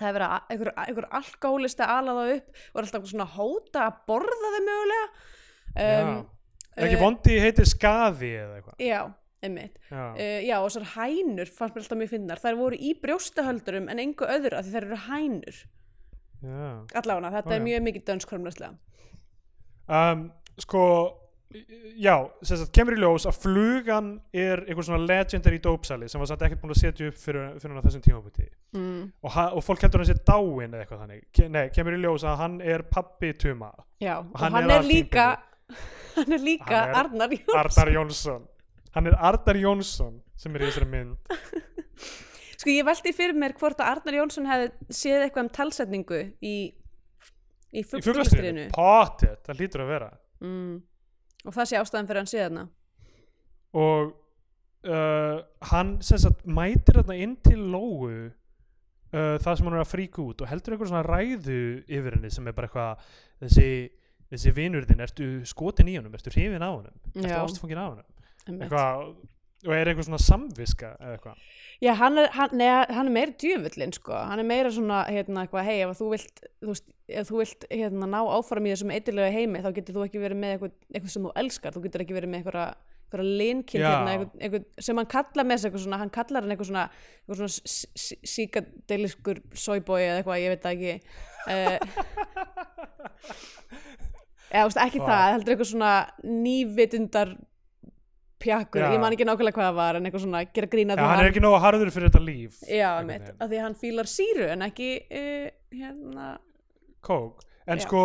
B: það er verið að einhver, einhver alkoholisti alað það upp og er alltaf svona að hóta að borða þeim mögulega um,
A: já. Er ekki
B: eh,
A: vondi heitir skaði eða eitthvað?
B: já, einmitt
A: Já.
B: Uh, já, og þessar hænur fannst mér alltaf mjög finnar. Þær voru í brjóstahöldurum en engu öðru af því þær eru hænur.
A: já.
B: Allána, þetta
A: Ó,
B: er
A: já.
B: mjög mikið dönskramlöslega.
A: Um, sko, já, sem sagt, kemur í ljós að flugan er einhver svona legendary dópsali sem var samt ekkert búin að setja upp fyrir, fyrir hann á þessum tímabúti
B: Mm.
A: og, ha- og fólk heldur hann sé dáin eða eitthvað þannig Ke nei, kemur í ljós að hann er pappi Tuma,
B: Já, og
A: hann
B: hann,
A: er
B: er, líka, hann er líka
A: Hann er
B: Arnar Jónsson.
A: Arnar Jónsson hann er Arnar Jónsson sem er í þessari mynd
B: Sko ég veldi fyrir mér hvort að Arnar Jónsson hefði séð eitthvað um talsetningu í, í
A: Í fuglastriðinu,
B: fugglastriðinu
A: potið, það hlýtur að vera
B: mm. og það sé ástæðan fyrir að hann séð þarna
A: og uh, hann sem sagt mætir þarna inn til Lóu uh, það sem hann er að fríka út og heldur einhver svona ræðu yfir henni sem er bara eitthvað þessi, þessi vinur þinn, ertu skotin í honum ertu hrifin á honum, ertu
B: Já.
A: ástfangin á honum
B: Einmitt.
A: eitthvað, og er eitthvað svona samviska eða eitthvað
B: Já, hann er, hann, nei, hann er meira djöfullin sko. hann er meira svona, hérna, eitthvað, hei ef þú vilt, þú veist, ef þú vilt hérna, ná áfram í þessum eitthvað heimi þá getur þú ekki verið með eitthvað, eitthvað sem þú elskar þú getur ekki verið með eitthvað eitthvað linkinn
A: Já.
B: hérna, eitthvað, eitthvað sem hann kallar með sig eitthvað svona, hann kallar hann eitthvað svona, eitthvað svona s- s- síkadeliskur soyboy eða eitthvað, ég veit það ekki uh, eða, þú veist, ekki
A: Fuck.
B: það, heldur eitthvað svona nývitundar pjakkur,
A: Já.
B: ég man ekki nákvæmlega hvað það var en eitthvað svona, gera grína
A: Já, hann er ekki nógu harður fyrir þetta líf
B: Já,
A: einhvern
B: mitt,
A: veginn.
B: af því að hann fílar síru en ekki uh, hérna
A: kók en
B: Já.
A: sko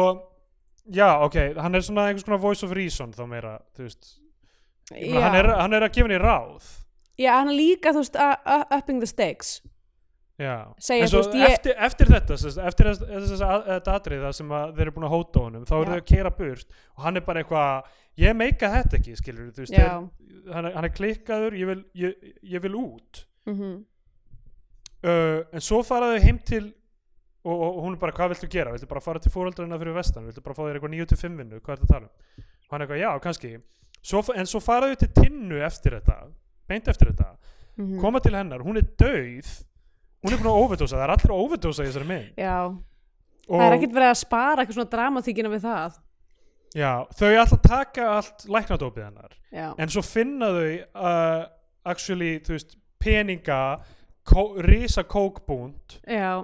A: já ok, hann er svona einhvers konar voice of reason þá meira, þú veist Ég meina,
B: já.
A: hann er, hann er að gefa henni ráð
B: já, hann er líka, þú veist, a- a- upping the stakes
A: já,
B: Segja,
A: en svo
B: þú veist, ég-
A: eftir, eftir þetta sem sagt, eftir þess- þess að- þetta atriða sem að þeir eru búin að hóta honum, þá eru
B: Já.
A: þau að keira burt og hann er bara eitthvað, ég meika þetta ekki skilur, þú veist,
B: Já.
A: þeir, hann, er- hann er klikkaður ég vil, ég, ég vil út
B: mm
A: uh, en svo fara þau heim til og, og, og hún er bara, hvað viltu gera? Viltu bara fara til fóröldrarna fyrir vestan? Viltu bara fá þér eitthvað 9-5 vinnu? Hvað er þetta að tala um? Og hann er eitthvað, já, kannski svo, fa- en svo fara þau til tinnu eftir þetta beint eftir þetta,
B: Mhm.
A: koma til hennar hún er dauð hún er búin að overdosa, það er allir að overdosa í þessari mynd
B: já,
A: og
B: það er ekkert verið að spara eitthvað svona dramatíkina við það
A: já, þau ætla að taka allt læknadópið hennar
B: já,
A: en svo finna þau uh, actually, þú veist, peninga kó, risa kókbúnd Eh,
B: já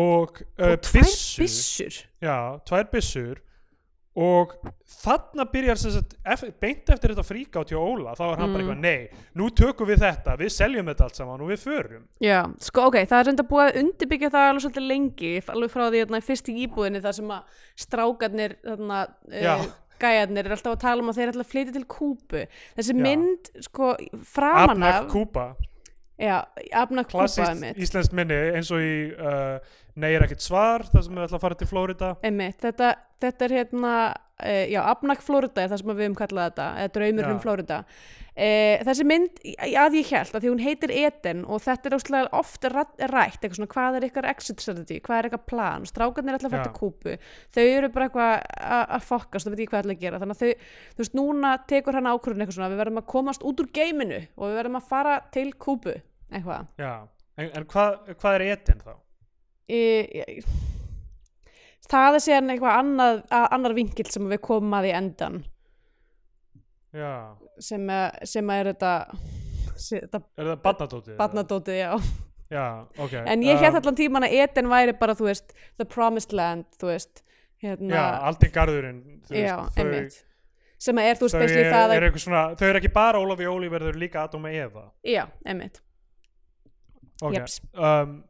A: og, uh,
B: og tvær byssur
A: Já, tvær byssur og þarna byrjar sem sagt, ef- beint eftir þetta fríkátt hjá Óla þá er hann bara
B: Mm.
A: eitthvað, nei, nú tökum við þetta við seljum þetta allt saman og við förum
B: já, sko, ok, það er reynda búið að undirbyggja það alveg svolítið lengi, alveg frá því hérna, fyrst í íbúðinni þar sem að strákarnir þarna,
A: Já.
B: uh, gæjarnir er alltaf að tala um að þeir er alltaf að flytja til Kúbu þessi
A: Já.
B: mynd, sko, framan
A: Abnak
B: af
A: Kúpa,
B: Já, Abna Kúpa
A: klassist
B: einmitt.
A: íslenskt minni eins og í uh, Nei er ekkert svar, það sem við ætla að fara til Flórida
B: einmitt. Þetta, þetta er hérna, uh, já, Abnak Florida er það sem við höfum kallað þetta, eða draumurinn
A: Já.
B: um Florida. Uh, þessi mynd, í- að ég held, að því hún heitir Eden og þetta er óslega oft rætt, rætt, eitthvað svona, hvað er ykkar exit strategy, hvað er ykkar plan, strákarnir er alltaf að fara
A: Já.
B: til Kúbu, þau eru bara eitthvað a- að fokkast, þau veit ekki hvað ætla að gera, þannig að þau, þú veist, núna tekur hann ákvörðin eitthvað svona, við verðum að komast út úr geiminu og við verðum að fara til Kúbu, eitthvað.
A: Já, en, en hvað, hvað er etin þá?
B: e, e, það er síðan eitthvað annað, a, annar vinkill sem við komum að í endan
A: Já,
B: sem, eh, sem að er þetta, sé- þetta
A: er það badnadótið?
B: barnadótið, já
A: Já, ok
B: en ég hef
A: Um,
B: allan tíman að Eden væri bara, þú veist, the promised land þú veist, hérna
A: Já, aldrei garðurinn þú
B: já,
A: veist, þau-
B: einmitt sem að er, þú
A: Þau
B: veist,
A: er,
B: beislega það
A: er
B: að,
A: eitthvað svona, þau eru ekki bara Ólafi og Ólífer, þau eru líka Adam og Eva.
B: já, einmitt
A: Ok,
B: Jeps.
A: um,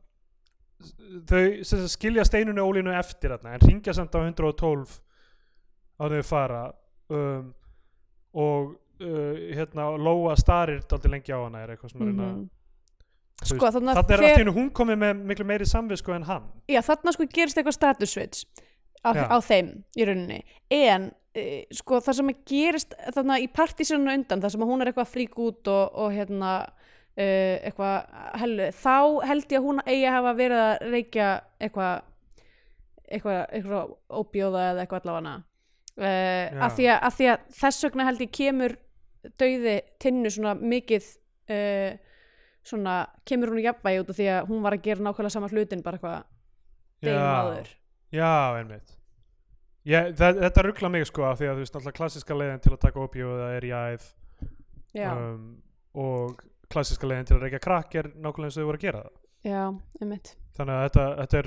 A: s- þau sem sagt, skilja steinunni og Ólínu eftir þarna en ringja samt á 112 á þau fara um, og uh, hérna Lóa starir daldið lengi á hana er eitthvað svona mm
B: Mhm.
A: þú
B: sko, þannig að
A: Þannig er allt í
B: þegar-
A: hennu hún komið með miklu meiri samvisku en hann
B: já, þarna sko gerist eitthvað status switch á,
A: Já.
B: á þeim í rauninni en e, sko það sem gerist þarna í partísinu undan það sem að hún er eitthvað að frík út og, og hérna e, eitthvað hellu þá held ég að hún eigi að hafa verið að reykja eitthvað eitthvað, eitthvað óbjóða eða eitthvað allavega uh,
A: Já.
B: af, því að, af því að þess vegna held ég kemur dauði tinnu svona mikið uh, svona kemur hún í jafnvægi út af því að hún var að gera nákvæmlega sama hlutin bara eitthvað degum áður
A: Já, einmitt Ég, það, þetta ruggla mig sko af því að þú veist alltaf klassiska leiðin til að taka opjóða er jæð
B: já,
A: um, og klassiska leiðin til að reykja krakk er nákvæmlega eins og þau voru að gera það
B: já, einmitt
A: þannig að þetta, þetta er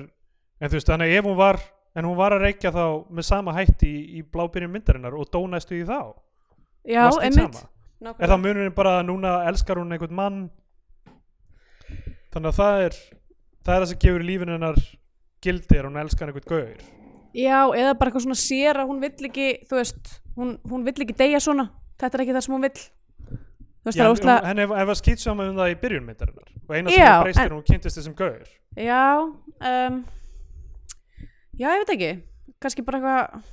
A: en þú veist, þannig að ef hún var en hún var að reykja þá með sama hætti í, í blábyrjum myndarinnar og dónastu í þá
B: já,
A: Varst því
B: einmitt,
A: sama? er
B: nákvæmlega
A: það munurinn bara að núna elskar hún einhvern mann þannig að það er það er það sem gefur lífinu hennar gildi er hún elskar einhvern gaur
B: já, eða bara eitthvað svona sér að hún vill ekki þú veist, hún, hún vill ekki deyja svona þetta er ekki það sem hún vill þú
A: Já,
B: veist það er
A: en
B: óslega
A: hún- henni hef að skýt saman um það í byrjun myndarinnar og eina sem
B: Já,
A: hún breyst er
B: en-
A: að hún kynntist þessum gaur
B: já um, já ég veit ekki kannski bara eitthvað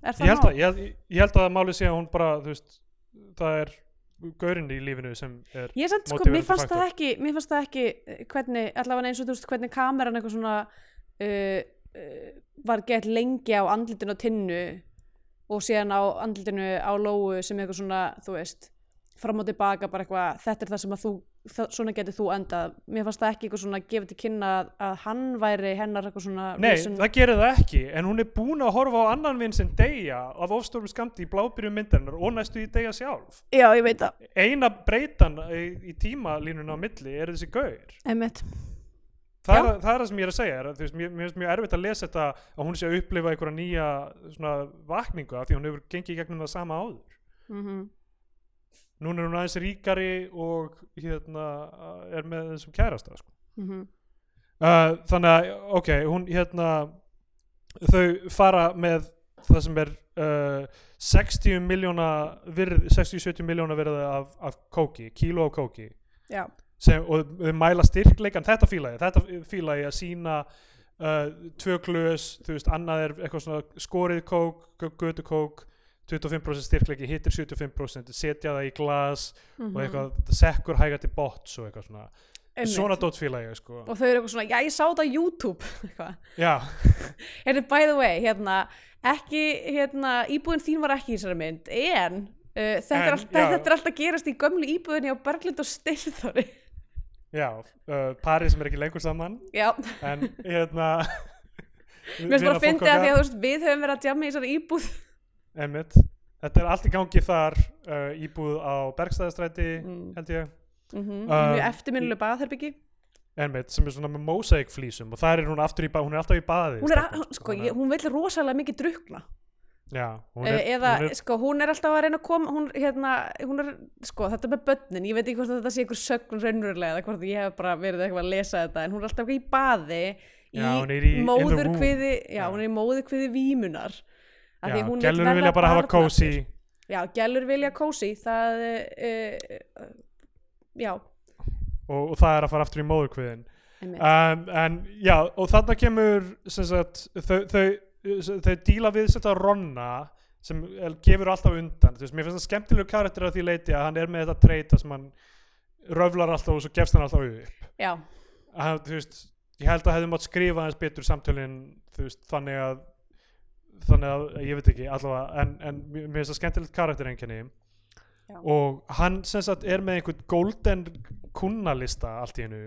B: er
A: ég
B: það
A: held,
B: nóg?
A: að, ég, held- ég held að máli sé að hún bara þú veist, það er gaurinn í lífinu sem er
B: Ég samt sko,
A: Motiverandi
B: mér fannst það
A: faktor.
B: ekki, mér fannst það ekki eh, hvernig, allavega eins og þú veist hvernig kameran eitthvað svona uh, uh, var gett lengi á andlitinu og tinnu og síðan á andlitinu á lóu sem eitthvað svona, þú veist, fram og tilbaka bara eitthvað, þetta er það sem að þú, það, svona getur þú endað. Mér fannst það ekki eitthvað svona gefið til kynna að, að hann væri hennar eitthvað svona
A: nei,
B: reason-
A: það gerir það ekki en hún er búin að horfa á annan vinn sem deyja af ofstórum skamti í blábyrjum myndarinnar og næstu í deyja sjálf
B: Já, ég veit það.
A: eina breytan í, í tímalínuna á milli er þessi gaur
B: Emitt.
A: það er,
B: Já.
A: það er það sem ég er að segja er, að, þú veist, mér, mér finnst mjög erfitt að lesa þetta að hún sé að upplifa einhverja nýja svona, vakningu af því hún hefur gengið í gegnum það sama áður
B: Mm
A: núna er hún aðeins ríkari og hérna, er með þessum kærasta sko.
B: mhm,
A: uh, þannig að ok, hún hérna þau fara með það sem er uh, 60 miljóna 60-70 miljóna verði af, af kóki, kíló af kóki
B: Já.
A: sem, og þau mæla styrkleikan þetta fílaði, þetta fílaði að sína uh, tvö glös þú veist, annað er eitthvað svona skorið kók götu kók 25% styrkleiki, hittir 75% setja það í glas
B: Mhm.
A: og eitthvað sekkur hæga til bots og eitthvað svona svona dót fíla ég sko
B: Og þau eru eitthvað svona, já ég sá þetta á YouTube, eitthvað.
A: já,
B: Heyrðu, by the way, hérna, ekki, hérna, íbúðin þín var ekki í þessari mynd, en uh, þetta,
A: En,
B: er alltaf,
A: já.
B: þetta er alltaf gerast í gömlu íbúðinni á Berglind og Styrþóri.
A: já uh, parið sem er ekki lengur saman
B: Já,
A: en hérna
B: mér finnst bara að fyndi að því að þú veist, við höfum verið að djama í þessari íbúð.
A: Einmitt. Þetta er allt í gangi þar uh, íbúð á Bergstæðastræti
B: Mm.
A: held ég,
B: Mm -hmm.
A: Um,
B: Mjög eftirminnuleg baðherbyggi.
A: einmitt, sem er svona með mosaikflísum og þar er hún aftur í baði, hún er alltaf í baði
B: Hún er,
A: stelpan,
B: að- sko,
A: þannig
B: ég,
A: að-
B: hún vill rosalega mikið drukna.
A: já, hún
B: Er,
A: er,
B: eða,
A: hún er,
B: sko, hún er alltaf að reyna að koma, hún, hérna, hún er, sko, þetta með börnin, ég veit ekki hvort þetta sé einhver sögn raunverulega eða hvort ég hef bara verið eitthvað að lesa þetta, en hún er alltaf í baði, í,
A: Já, hún er í- in the womb.
B: móðurkviði, já,
A: Já. hún
B: hún er í móðurkviði vímunar. Af því
A: já,
B: að hún vill
A: gælur
B: verða
A: vilja bara hafa
B: barn
A: kósi
B: aftur. Já, gælur vilja kósi, það, uh, uh, já,
A: og, og það er að fara aftur í móðurkviðin
B: einmitt,
A: um, en já, og þarna kemur sem sagt, þau, þau, þau díla við þetta Ronna sem er- gefur alltaf undan þú veist, mér finnst það skemmtilegur karakter að því leiti að hann er með þetta treyta sem hann röflar alltaf og svo gefst hann alltaf upp
B: já,
A: að, hann, þú veist, ég held að hefði mátt skrifa aðeins betur samtölin þú veist, þannig að þannig að ég veit ekki allavega en, en mér mér finnst það skemmtilegt karakter einkenni
B: Já.
A: og hann sem sagt er með einhvern golden kunnalista allt í hennu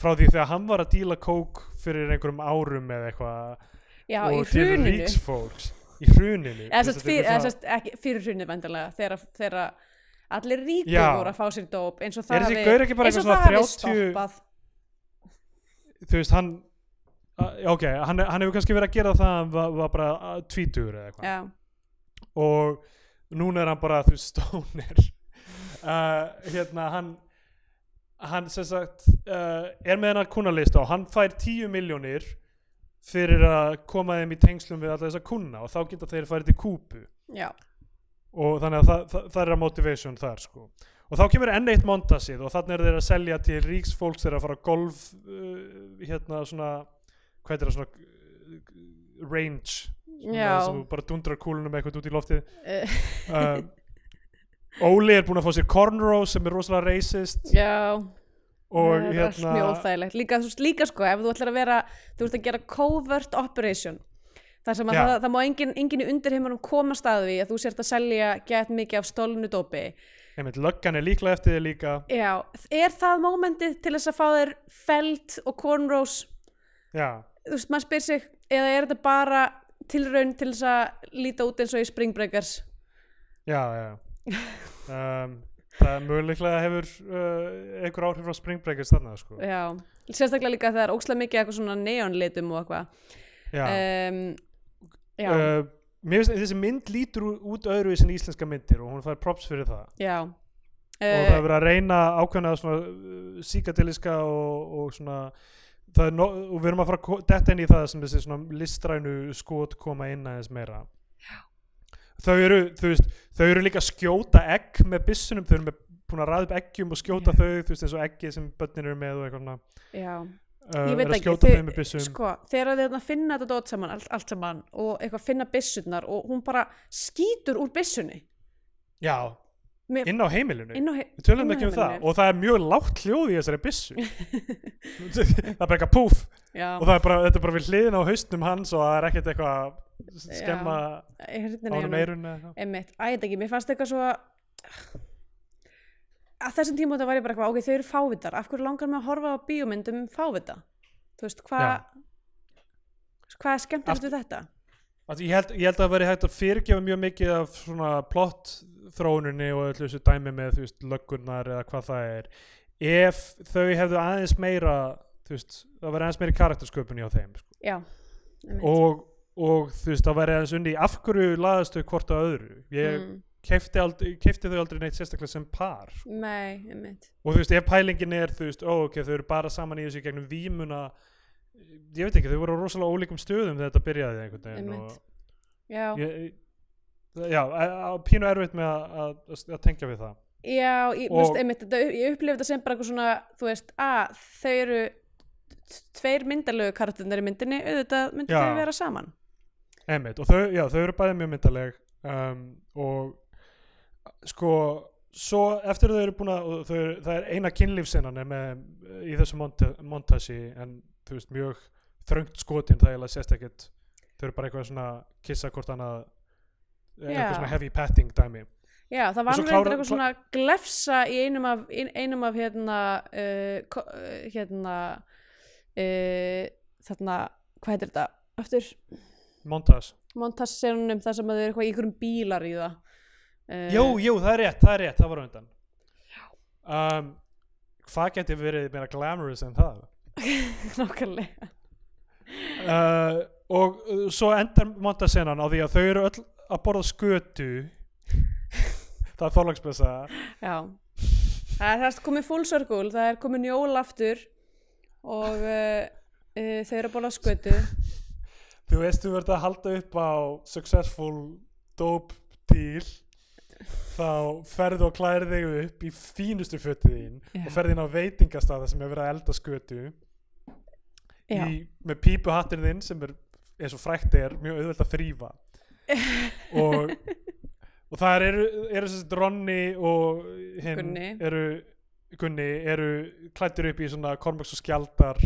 A: frá því þegar hann var að díla kók fyrir einhverjum árum eða eitthvað
B: já, í
A: og til
B: hruninu.
A: ríksfólks í hruninu
B: eða
A: Þú veist,
B: sérst
A: þetta
B: fyrir,
A: er
B: eða
A: svona-
B: sérst ekki fyrir hrunið vendilega þegar, þegar allir ríkur
A: Já.
B: voru að fá sér dóp eins og
A: Er
B: það
A: þessi gaur ekki bara
B: eins og
A: eitthvað
B: það hafi
A: svona 30
B: stoppað
A: þú veist hann a- ok, hann, hann hefur kannski verið að gera það að hann var, var bara a, tvítugur eða eitthvað
B: já,
A: og núna er hann bara þú veist, stónir uh, hérna hann hann sem sagt uh, er með hennar kunnalista og hann fær 10 miljónir fyrir að koma þeim í tengslum við alla þessa kunna og þá geta þeir farið til Kúbu
B: já,
A: og þannig að það, það, það er að motivation þar sko og þá kemur enn eitt montasið og þannig er þeir að selja til ríksfólks þeir að fara á golf uh, hérna svona hvað er það svona uh, range svona
B: Já.
A: þar sem þú bara dundrar kúlunum eitthvað út í loftið
B: Eh.
A: uh, Óli er búin að fá sér cornrows sem er rosalega racist
B: já
A: og
B: Eh, það er allt
A: hérna
B: mjög óþægilegt líka, þú veist, líka sko, ef þú ætlar að vera þú ert að gera covert operation þar sem að
A: Já.
B: það, það má engin, engin í undirheimunum koma staði því að þú sért að selja gett mikið af stólnu dópi
A: einmitt, löggan er líklega eftir þið líka
B: já, er það mómentið til þess að fá þér felt og cornrows
A: já,
B: þú veist, maður spyr sig eða er þetta bara tilraun til þess að líta út eins og í springbreakers
A: já, já um, það möguleiklega hefur uh, einhver áhrif frá springbreakers þarna sko
B: já, sérstaklega líka þegar ókslega mikið eitthvað svona neonlitum og eitthvað
A: já
B: um, já,
A: uh, mér finnst þessi mynd lítur ú- út öðruvísi en íslenska myndir og hún fær props fyrir það
B: já
A: og
B: Eh,
A: það er verið að reyna ákveðna svona uh, síkadiliska og, og svona það er no, og við erum að fara að ko- detta inn í það sem þessi svona listrænu skot koma inn aðeins meira þau eru, þú veist, þau eru líka að skjóta egg með byssunum, þau eru með búin að ræða upp eggjum og skjóta
B: Já.
A: þau, þú veist, eins og eggi sem börnin eru með og eitthvað svona,
B: já,
A: uh,
B: Ég veit
A: er að
B: ekki,
A: skjóta
B: þau-
A: þau með byssum
B: sko, þegar þið þarna finna þetta dót saman, allt, allt saman og eitthvað finna byssurnar og hún bara skýtur úr byssunni
A: já,
B: Mér-
A: inn á heimilinu
B: inn á he-
A: Við tölum
B: inn á
A: ekki um það
B: heimilinu.
A: og það er mjög lágt hljóð í þessari byssu það er bara eitthvað púf
B: já,
A: og það er bara, þetta er bara við hliðin á haustnum hans og það er ekkert eitthvað að skemma
B: hérna
A: ánum eirun eða eitthvað.
B: Einmitt, að ég veit ekki, mér fannst eitthvað svo að þessum tíma þetta var ég bara eitthvað, ok, þau eru fávitar af hverju langar mig að horfa á bíómynd um fávita þú veist, hvað
A: Já.
B: hvað er skemmtilegt við þetta?
A: Að ég, held, ég held að það veri hægt að fyrirgefa mjög mikið af svona plott þróuninni og öllu þessu dæmi með þú veist löggunar eða hvað það er ef þau hefðu aðeins meira þú veist, það veri aðeins meiri karaktersköpunni á þeim sko.
B: Já, einmitt
A: og, og þú veist, það veri aðeins unni í af hverju laðast þau hvort að öðru ég mm.
B: mm,
A: kefti, aldrei, kefti þau aldrei neitt sérstaklega sem par sko.
B: Nei, einmitt
A: og þú veist, ef pælingin er þú veist, ó, ok, þau eru bara saman í þessu í gegnum vímuna ég veit ekki, þau voru á rosalega ólíkum stöðum þegar þetta byrjaði einhvern veginn
B: Einmitt.
A: og,
B: Já,
A: ég, já, á- á pínu erfitt með að, að, að tengja við það
B: já ég,
A: Og-
B: og, einmitt, þetta, ég upplifi þetta sem bara eitthvað svona þú veist, að þau eru t- tveir myndalögu karakternar í myndinni auðvitað myndi
A: Já.
B: þau vera saman
A: Einmitt, og þau, já, þau eru bæði mjög myndaleg um, og sko, svo eftir þau eru búin að, og þau, það er eina kynlífsinnan með, í þessu monta, montasi en þú veist, mjög þröngt skotin það eiginlega sést ekkert þau eru bara eitthvað svona kissa hvort annað eh,
B: Já.
A: eitthvað svona heavy patting dæmi
B: Já, það
A: Og
B: var
A: svo
B: nú
A: klára-
B: reyndir eitthvað svona glefsa í einum af, ein, einum af hérna, uh, ko- uh, hérna, uh, þarna, hvað heitir þetta, aftur
A: montas,
B: montasserunum þar sem að þau eru eitthvað í einhverjum bílar í það. Uh,
A: jú, jú, það er rétt, það er rétt, það var á undan um, hvað geti verið meira glamorous en það
B: Nákvæmlega.
A: uh, og uh, svo endar montasenan á því að þau eru öll að borða skötu það er þorlagsbessa
B: Já, það er það komið full circle, það er komið njól aftur og uh, uh, þau eru að bóla skötu.
A: þú veist þú verður að halda upp á successful dope deal þá ferðu og klæri þig upp í fínustu fötið þín
B: Já.
A: og ferðu inn á veitingastaða sem er verið að elda skötu
B: Já,
A: í, með pípuhattin þinn sem er eins og frækt er mjög auðvelt að þrýfa og, og það eru, eru sem sagt Ronni og hinn
B: Gunni.
A: eru Gunni eru klættir upp í svona Kormaks og Skjaldar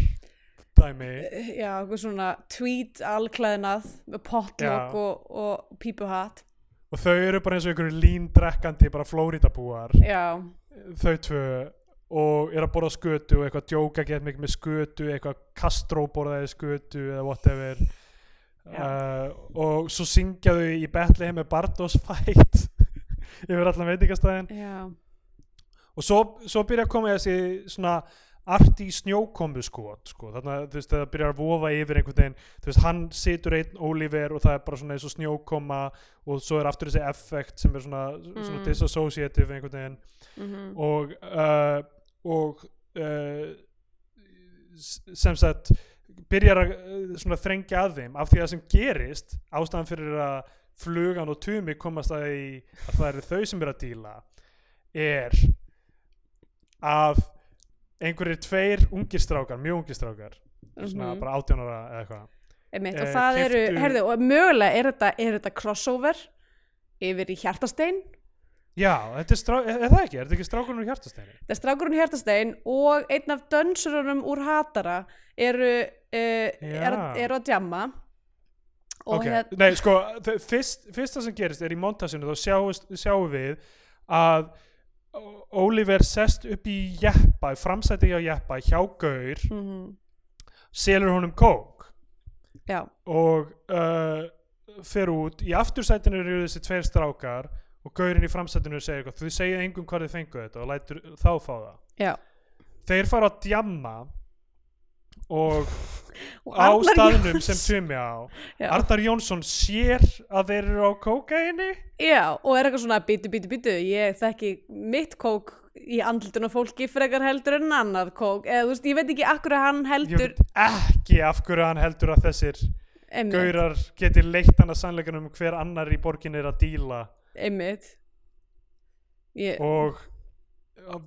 A: dæmi
B: já, eitthvað svona tweed alklæðnað,
A: Já.
B: potlokk og, og pípuhatt.
A: og þau eru bara eins og einhverju líndrekkandi bara Flórítabúar
B: Já,
A: þau tvö og eru að borða skötu og eitthvað djóka gett mikið með skötu eitthvað Castro borðaði skötu eða whatever uh, og svo syngja þau í Bethlehem með Bartos fight yfir allan veitingastæðin
B: já.
A: og svo, svo byrja að koma þessi svona arti snjókombu skot sko. þannig að þú veist það byrjar að vofa yfir einhvern veginn, þú veist hann situr einn Oliver og það er bara svona eins og snjókoma og svo er aftur þessi effekt sem er svona, svona
B: Mm.
A: disassociative einhvern veginn
B: mhm.
A: og uh, og uh, s- sem sagt byrjar að uh, svona þrengja að þeim af því að það sem gerist ástæðan fyrir að flugan og tumi komast að því að það eru þau sem eru að díla er að einhverjir tveir ungir strákar, mjög ungir strákar svona
B: Mhm.
A: bara 18 ára eða eitthvað
B: Einmitt,
A: eh,
B: og það eru,
A: keyptu-
B: herðu, og mögulega er þetta, er þetta crossover yfir í hjartastein
A: já, þetta er, strá, er, er það ekki, er þetta ekki strákunum í hjartasteinu
B: það er strákurinn í hjartastein og einn af dönsurunum úr hatara eru, uh, er,
A: Já.
B: eru að djamma og
A: Ok,
B: hérna,
A: Nei, sko, þau- fyrst, fyrsta sem gerist er í montasinu þá sjáist, sjáum við að Ó- Oliver sest upp í jeppa, framsæti hjá jeppa hjá Gaur,
B: mm
A: selur honum kók
B: já,
A: og uh, fer út, í aftursætinu eru þessi tveir strákar og Gaurinn í framsætinu segir eitthvað, þú segir engum hvað þið fengu þetta og lætur þá fá það
B: já
A: þeir fara að djamma og
B: Og
A: á
B: Arnar
A: staðnum
B: Jóns-
A: sem tumi á
B: Já.
A: Arnar Jónsson sér að þeir eru á kókaini
B: já, og er eitthvað svona bítu, bítu, bítu ég þekki mitt kók í andlutun og fólki frekar heldur en annað kók eða þú veist, ég veit ekki akkur að hann
A: ég
B: heldur
A: veit ekki af hverju hann heldur að þessir
B: einmitt,
A: gaurar geti leitt hann að sannleikanum um hver annar í borgin er að díla
B: einmitt. Ég,
A: og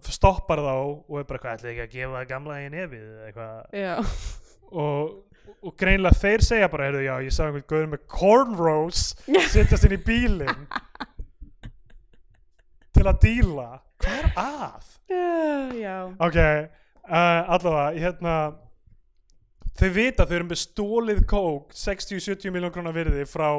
A: stoppar þá og er bara hvað ætlaði ekki að gefa það gamla í nefið eða eitthvað
B: já,
A: og, og greinlega þeir segja bara heyrðu já ég sá einhvern gauður með cornrows setjast inn í bílinn til að díla hvað er að?
B: já,
A: ok, uh, allavega hérna þau vita þau eru með stólið kók 60-70 miljón krónar virði frá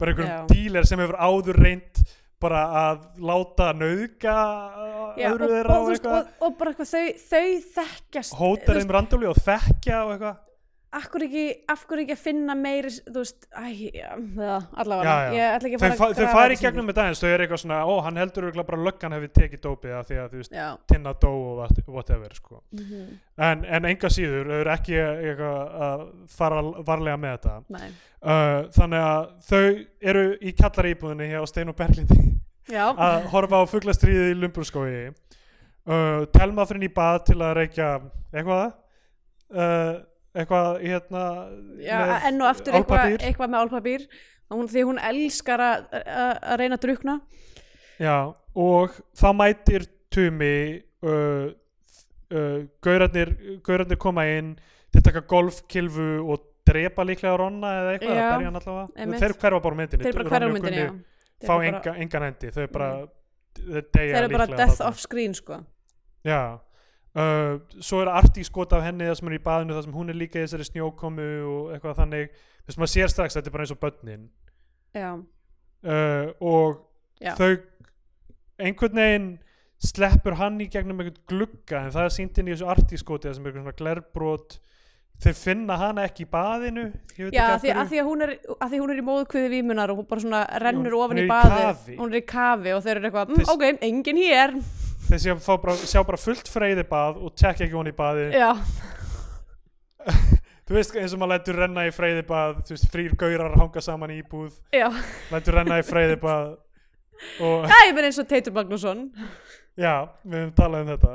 A: bara einhverjum
B: Já.
A: dílar sem hefur áður reynd bara að láta nauðga uh,
B: já
A: öðru
B: og,
A: þeirra
B: og,
A: og,
B: þú veist,
A: eitthvað
B: og, og bara eitthvað þau, þau þekkjast
A: hótar þeim randóli og þekkja og eitthvað
B: akkur ekki, af hverju ekki að finna meiri þú veist, æ, já, það, allavega
A: Já, já.
B: ég ætla ekki að
A: þau,
B: fara
A: fa
B: að
A: þau
B: grafa
A: fari í
B: þessu
A: gegnum með dagins, þau eru eitthvað svona ó, hann heldur örugglega bara að löggan hefur tekið dópið af því að þú veist,
B: já,
A: tinna dó og what- whatever sko.
B: mhm,
A: en, en enga síður, þau eru ekki eitthvað að fara varlega með þetta
B: nei
A: uh, þannig að þau eru í kjallaríbúðinni hjá Stein og Berglindi
B: já,
A: að horfa á fuglastríðið í Lumbúrskói uh, Telma fyrir í bað til að reykja eitthvað uh, eitthvað hérna
B: já
A: með
B: enn og aftur eitthvað,
A: álpappír.
B: eitthvað með álpapír hún, því hún elskar að, að, að reyna að drukna
A: Já, og þá mætir Tumi uh, uh, gaurarnir, gaurarnir koma inn þeir taka golfkilfu og drepa líklega Ronna eða eitthvað,
B: Já,
A: eða berja hann allavega
B: einmitt.
A: þeir hverfa bara úr myndinni
B: þeir eru bara
A: Ronni
B: hverjar
A: og
B: myndinni já.
A: Gunni
B: Þeir
A: fá
B: eru bara- Mm.
A: enga, engan hendi þau bara, þeir deyja
B: þeir eru bara
A: líklega
B: death
A: þarna.
B: off screen sko
A: Já Uh, svo er arti skot af henni það sem er í baðinu það sem hún er líka í þessari snjókomu og eitthvað þannig þess að maður sér strax að þetta er bara eins og börnin
B: já,
A: uh, og
B: Já.
A: þau einhvern veginn sleppur hann í gegnum einhvern glugga en það er sýnt inn í þessu artískoti það sem er einhvern svona glerbrot þeir finna hana ekki í baðinu ég veit
B: já
A: ekki
B: að, því,
A: af
B: að, því að, hún er, að því að hún er í móðkviði vímunar og hún bara svona rennur
A: Hún-
B: ofan
A: hún
B: í
A: er í kafi.
B: baði hún er í kafi og þeir eru eitthvað mm,
A: Þess-
B: ok, engin hér
A: hverju. þeir sjá, fá bara, sjá bara fullt freyði bað og tekja ekki hún í baði
B: já,
A: þú veist eins og maður lætur renna í freyði bað þú veist frýr gaurar hanga saman í íbúð
B: já,
A: lætur renna í freyði bað og
B: það er bara eins og Teitur Magnússon
A: já, við höfum talað um þetta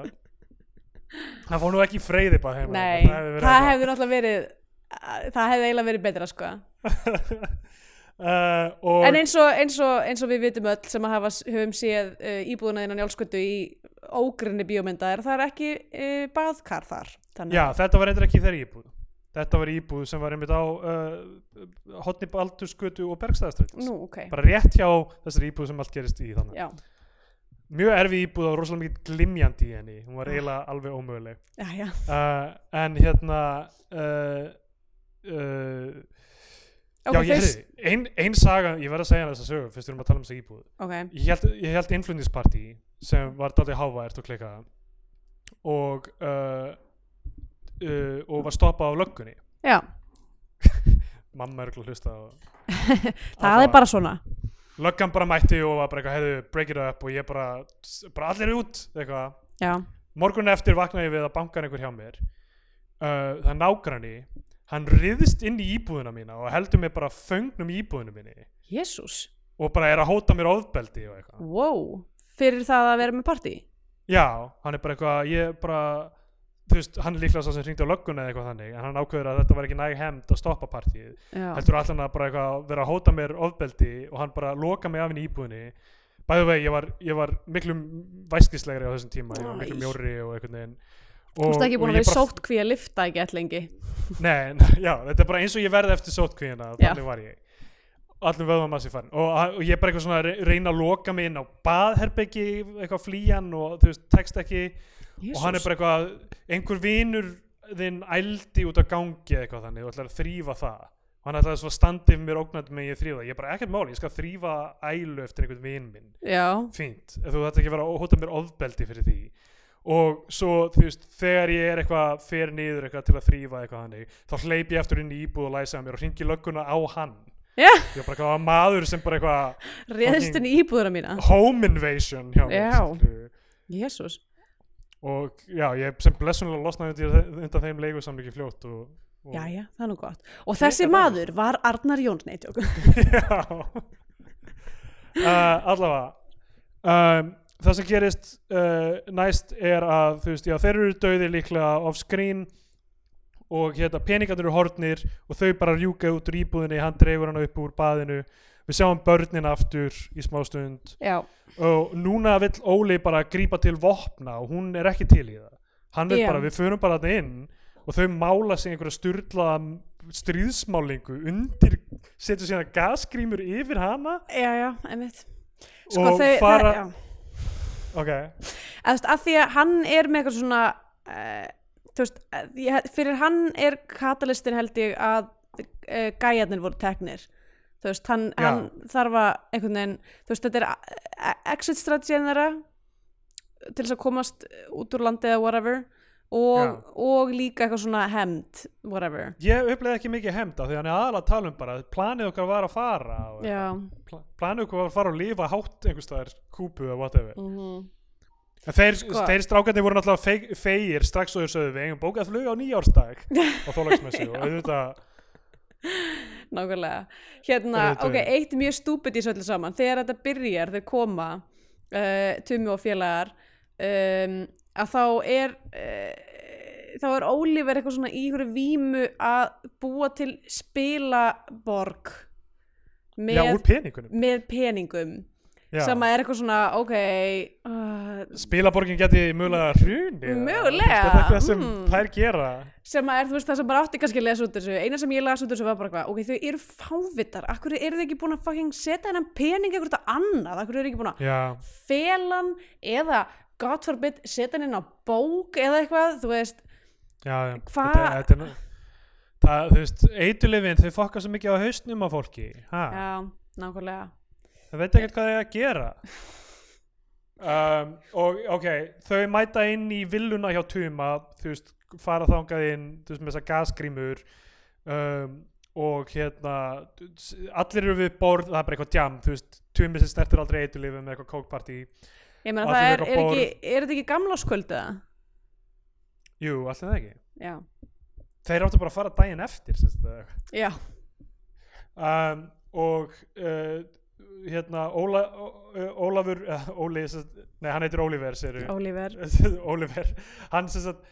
A: það fór nú ekki freyði bað heima
B: nei,
A: það hefði verið eitthvað.
B: það hefði náttúrulega verið það hefði eiginlega verið betra sko
A: uh, og
B: en eins og, eins og, eins og við vitum öll sem að hafa, höfum séð uh, íbúðuna þín á njálskötu í ógrinni bíómyndar það er ekki uh, baðkar þar þannig
A: Já, þetta var reyndar ekki þeirri íbúð Þetta var íbúð sem var einmitt á uh, hotni Baldurskötu og Bergstæðastrætis
B: nú, ok,
A: bara rétt hjá þessari íbúð sem allt gerist í þannig
B: já,
A: Mjög erfi íbúð og rosalega mikið glimjandi í henni hún
B: Ah.
A: var eiginlega alveg ómöguleg
B: já, já
A: uh, en hérna uh, uh,
B: ok,
A: Já, ég
B: fyrst-
A: heyrði, ein, ein saga ég verð að segja þess að sögu, fyrst við erum að tala um þessa íbúð
B: ok,
A: ég held, ég held innflutningspartí sem var daldið hávært og klikkaða og uh, uh, og var stoppað af löggunni
B: já
A: mamma er okkur að hlusta og...
B: það er bara svona
A: löggan bara mætti og var bara eitthvað heyrðu, break it up og ég bara, bara allir út eitthvað
B: já,
A: morgun eftir vaknaði ég við að bankan einhver hjá mér uh, það er nágranni hann riðist inn í íbúðuna mína og heldur mig bara föngnum í íbúðuna minni
B: jésús
A: og bara er að hóta mér ofbeldi og eitthvað
B: wow, fyrir það að vera með partí
A: Já, hann er bara eitthvað, ég er bara, þú veist, hann er líklega svo sem hringdi á lögguna eða eitthvað þannig, en hann ákveður að þetta var ekki næg hemmt að stoppa partíið.
B: já,
A: Heldur allan að bara eitthvað vera að hóta mér ofbeldi og hann bara loka mig af henni í íbúðinni. Bæðu vegi, ég var, ég var miklu væskislegri á þessum tíma, ég var miklu
B: Æ.
A: mjórri og einhvern veginn.
B: þú veist ekki búin að vera í
A: bara-
B: sótt hví að lifta ekki all lengi
A: Nei, nei, já, þetta er bara eins og ég verði eftir sótkvíðina,
B: Já.
A: þannig var ég allum vöðum að sér farin og, og ég er bara eitthvað svona að reyna að loka mig inn á baðherbyggi, eitthvað flýjan og þú veist, tekst ekki og hann er bara eitthvað einhver vinur þinn ældi út að gangi eða eitthvað þannig, þú ætlar að þrýfa það og hann ætlaði svona að standa yfir mér ógnandi með ég þrýfa það, ég er bara ekkert máli, ég skal þrýfa ælu eftir einhvern vin minn,
B: já,
A: fínt ef þú þetta ekki að vera að hóta mér ofbeldi fyrir því og svo þú veist, þegar ég er eitthvað fer niður eitthvað til að þrýfa eitthvað þannig, þá hleyp ég eftir inn í íbúð og læsa að mér og hringi lögguna á hann
B: Já.
A: ég er bara eitthvað maður sem bara eitthvað
B: réðst henni í
A: Oh.
B: íbúðuna mína
A: home invasion hjá mér
B: Já.
A: skilurðu.
B: jésús,
A: og já, ég sem blessunlega losnaði undan, undan þeim leiku samlíki fljótt og, og
B: já, já, það er nú gott og þessi
A: Frekar
B: maður var Arnar Jóns neitjók
A: já. uh, allavega um, það sem gerist uh, næst er að þú veist, já, þeir eru döði líklega off screen og hérna peningarnir eru hornir og þau bara rjúka út úr íbúðinni, hann dregur hann upp úr baðinu við sjáum börnin aftur í smástund
B: já,
A: og núna vill Óli bara grípa til vopna og hún er ekki til í það hann vil
B: Já.
A: bara, við förum bara þetta inn og þau mála sig einhverja styrla stríðsmálingu undir setja síðan gasgrímur yfir hana
B: já, já, einmitt
A: og fara
B: það, Sko, já.
A: ok,
B: Eða, þú veist, að því að hann er með eitthvað svona uh, þú veist, að ég- fyrir hann er katalistin held ég að uh, gæjarnir voru teknir þú veist, hann,
A: Já.
B: hann þarf að einhvern veginn, þú veist, þetta er a- a- exit strategin þeirra til þess að komast út úr landi eða whatever og, og líka eitthvað svona hemmt, whatever
A: ég upplega ekki mikið hemda því hann er aðalega að tala um bara planið okkar var að fara og
B: já,
A: pla- planið okkar var að fara og lifa hátt einhverstaðar kúpu eða whatever
B: mm
A: En þeir,
B: Sko.
A: þeir strákarnir voru náttúrulega feig- feigir strax og þeir sögðu við eigum bókað flug á nýjársdag á þólagsmessu og auðvitað
B: nákvæmlega hérna,
A: Auðvitað.
B: ok, eitt mjög stúpid í þessu öllu saman, þegar þetta byrjar þau koma, uh, Tumi og félagar um, að þá er uh, þá er Oliver eitthvað svona í hverju vímu að búa til spilaborg
A: já,
B: með,
A: úr peningunum
B: með peningum
A: já.
B: sem að er eitthvað svona, ok uh,
A: spilaborgin geti mögulega hruni
B: Mögulega,
A: þetta er ekki það sem
B: mm.
A: þær gera
B: sem að er, þú veist, það sem bara átti kannski að lesa út þessu eina sem ég las út þessu var bara hvað, ok, þau eru fávitar akkur eru þau ekki búin að fucking setja hennan pening eitthvað annað, akkur eru ekki búin að
A: já,
B: felan eða God forbid setja hann inn á bók eða eitthvað, þú veist
A: já, já.
B: Hva-
A: þetta, þetta er nú- það, þú veist, eitulifin þau fokka svo mikið á hausnum á fólki ha,
B: já, nákvæmlega
A: það veit ekkert hvað þau eiga að gera um, og ok þau mæta inn í villuna hjá Tuma þú veist, fara þangað inn þú veist, með þessa gasgrímur um, og hérna allir eru við borð, það er bara eitthvað djam þú veist, Tumi sem snertir aldrei eitulifin með eitthvað kókpartí
B: ég meina
A: Og
B: það
A: allir með
B: er, er
A: eitthvað
B: ekki, er þetta ekki gamla skvölda
A: jú, allir það ekki
B: já,
A: þeir áttu bara að fara daginn eftir sem sagt, eða eitthvað.
B: já,
A: um, og uh, hérna Óla, Ó- Ó- Ólafur uh, Óli, sem sagt- nei hann heitir Óliver
B: Oliver
A: Óliver hann sem sagt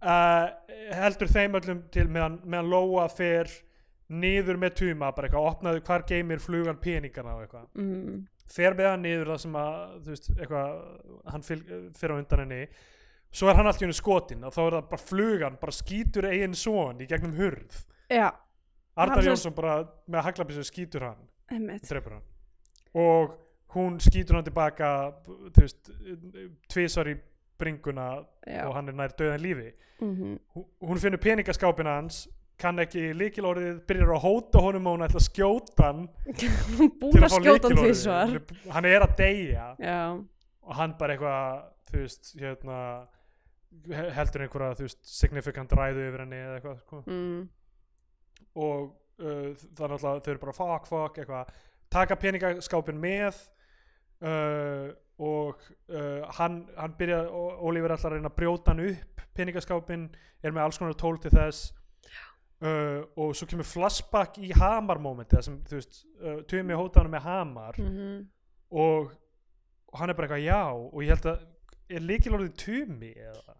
A: uh, heldur þeim öllum til meðan, meðan Lóa fer niður með tuma bara eitthvað, opnaðu hvar geimir flugan peningana og eitthvað
B: mm,
A: fer með hann niður það sem að þú veist, eitthvað, hann fylg, fer á undan henni svo er hann allt í henni skotin og þá er það bara flugan, bara skýtur eigin son í gegnum hurð
B: já, Hann
A: Arnar
B: sem-
A: Jónsson bara með haglabissu skýtur hann,
B: emmitt
A: drefur hann og hún skýtur hann tilbaka þú veist, tvisar í bringuna
B: já,
A: og hann er nær döðan lífi
B: mm
A: Hú- hún finnur peningaskápin hans kann ekki líkilorðið, byrjar að hóta honum og hún ætla að skjóta hann
B: búin að skjóta hann því svar
A: lykilorðið. hann er að deyja
B: já,
A: og hann bara eitthvað þú veist, hérna he- heldur einhverja, þú veist, significant ræðu yfir henni eða eitthvað sko.
B: mm,
A: og uh, það er alltaf, þau eru bara fuck, fuck, eitthvað taka peningaskápin með uh, og uh, hann, hann byrja Ólífur ætlar að reyna að brjóta hann upp peningaskápin, er með alls konar tól til þess uh, og svo kemur flashback í hamarmómenti það sem, þú veist, uh, tumi hóta hann með hamar
B: mm
A: og, og hann er bara eitthvað já og ég held að, er líkilorðið tumi eða?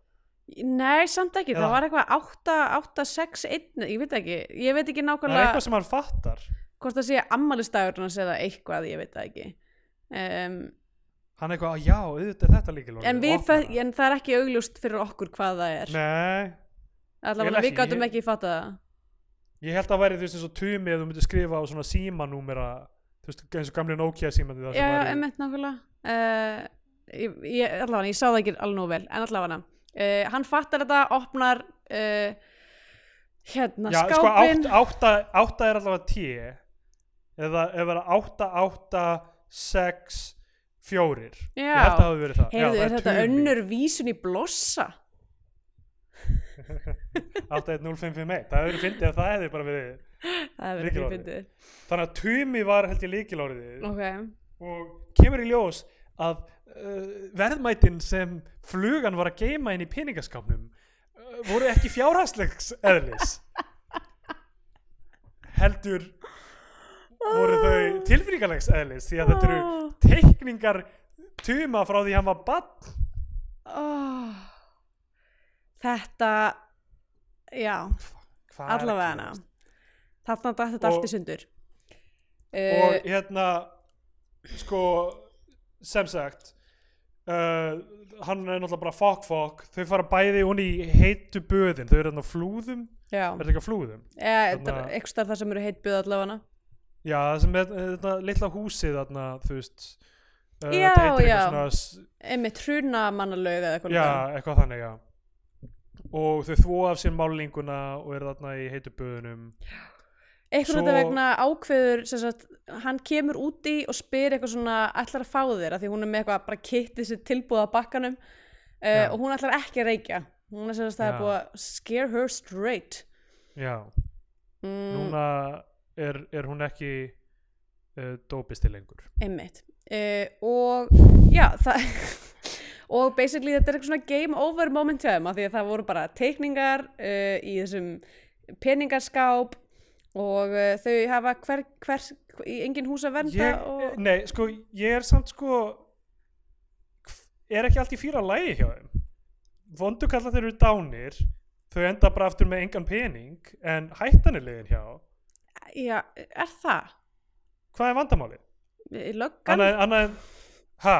B: Nei, samt ekki, það
A: Eða-
B: var eitthvað 8, 8, 6, 1, ég veit ekki ég veit ekki
A: Það er
B: nákvæmlega
A: eitthvað sem hann fattar
B: hvort það sé ammælistagurinn að segja eitthvað, ég veit það ekki um,
A: hann er eitthvað, já, auðvitað er þetta líkilorðið
B: en,
A: og
B: við,
A: opnar það.
B: fæ- en það er ekki augljóst fyrir okkur hvað það er
A: Nei,
B: allavega
A: eiginlega
B: við
A: ekki,
B: gátum
A: ég-
B: ekki fatta það
A: ég held að væri þú veist eins og tumi ef þú myndir skrifa á svona símanúmera þú veist eins og gamli Nokia símandi það
B: já,
A: sem
B: já,
A: væri
B: emmitt nákvæmlega uh, ég, ég, allavega, ég sá það ekki alveg nú vel en allavega, uh, hann fattar þetta opnar uh, hérna,
A: já, sko
B: skápin
A: átt, átta, átta er allavega 10 eða ef það er átta, átta, sex fjórir ég held að það
B: já,
A: hafi verið það já,
B: heyrðu, er þetta önnur vísun í blossa?
A: átta, einn, 0551, það hefur fyndið að það hefði bara verið
B: það er verið
A: Lykilorðið.
B: fyndið
A: þannig að tumi var held ég líkilorðið
B: ok,
A: og kemur í ljós að uh, verðmætin sem flugan var að geima inn í peningaskapnum uh, voru ekki fjárhagslegs eðlis heldur voru þau tilfinningarlegs eðlis því að þetta eru teikningar tuma frá því hann var bann
B: oh. Þetta já, allavega hana þarna dætt þetta
A: Og-
B: allt í sundur uh,
A: og hérna sko sem sagt uh, hann er náttúrulega bara fokk fokk þau fara bæði hún í heitu böðin þau eru hérna á flúðum,
B: já,
A: er þetta ekki á flúðum
B: Eh,
A: þarna-
B: þetta er eitthvað starf það sem eru heitt byggð allavega
A: já það sem er þetta litla húsið þarna þú veist uh,
B: Já,
A: þetta heitir
B: já.
A: eitthvað svona s-
B: einmitt hruna mannalaug eða eitthvað líka.
A: já, eitthvað þannig já. og þau þvó af sér málninguna og eru þarna í heitu böðunum
B: einhvern
A: Svo-
B: veginn vegna ákveður sem sagt, hann kemur úti og spyr eitthvað svona ætlar að fá þér að því hún er með eitthvað bara kittið sér tilbúið á bakkanum uh,
A: Já.
B: og hún ætlar ekki að reykja hún er sem sagt það
A: Já.
B: er búið að scare her straight
A: já,
B: mm,
A: núna er, er hún ekki uh, dópisti lengur
B: einmitt uh, og já það og basically þetta er eitthvað svona game over moment hjá þeim af því að það voru bara teikningar uh, í þessum peningaskáp og uh, þau hafa hver, hver, í engin hús að vernda
A: ég,
B: og...
A: Nei, sko, ég er samt sko er ekki allt í fýra lægi hjá þeim vondu kalla þeir eru dánir þau enda bara aftur með engan pening en hættan er liðin hjá
B: já, er það?
A: hvað er vandamálið?
B: Í Löggan?
A: Annað, annað en, ha,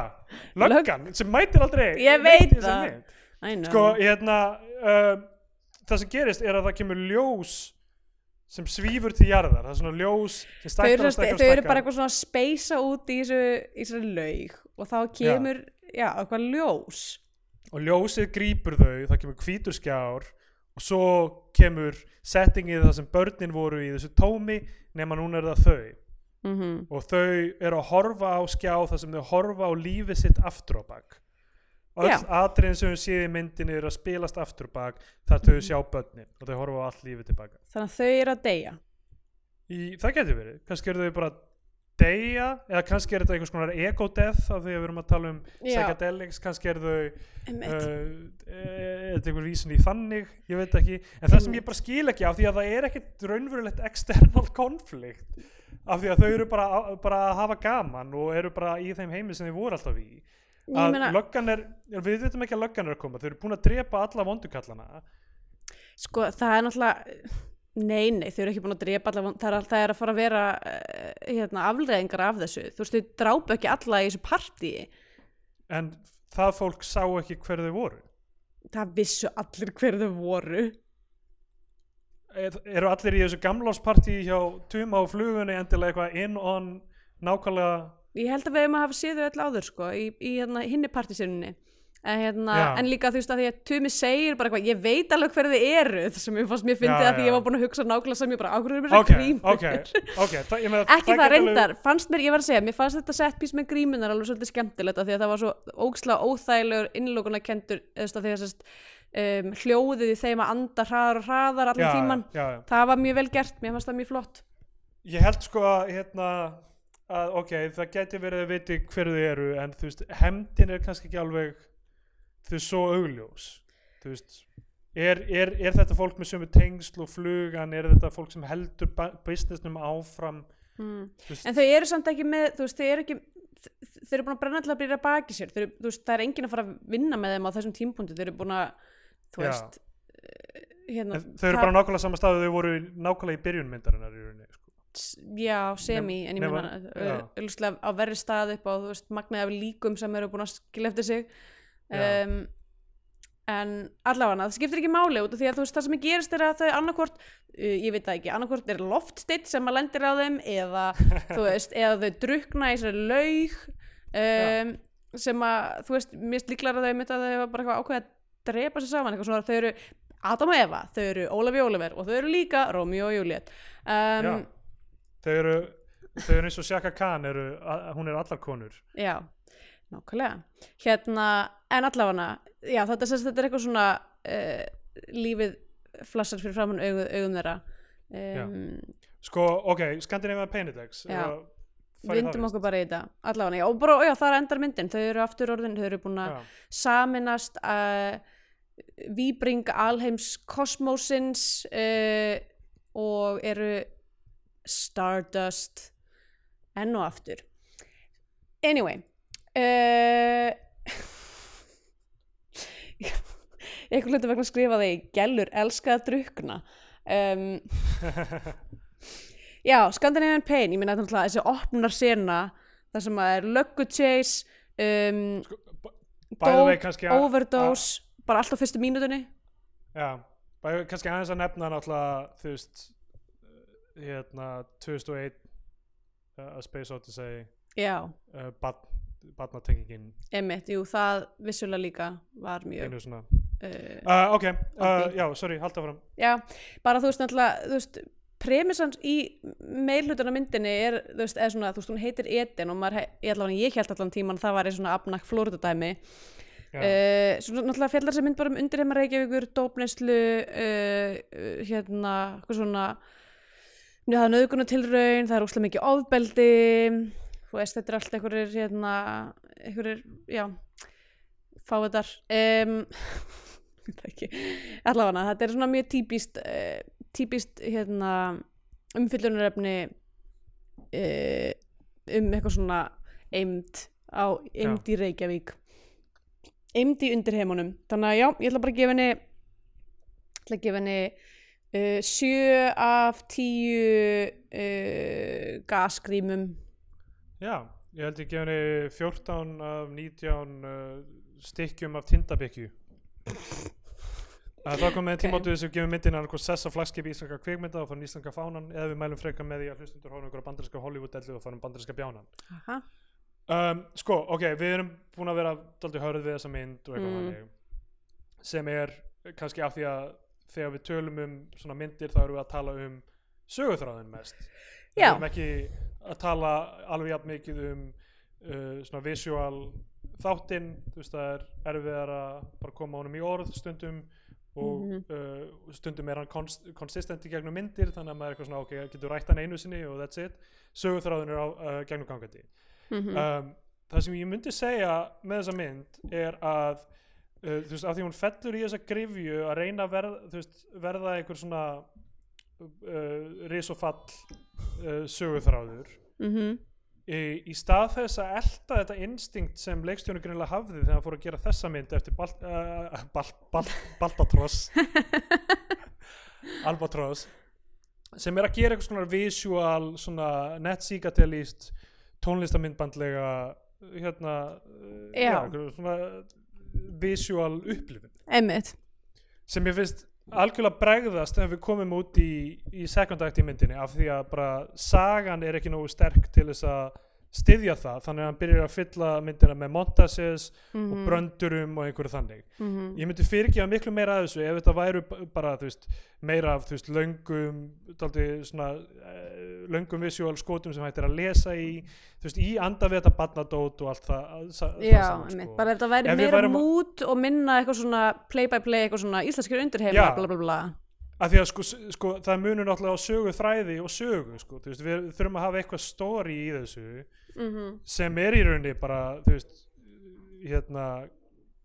A: löggan sem mætir aldrei neitt
B: Ég
A: í
B: veit
A: þessa
B: það.
A: mynd.
B: I know.
A: sko, hérna um, það sem gerist er að það kemur ljós sem svífur til jarðar það er svona ljós sem
B: þau,
A: stækkar
B: eru,
A: og stækkar
B: stækkar,
A: og
B: þau eru
A: stækkar.
B: bara eitthvað svona að speysa út í þessu, í þessu laug og þá kemur, já, eitthvað ljós.
A: og ljósið grýpur þau það kemur hvítur skjár og svo kemur settingið það sem börnin voru í þessu tómi nema núna er það þau
B: Mm
A: og þau eru að horfa á skjá þar sem þau horfa á lífið sitt aftur á bak og
B: Já.
A: öll atriðin sem þau séð í myndinni eru að spilast aftur á bak þar
B: Mhm.
A: þau sjá börnin og þau horfa á allt lífið tilbaka
B: Þannig að þau eru að deyja.
A: í, það getur verið, kannski eru þau bara að deyja, eða kannski er þetta einhvers konar ego-death af því að við erum að tala um
B: Já.
A: psychedelics, kannski eru þau
B: Einmitt.
A: uh, er þetta einhver vísun í þannig ég veit ekki, en það sem ég bara skil ekki af því að það er ekkert raunverulegt external konflikt af því að þau eru bara, bara að hafa gaman og eru bara í þeim heimi sem þau voru alltaf í
B: Ég
A: að
B: meina-
A: löggan er, við veitum ekki að löggan er að koma þau eru búin að drepa alla vondukallana
B: Sko, það er náttúrulega, nei, nei, þau eru ekki búin að drepa alla, von- það er, all- það er að fara að vera eh, hérna, afleðingar af þessu. Þú veist, þau drápa ekki alla í þessu partíi.
A: en það fólk sá ekki hver þau voru
B: Það vissu allir hver þau voru.
A: Er- eru allir í þessu gamláspartí hjá Tuma og flugunni endilega eitthvað in on nákvæmlega
B: Ég held að við hefum að hafa séð þau öll áður sko, í, í hérna, hinni partísinunni. En, hérna,
A: Já.
B: en líka þú veist að því að Tumi segir bara eitthvað, ég veit alveg hverði þið eru það sem ég fannst mér fyndið
A: Já,
B: að því
A: já.
B: ég var búin að hugsa nákvæmlega sem ég bara ákveður mér
A: ok,
B: okay, grímur.
A: ok, ok það, ég meina,
B: Ekki það
A: gæti alveg-
B: reyndar, fannst mér, ég var að segja, mér fannst þetta setpís með grímunar alveg svolítið skemmtilegt að því að það var svo ógslega óþægilegur innlókunakendur eða þú veist, af því að sest, um, hljóðið í þeim að anda hraðar og hraðar allan
A: já,
B: tíman.
A: já, já.
B: Það var mjög vel gert, mér fannst það mjög flott.
A: ég held sko að, hérna, að ok, það geti verið að viti hver þau eru en þú veist, hemdin er kannski ekki alveg þau er svo augljós þú veist Er, er, er þetta fólk með sömu tengsl og flugan er þetta fólk sem heldur ba- businessnum áfram
B: Mm.
A: þú veist,
B: En þau eru samt ekki með, þú veist, þau eru ekki, þ- þau eru búin að brenna til að byrja baki sér, þau eru, þú veist, það er enginn að fara að vinna með þeim á þessum tímpúndi, þau eru búin að, þú
A: Já.
B: veist, eh, hérna,
A: en þau eru bara nákvæmlega saman stað og þau voru nákvæmlega í byrjun myndarinnar í rauninni sko.
B: s- já, semi, en ég
A: nema-
B: meina,
A: já.
B: auðvitað á verri stað upp á, þú veist, magnaði af líkum sem eru búin að skilja eftir sig,
A: Já.
B: um, en allavega, það skiptir ekki máli út af því að þú veist, það sem gerist er að þau annarkvort, uh, ég veit það ekki, annarkvort er loftstitt sem að lendir á þeim eða, þú veist, eða þau drukna í þessari laug um, sem að, þú veist, mist líklar að þau mitt að þau hafa bara eitthvað ákveðið að drepa sér saman, eitthvað svona, þau eru Adam og Eva, þau eru Ólafi og Óliver og þau eru líka Romeo og Juliet um,
A: Já. þau eru þau eru eins og Shaka Khan eru, að, hún er allar konur
B: Já, nákvæmlega. Hérna, en allafana, já, þetta, sérst, þetta er eitthvað svona uh, lífið flassar fyrir framann augum, augum þeirra. Um,
A: sko, ok, Scandinavian Penedex
B: Já. Vindum okkur bara í þetta, allafana, já, og bara, já, þar endar myndin, þau eru aftur orðin, þau eru búin að
A: Já.
B: saminast að výbring eh, alheims kosmósins uh, og eru Stardust enn og aftur anyway uh, einhvern hlutu vegna skrifaði ég gellur elska að drukna um, Já, Scandinavian Pain, ég minna þetta náttúrulega þessi opnar sena þar sem að er löggu chase, um,
A: Bæðu
B: dóp,
A: vei kannski að
B: overdose, bara allt á fyrstu mínutunni.
A: Já, bæðu kannski aðeins að nefna náttúrulega, þú veist eh, hérna, 2001 uh, að Space Odyssey
B: Já,
A: uh, barnatengingin
B: emitt, jú, það vissulega líka var mjög,
A: einu svona
B: uh,
A: uh, Ok, uh,
B: því.
A: já, sorry, halda fram
B: já, bara þú veist náttúrulega, þú veist, premissans í meilhutuna myndinni er, þú veist, eða svona, þú veist, hún heitir Eden og maður, he- ég allavega, ég held allan tíman það var í svona apnak flóriðadæmi,
A: Já,
B: Uh, svo náttúrulega fjallar sem mynd bara um undirheima Reykjavíkur, dópneslu uh, uh, hérna, hvað svona njá, það er nöðgunatilraun það er óslega mikið ofbeldi þú veist, þetta er allt einhverjir hérna, einhverjir, já fáiðar um, ég veit ekki allavega, þetta er svona mjög típist uh, típist, hérna umfyllunarefni uh, um eitthvað svona eimd á eimd í Reykjavík eimd í undirheimunum þannig að já, ég ætla bara að gefa henni ég ætla að gefa henni uh, 7 af 10 uh, gasgrímum
A: já ég held ég gef henni 14 af 19 uh, stykkjum af Eh, tindabekju Það er komið okay.
B: Ok.
A: tímáttuð sem gefur myndin hann eitthvað sess á flagskipi íslenska kvikmynda og fann íslenska fánan eða við mælum frekar með því að hlustundur hóna ykkur á bandarinska Hollywood-dellu og fann bandarinska bjánan
B: Aha.
A: um, sko, ok, við erum búin að vera daldið hörð við þessa mynd og eitthvað
B: Mm.
A: þannig sem er kannski af því að þegar við tölum um svona myndir þá erum við að tala um söguþráðin mest við
B: Já.
A: erum ekki að tala alveg jafn mikið um uh, svona visual þáttinn þú veist það er erfiðar að bara koma honum í orð stundum og
B: Mhm.
A: uh, stundum er hann kons konsistent í gegnum myndir þannig að maður er eitthvað svona ok, getur rætt hann einu sinni og that's it söguþráðin er á, uh, gegnum gangandi
B: Mhm.
A: um, það sem ég myndi segja með þessa mynd er að uh, þú veist, af því hún fellur í þessa grifju að reyna að verð, þú veist, verða einhver svona uh, ris og fall uh, söguþráður
B: Mhm.
A: í, í stað þess að elta þetta instinkt sem leikstjónu greinlega hafði þegar hann fór að gera þessa mynd eftir bal, uh, bal, bal, Balbatross Albatross sem er að gera eitthvað svona visual svona netsíkatelist tónlistamindbandlega hérna uh,
B: Já.
A: einhver svona visual upplifun
B: Einmitt.
A: sem ég finnst algjörlega bregðast ef við komum út í, í second act í myndinni af því að bara sagan er ekki nógu sterk til þess að styðja það þannig að hann byrjar að fylla myndina með montages og bröndurum og einhverju þannig
B: Mhm.
A: ég myndi fyrirgefa miklu meira að þessu ef þetta væru b- bara þú veist, meira af þú veist, löngum daldi, svona, uh, löngum visual skotum sem hægt er að lesa í þú veist, í anda við þetta barnadót og allt það, sa, það
B: Já,
A: saman,
B: einmitt,
A: sko.
B: bara ef þetta væri
A: Ef við
B: meira
A: værum-
B: mút og minna eitthvað svona play by play, eitthvað svona íslenskir
A: Já.
B: undirheimar, bla bla bla.
A: að því að sko, sko það munur náttúrulega á sögu þræði og sögu sko, þú veist, við þurfum að hafa eitthvað story í þessu
B: Mhm.
A: sem er í rauninni bara þú veist, hérna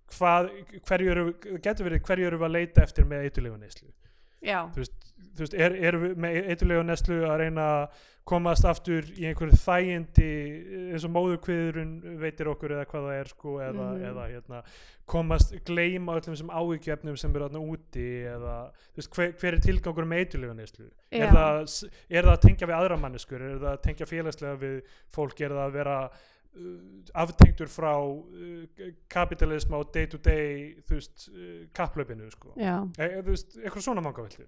A: hvað, hverju eru getur verið hverju eru við að leita eftir með eitulega neyslu
B: Já,
A: þú veist, þú veist er, erum við með eitulega neyslu að reyna að komast aftur í einhverju þægindi eins og móðurkviðurinn veitir okkur eða hvað það er sko eða,
B: Mhm.
A: eða hérna, komast, gleyma öllum sem áhyggjefnum sem eru þarna úti eða þú veist, hver, hver er tilgangur með eitulega neyslu er
B: Já.
A: það, s- er það að tengja við aðra manneskur er það að tengja félagslega við fólk er það að vera uh, aftengdur frá uh, kapitalisma og day to day þú veist, uh, kapplaupinu sko.
B: já,
A: e, e, þú veist, eitthvað svona mangaveldur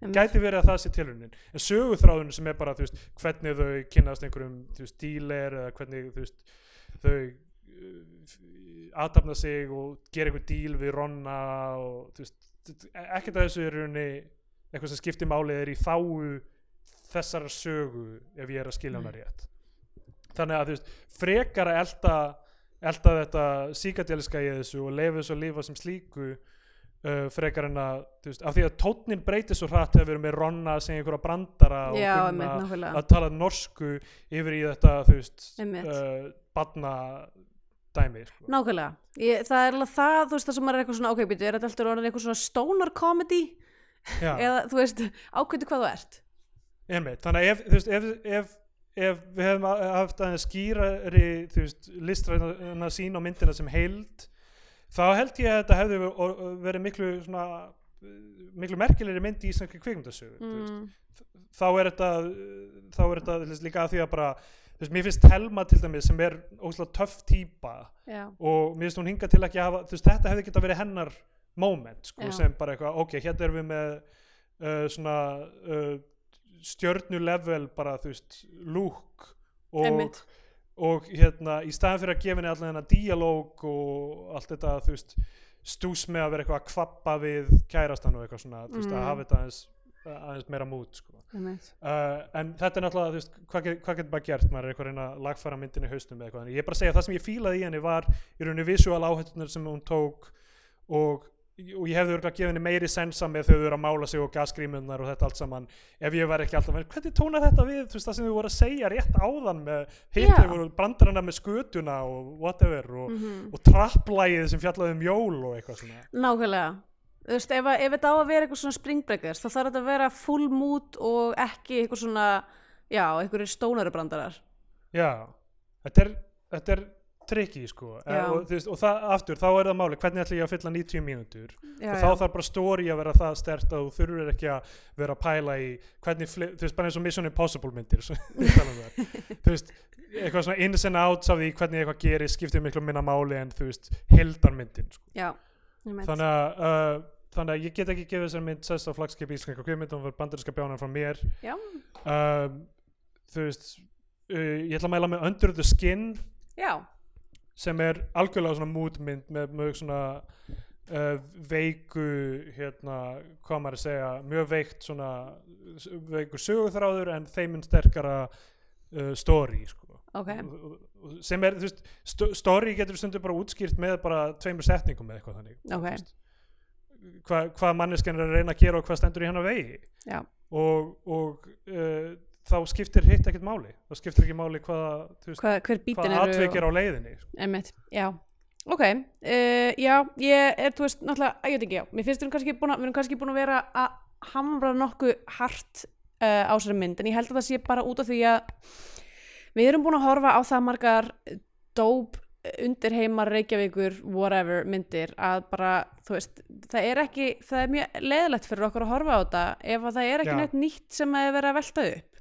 B: Einmitt.
A: gæti verið að það sé tilunin en söguþráðun sem er bara þú veist, hvernig þau kynnast einhverjum þú veist, díler eða hvernig þú veist, þau uh, aðtapna sig og gera einhver díl við Ronna og þú veist, e- ekkert að þessu er í rauninni eitthvað sem skiptir máli er í þáu þessar sögu ef ég er að skilja hana
B: Nei.
A: rétt þannig að þú veist, frekar að elta elta þetta síkadeliska í þessu og leifa þessu að lifa sem slíku uh, frekar en að þú veist, af því að tótnin breytir svo hratt þegar við erum með Ronna að segja einhverja brandara og
B: já,
A: Gunna
B: einmitt, nákvæmlega.
A: að tala norsku yfir í þetta þú veist,
B: Einmitt.
A: uh, badna dæmi sko.
B: Nákvæmlega, ég, það er alveg það, þú veist, það sem maður er eitthvað svona, ok, býtu, er þetta alltaf orðin eitthvað svona stoner comedy,
A: Já.
B: eða, þú veist, ákveðu hvað þú ert.
A: Einmitt, þannig að ef, þú veist, ef, ef, ef við hefum a- haft aðeins skýrari þú veist, listræna sín á myndina sem heild þá held ég að þetta hefði ver- or- verið miklu svona eh, miklu merkilegri mynd í íslenska kvikmyndasögu þú veist.
B: mm,
A: þá er þetta eh, þá er þetta þú veist, líka að því að bara þú veist, mér finnst Telma til dæmis sem er óslega töff típa
B: já,
A: og mér finnst hún hinga til ekki að hafa þú veist, þetta hefði geta verið hennar moment sko,
B: Já.
A: sem bara eitthvað, ok, hérna erum við með uh, svona uh, stjörnulevel bara, þú veist, lúk og,
B: Einmitt.
A: og hérna, í staðan fyrir að gefa henni allan þennan díalóg og allt þetta, þú veist stús með að vera eitthvað að kvappa við kærastan og eitthvað svona, þú veist,
B: Mm.
A: að hafa þetta aðeins, aðeins meira mút, sko
B: einmitt.
A: Uh, en þetta er náttúrulega, þú veist, hvað, get- hvað getur maður gert, maður er eitthvað að reyna að lagfæra myndinni í haustum eða eitthvað, en ég er bara að segja að það sem ég fílaði í henni var í rauninni visual áhættunar sem hún tók og, og ég hefði örgulega gefið henni meiri sensa með þau eru að mála sig og gasgrímunar og þetta allt saman ef ég var ekki alltaf, hvernig tónar þetta við, þú veist, það sem þau voru að segja rétt áðan með
B: Já.
A: hittir voru brandarana með skötuna og whatever og,
B: Mm
A: og trapplægið sem fjallaði um jól og eitthvað svona.
B: Nákvæmlega Þú veist, ef, að- ef þetta á að vera eitthvað svona springbreakers þá þarf þetta að vera full mood og ekki eitthvað svona, já, eitthvað stónarubrandarar
A: Já, þetta er, þetta er tricky sko
B: Já.
A: og, þú veist, og það aftur, þá er það máli hvernig ætla ég að fylla 90 mínútur
B: já,
A: og
B: já.
A: þá þarf bara stóri að vera það stert að þú þurfur ekki að vera að pæla í hvernig, fli- þú veist, bara eins og Mission Impossible myndir sem við tala um þar. þú veist, eitthvað svona ins and outs af því hvernig eitthvað gerir skiptir miklu minna máli en þú veist, heldarmyndin sko.
B: Já, ég meint
A: þannig að uh, Þannig að ég get ekki gefið þessar mynd sess á flagskipi íslenska kveimynd og hann var bandarinska bjánan frá mér
B: Já,
A: um, Þú veist, uh, ég ætla að mæla með Under the Skin
B: já,
A: sem er algjörlega svona mútmynd með mjög svona uh, veiku hérna, hvað maður að segja, mjög veikt svona s- veikur sögurþráður en þeiminn sterkara uh, story sko.
B: ok
A: Og- og- og- sem er, þú veist, st story getur stundum bara útskýrt með bara tveimur setningum eða eitthvað þannig Þú
B: Ok.
A: veist, hva, hvað manneskjan er að reyna að gera og hvað stendur í hennar vegi
B: Já.
A: og, og uh, þá skiptir hitt ekkert máli þá skiptir ekki máli hvaða, þú veist,
B: Hva, Hver bítin
A: hvað
B: eru
A: atveikir á leiðinni sko.
B: Einmitt, já Ok, uh, já, ég er, þú veist, náttúrulega, að ég veit ekki, já, mér finnst við erum kannski búin að, við erum kannski búin að vera að hamra nokkuð hart uh, á sér mynd, en ég held að það sé bara út af því að við erum búin að horfa á það margar dóp undirheimar Reykjavíkur, whatever, myndir, að bara, þú veist, það er ekki, það er mjög leðilegt fyrir okkur að horfa á þetta ef að það er ekki
A: Já.
B: neitt nýtt sem að er verið að velta upp.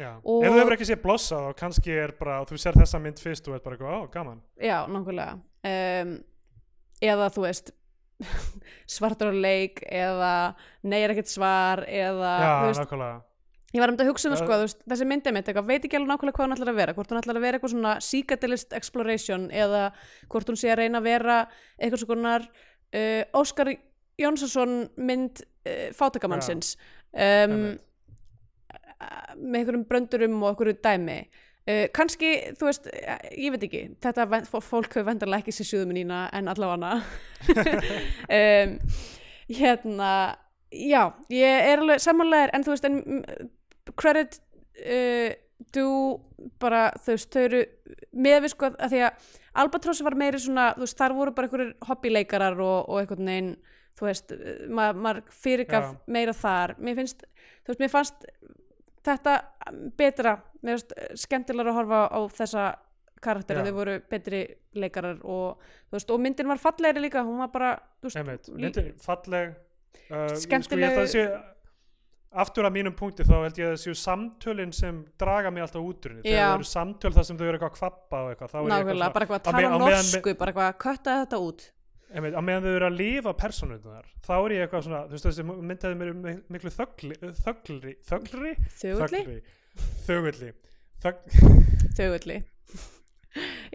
A: Já.
B: Og-
A: Ef þú hefur ekki séð blossa þá kannski er bara, þú sér þessa mynd fyrst og er bara eitthvað, ó, gaman.
B: Já, nákvæmlega um, eða þú veist svartur á leik eða nei er ekkert svar eða
A: Já,
B: þú veist,
A: nákvæmlega.
B: ég var um þetta að hugsa um það,
A: Já.
B: sko, þú veist, þessi myndið mitt eitthvað, veit ekki alveg nákvæmlega hvað hún ætlar að vera hvort hún ætlar að vera eitthvað svona psychedelist exploration eða hvort hún sé að reyna að vera eitthvað svona konar, uh, Óskar Jónsson mynd uh, fátakamannsins um,
A: Einmitt.
B: með einhverjum bröndurum og einhverju dæmi uh, kannski, þú veist, eh, ég veit ekki þetta ven- fó- fólk hefur vendarlega ekki sér sjúðum mína en allavega hana um, hérna já, ég er alveg samanlegar en þú veist, en mm, credit uh, do bara, þú veist, þau eru með við sko að því að Albatross var meiri svona, þú veist, þar voru bara einhverjir hobbyleikarar og, og einhvern veginn þú veist, eh, ma maður fyrirgaf
A: Já.
B: meira þar, mér finnst þú veist, mér fannst þetta betra, mér finnst skemmtilega að horfa á þessa karaktera,
A: Já.
B: þau voru betri leikarar og, þú veist, og myndin var fallegri líka hún var bara, þú veist,
A: Einmitt.
B: lí-
A: Myndin, falleg. Uh, Sko,
B: Skemmtileg-
A: ég held að sé, aftur að mínum punkti þá held ég að það séu samtölin sem draga mig alltaf út úr henni. Þegar
B: Já.
A: það eru samtöl þar sem þau eru eitthvað að kvappa og eitthvað. þá er ég eitthvað
B: nákvæmlega,
A: svona-
B: bara eitthvað
A: á
B: að tala
A: meðan- á meðan-
B: norsku, bara eitthvað að kötta þetta út
A: Einmitt, á meðan þau eru að lifa persónunar, þá er ég eitthvað svona, þú veist þessi mynd hefði mér miklu þöggli, þöggli, þöggli?
B: þögulli,
A: Þöggli. Þögg,
B: þögulli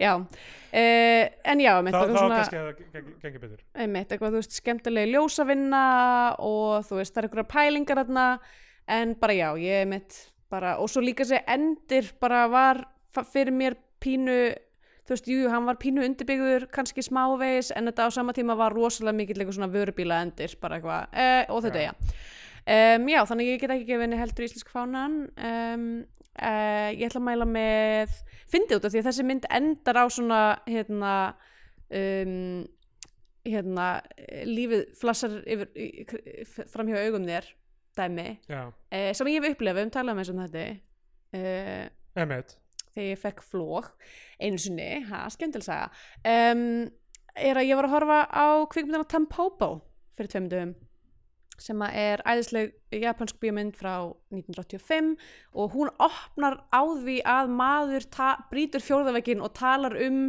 B: já uh, en já,
A: þá
B: einmitt,
A: þá
B: eitthvað svona
A: kannski hefði gengið- gengið betur.
B: einmitt, eitthvað, þú veist, skemmtileg ljósavinna og þú veist, það er einhverja pælingar þarna, en bara já, ég einmitt bara, og svo líka sér endir bara var fa- fyrir mér pínu, þú veist, jú, hann var pínu undirbyggður, kannski smávegis en þetta á sama tíma var rosalega mikill eitthvað svona vörubíla endir, bara eitthvað, eh, og þetta,
A: Já.
B: já. Um, já, þannig að ég get ekki gefið henni heldur íslensk fánan um, uh, ég ætla að mæla með fyndi út af því að þessi mynd endar á svona hérna um, hérna eh, lífið flassar yfir, í- í- framhjá augum þér dæmi,
A: Já,
B: uh, sem ég hef upplifað við höfum talað um eins og þetta uh,
A: emitt.
B: þegar ég fekk flók einu sinni, ha, skemmtilsaga um, er að ég var að horfa á kvikmyndina Tampopo fyrir tveimundum sem að er æðisleg japansk bíómynd frá 1985 og hún opnar á því að maður ta- brýtur fjórðavegin og talar um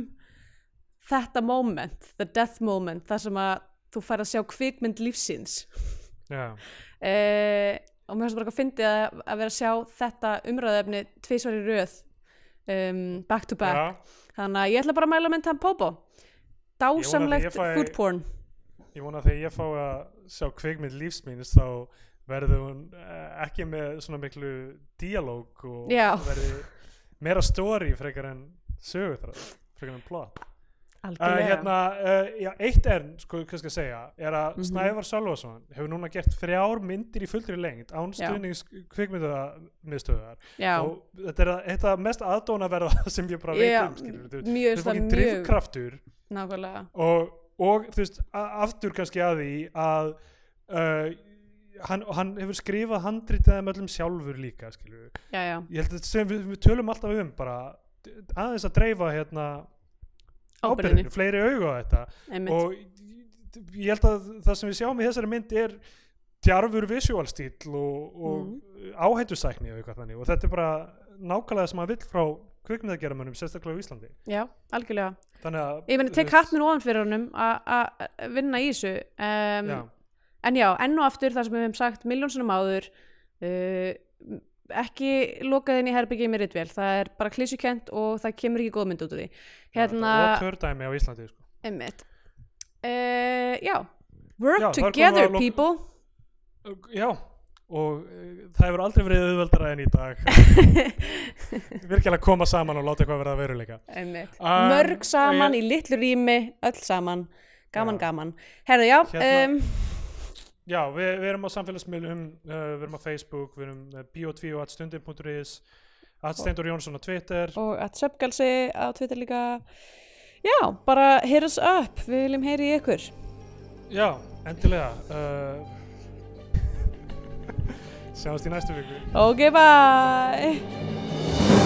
B: þetta moment, the death moment, þar sem að þú fær að sjá kvikmynd lífsins
A: já,
B: uh, og mér finnst bara að fyndi að, að vera að sjá þetta umræðefni tvisvar í röð um, back to back,
A: já.
B: þannig að ég ætla bara að mæla mynd hann Popo, dásamlegt
A: Ég vona að ég fæ-
B: food porn
A: Ég vona að þegar ég fá að sjá kvikmynd lífsmýns þá verður hún eh, ekki með svona miklu díalóg og
B: Já.
A: verður meira story frekar en sögur frekar en plot. Uh,
B: algjörlega
A: hérna, uh, já, eitt er, sko, hvað skal ég segja, er að
B: Mhm.
A: Snævar Sölvason hefur núna gert þrjár myndir í fullri lengd án
B: Já.
A: stuðnings kvikmyndamiðstöðar
B: Já.
A: og þetta er að- þetta mest aðdónaverða sem ég bara veit
B: Já,
A: um, skilur, þú þú
B: mjög, það
A: fókin
B: mjög-
A: drifkraftur
B: nákvæmlega
A: og, og þú veist, a- aftur kannski að því að uh, hann, hann hefur skrifað handritið þeim öllum sjálfur líka, skilur
B: já, já,
A: ég held að þetta sem við, við tölum alltaf um bara aðeins að dreifa hérna
B: ábyrðinu,
A: ábyrðinu, fleiri auga á þetta
B: einmitt
A: og ég- ég held að það sem við sjáum í þessari mynd er djarfur visual stíl og, og
B: Mm.
A: áhættusækni og eitthvað þannig og þetta er bara nákvæmlega sem að vill frá kvikmyndageramönnum sérstaklega á Íslandi
B: já, algjörlega
A: þannig að
B: ég meni, tek hattminn ofan fyrir honum að- að að vinna í þessu um,
A: já,
B: en já, enn og aftur þar sem við hefum sagt milljónsunum áður uh, m- ekki lokað inn í herbyggið með ritvél, það er bara klísukent og það kemur ekki góð mynd út úr því hérna,
A: og tördæmi á Íslandi sko.
B: einmitt uh, já, work
A: Já, þar komum við
B: together
A: að lok-
B: people
A: já, og eh, það hefur aldrei verið auðveldara en í dag virkilega koma saman og láta eitthvað verða að veruleika
B: einmitt,
A: Um,
B: mörg saman
A: og
B: í litlu rými, öll saman gaman,
A: Já.
B: gaman, herðu já
A: Hérna-
B: um,
A: Já, við, við erum á samfélagsmiðlum, uh, við erum á Facebook, við erum uh, bio2 og atstundin.is, atstendur Jónsson á Twitter,
B: og að söpgalsi á Twitter líka já, bara hit us up við viljum heyri í ykkur
A: já, endilega. Uh, sjáumst í næstu viku.
B: ok, bye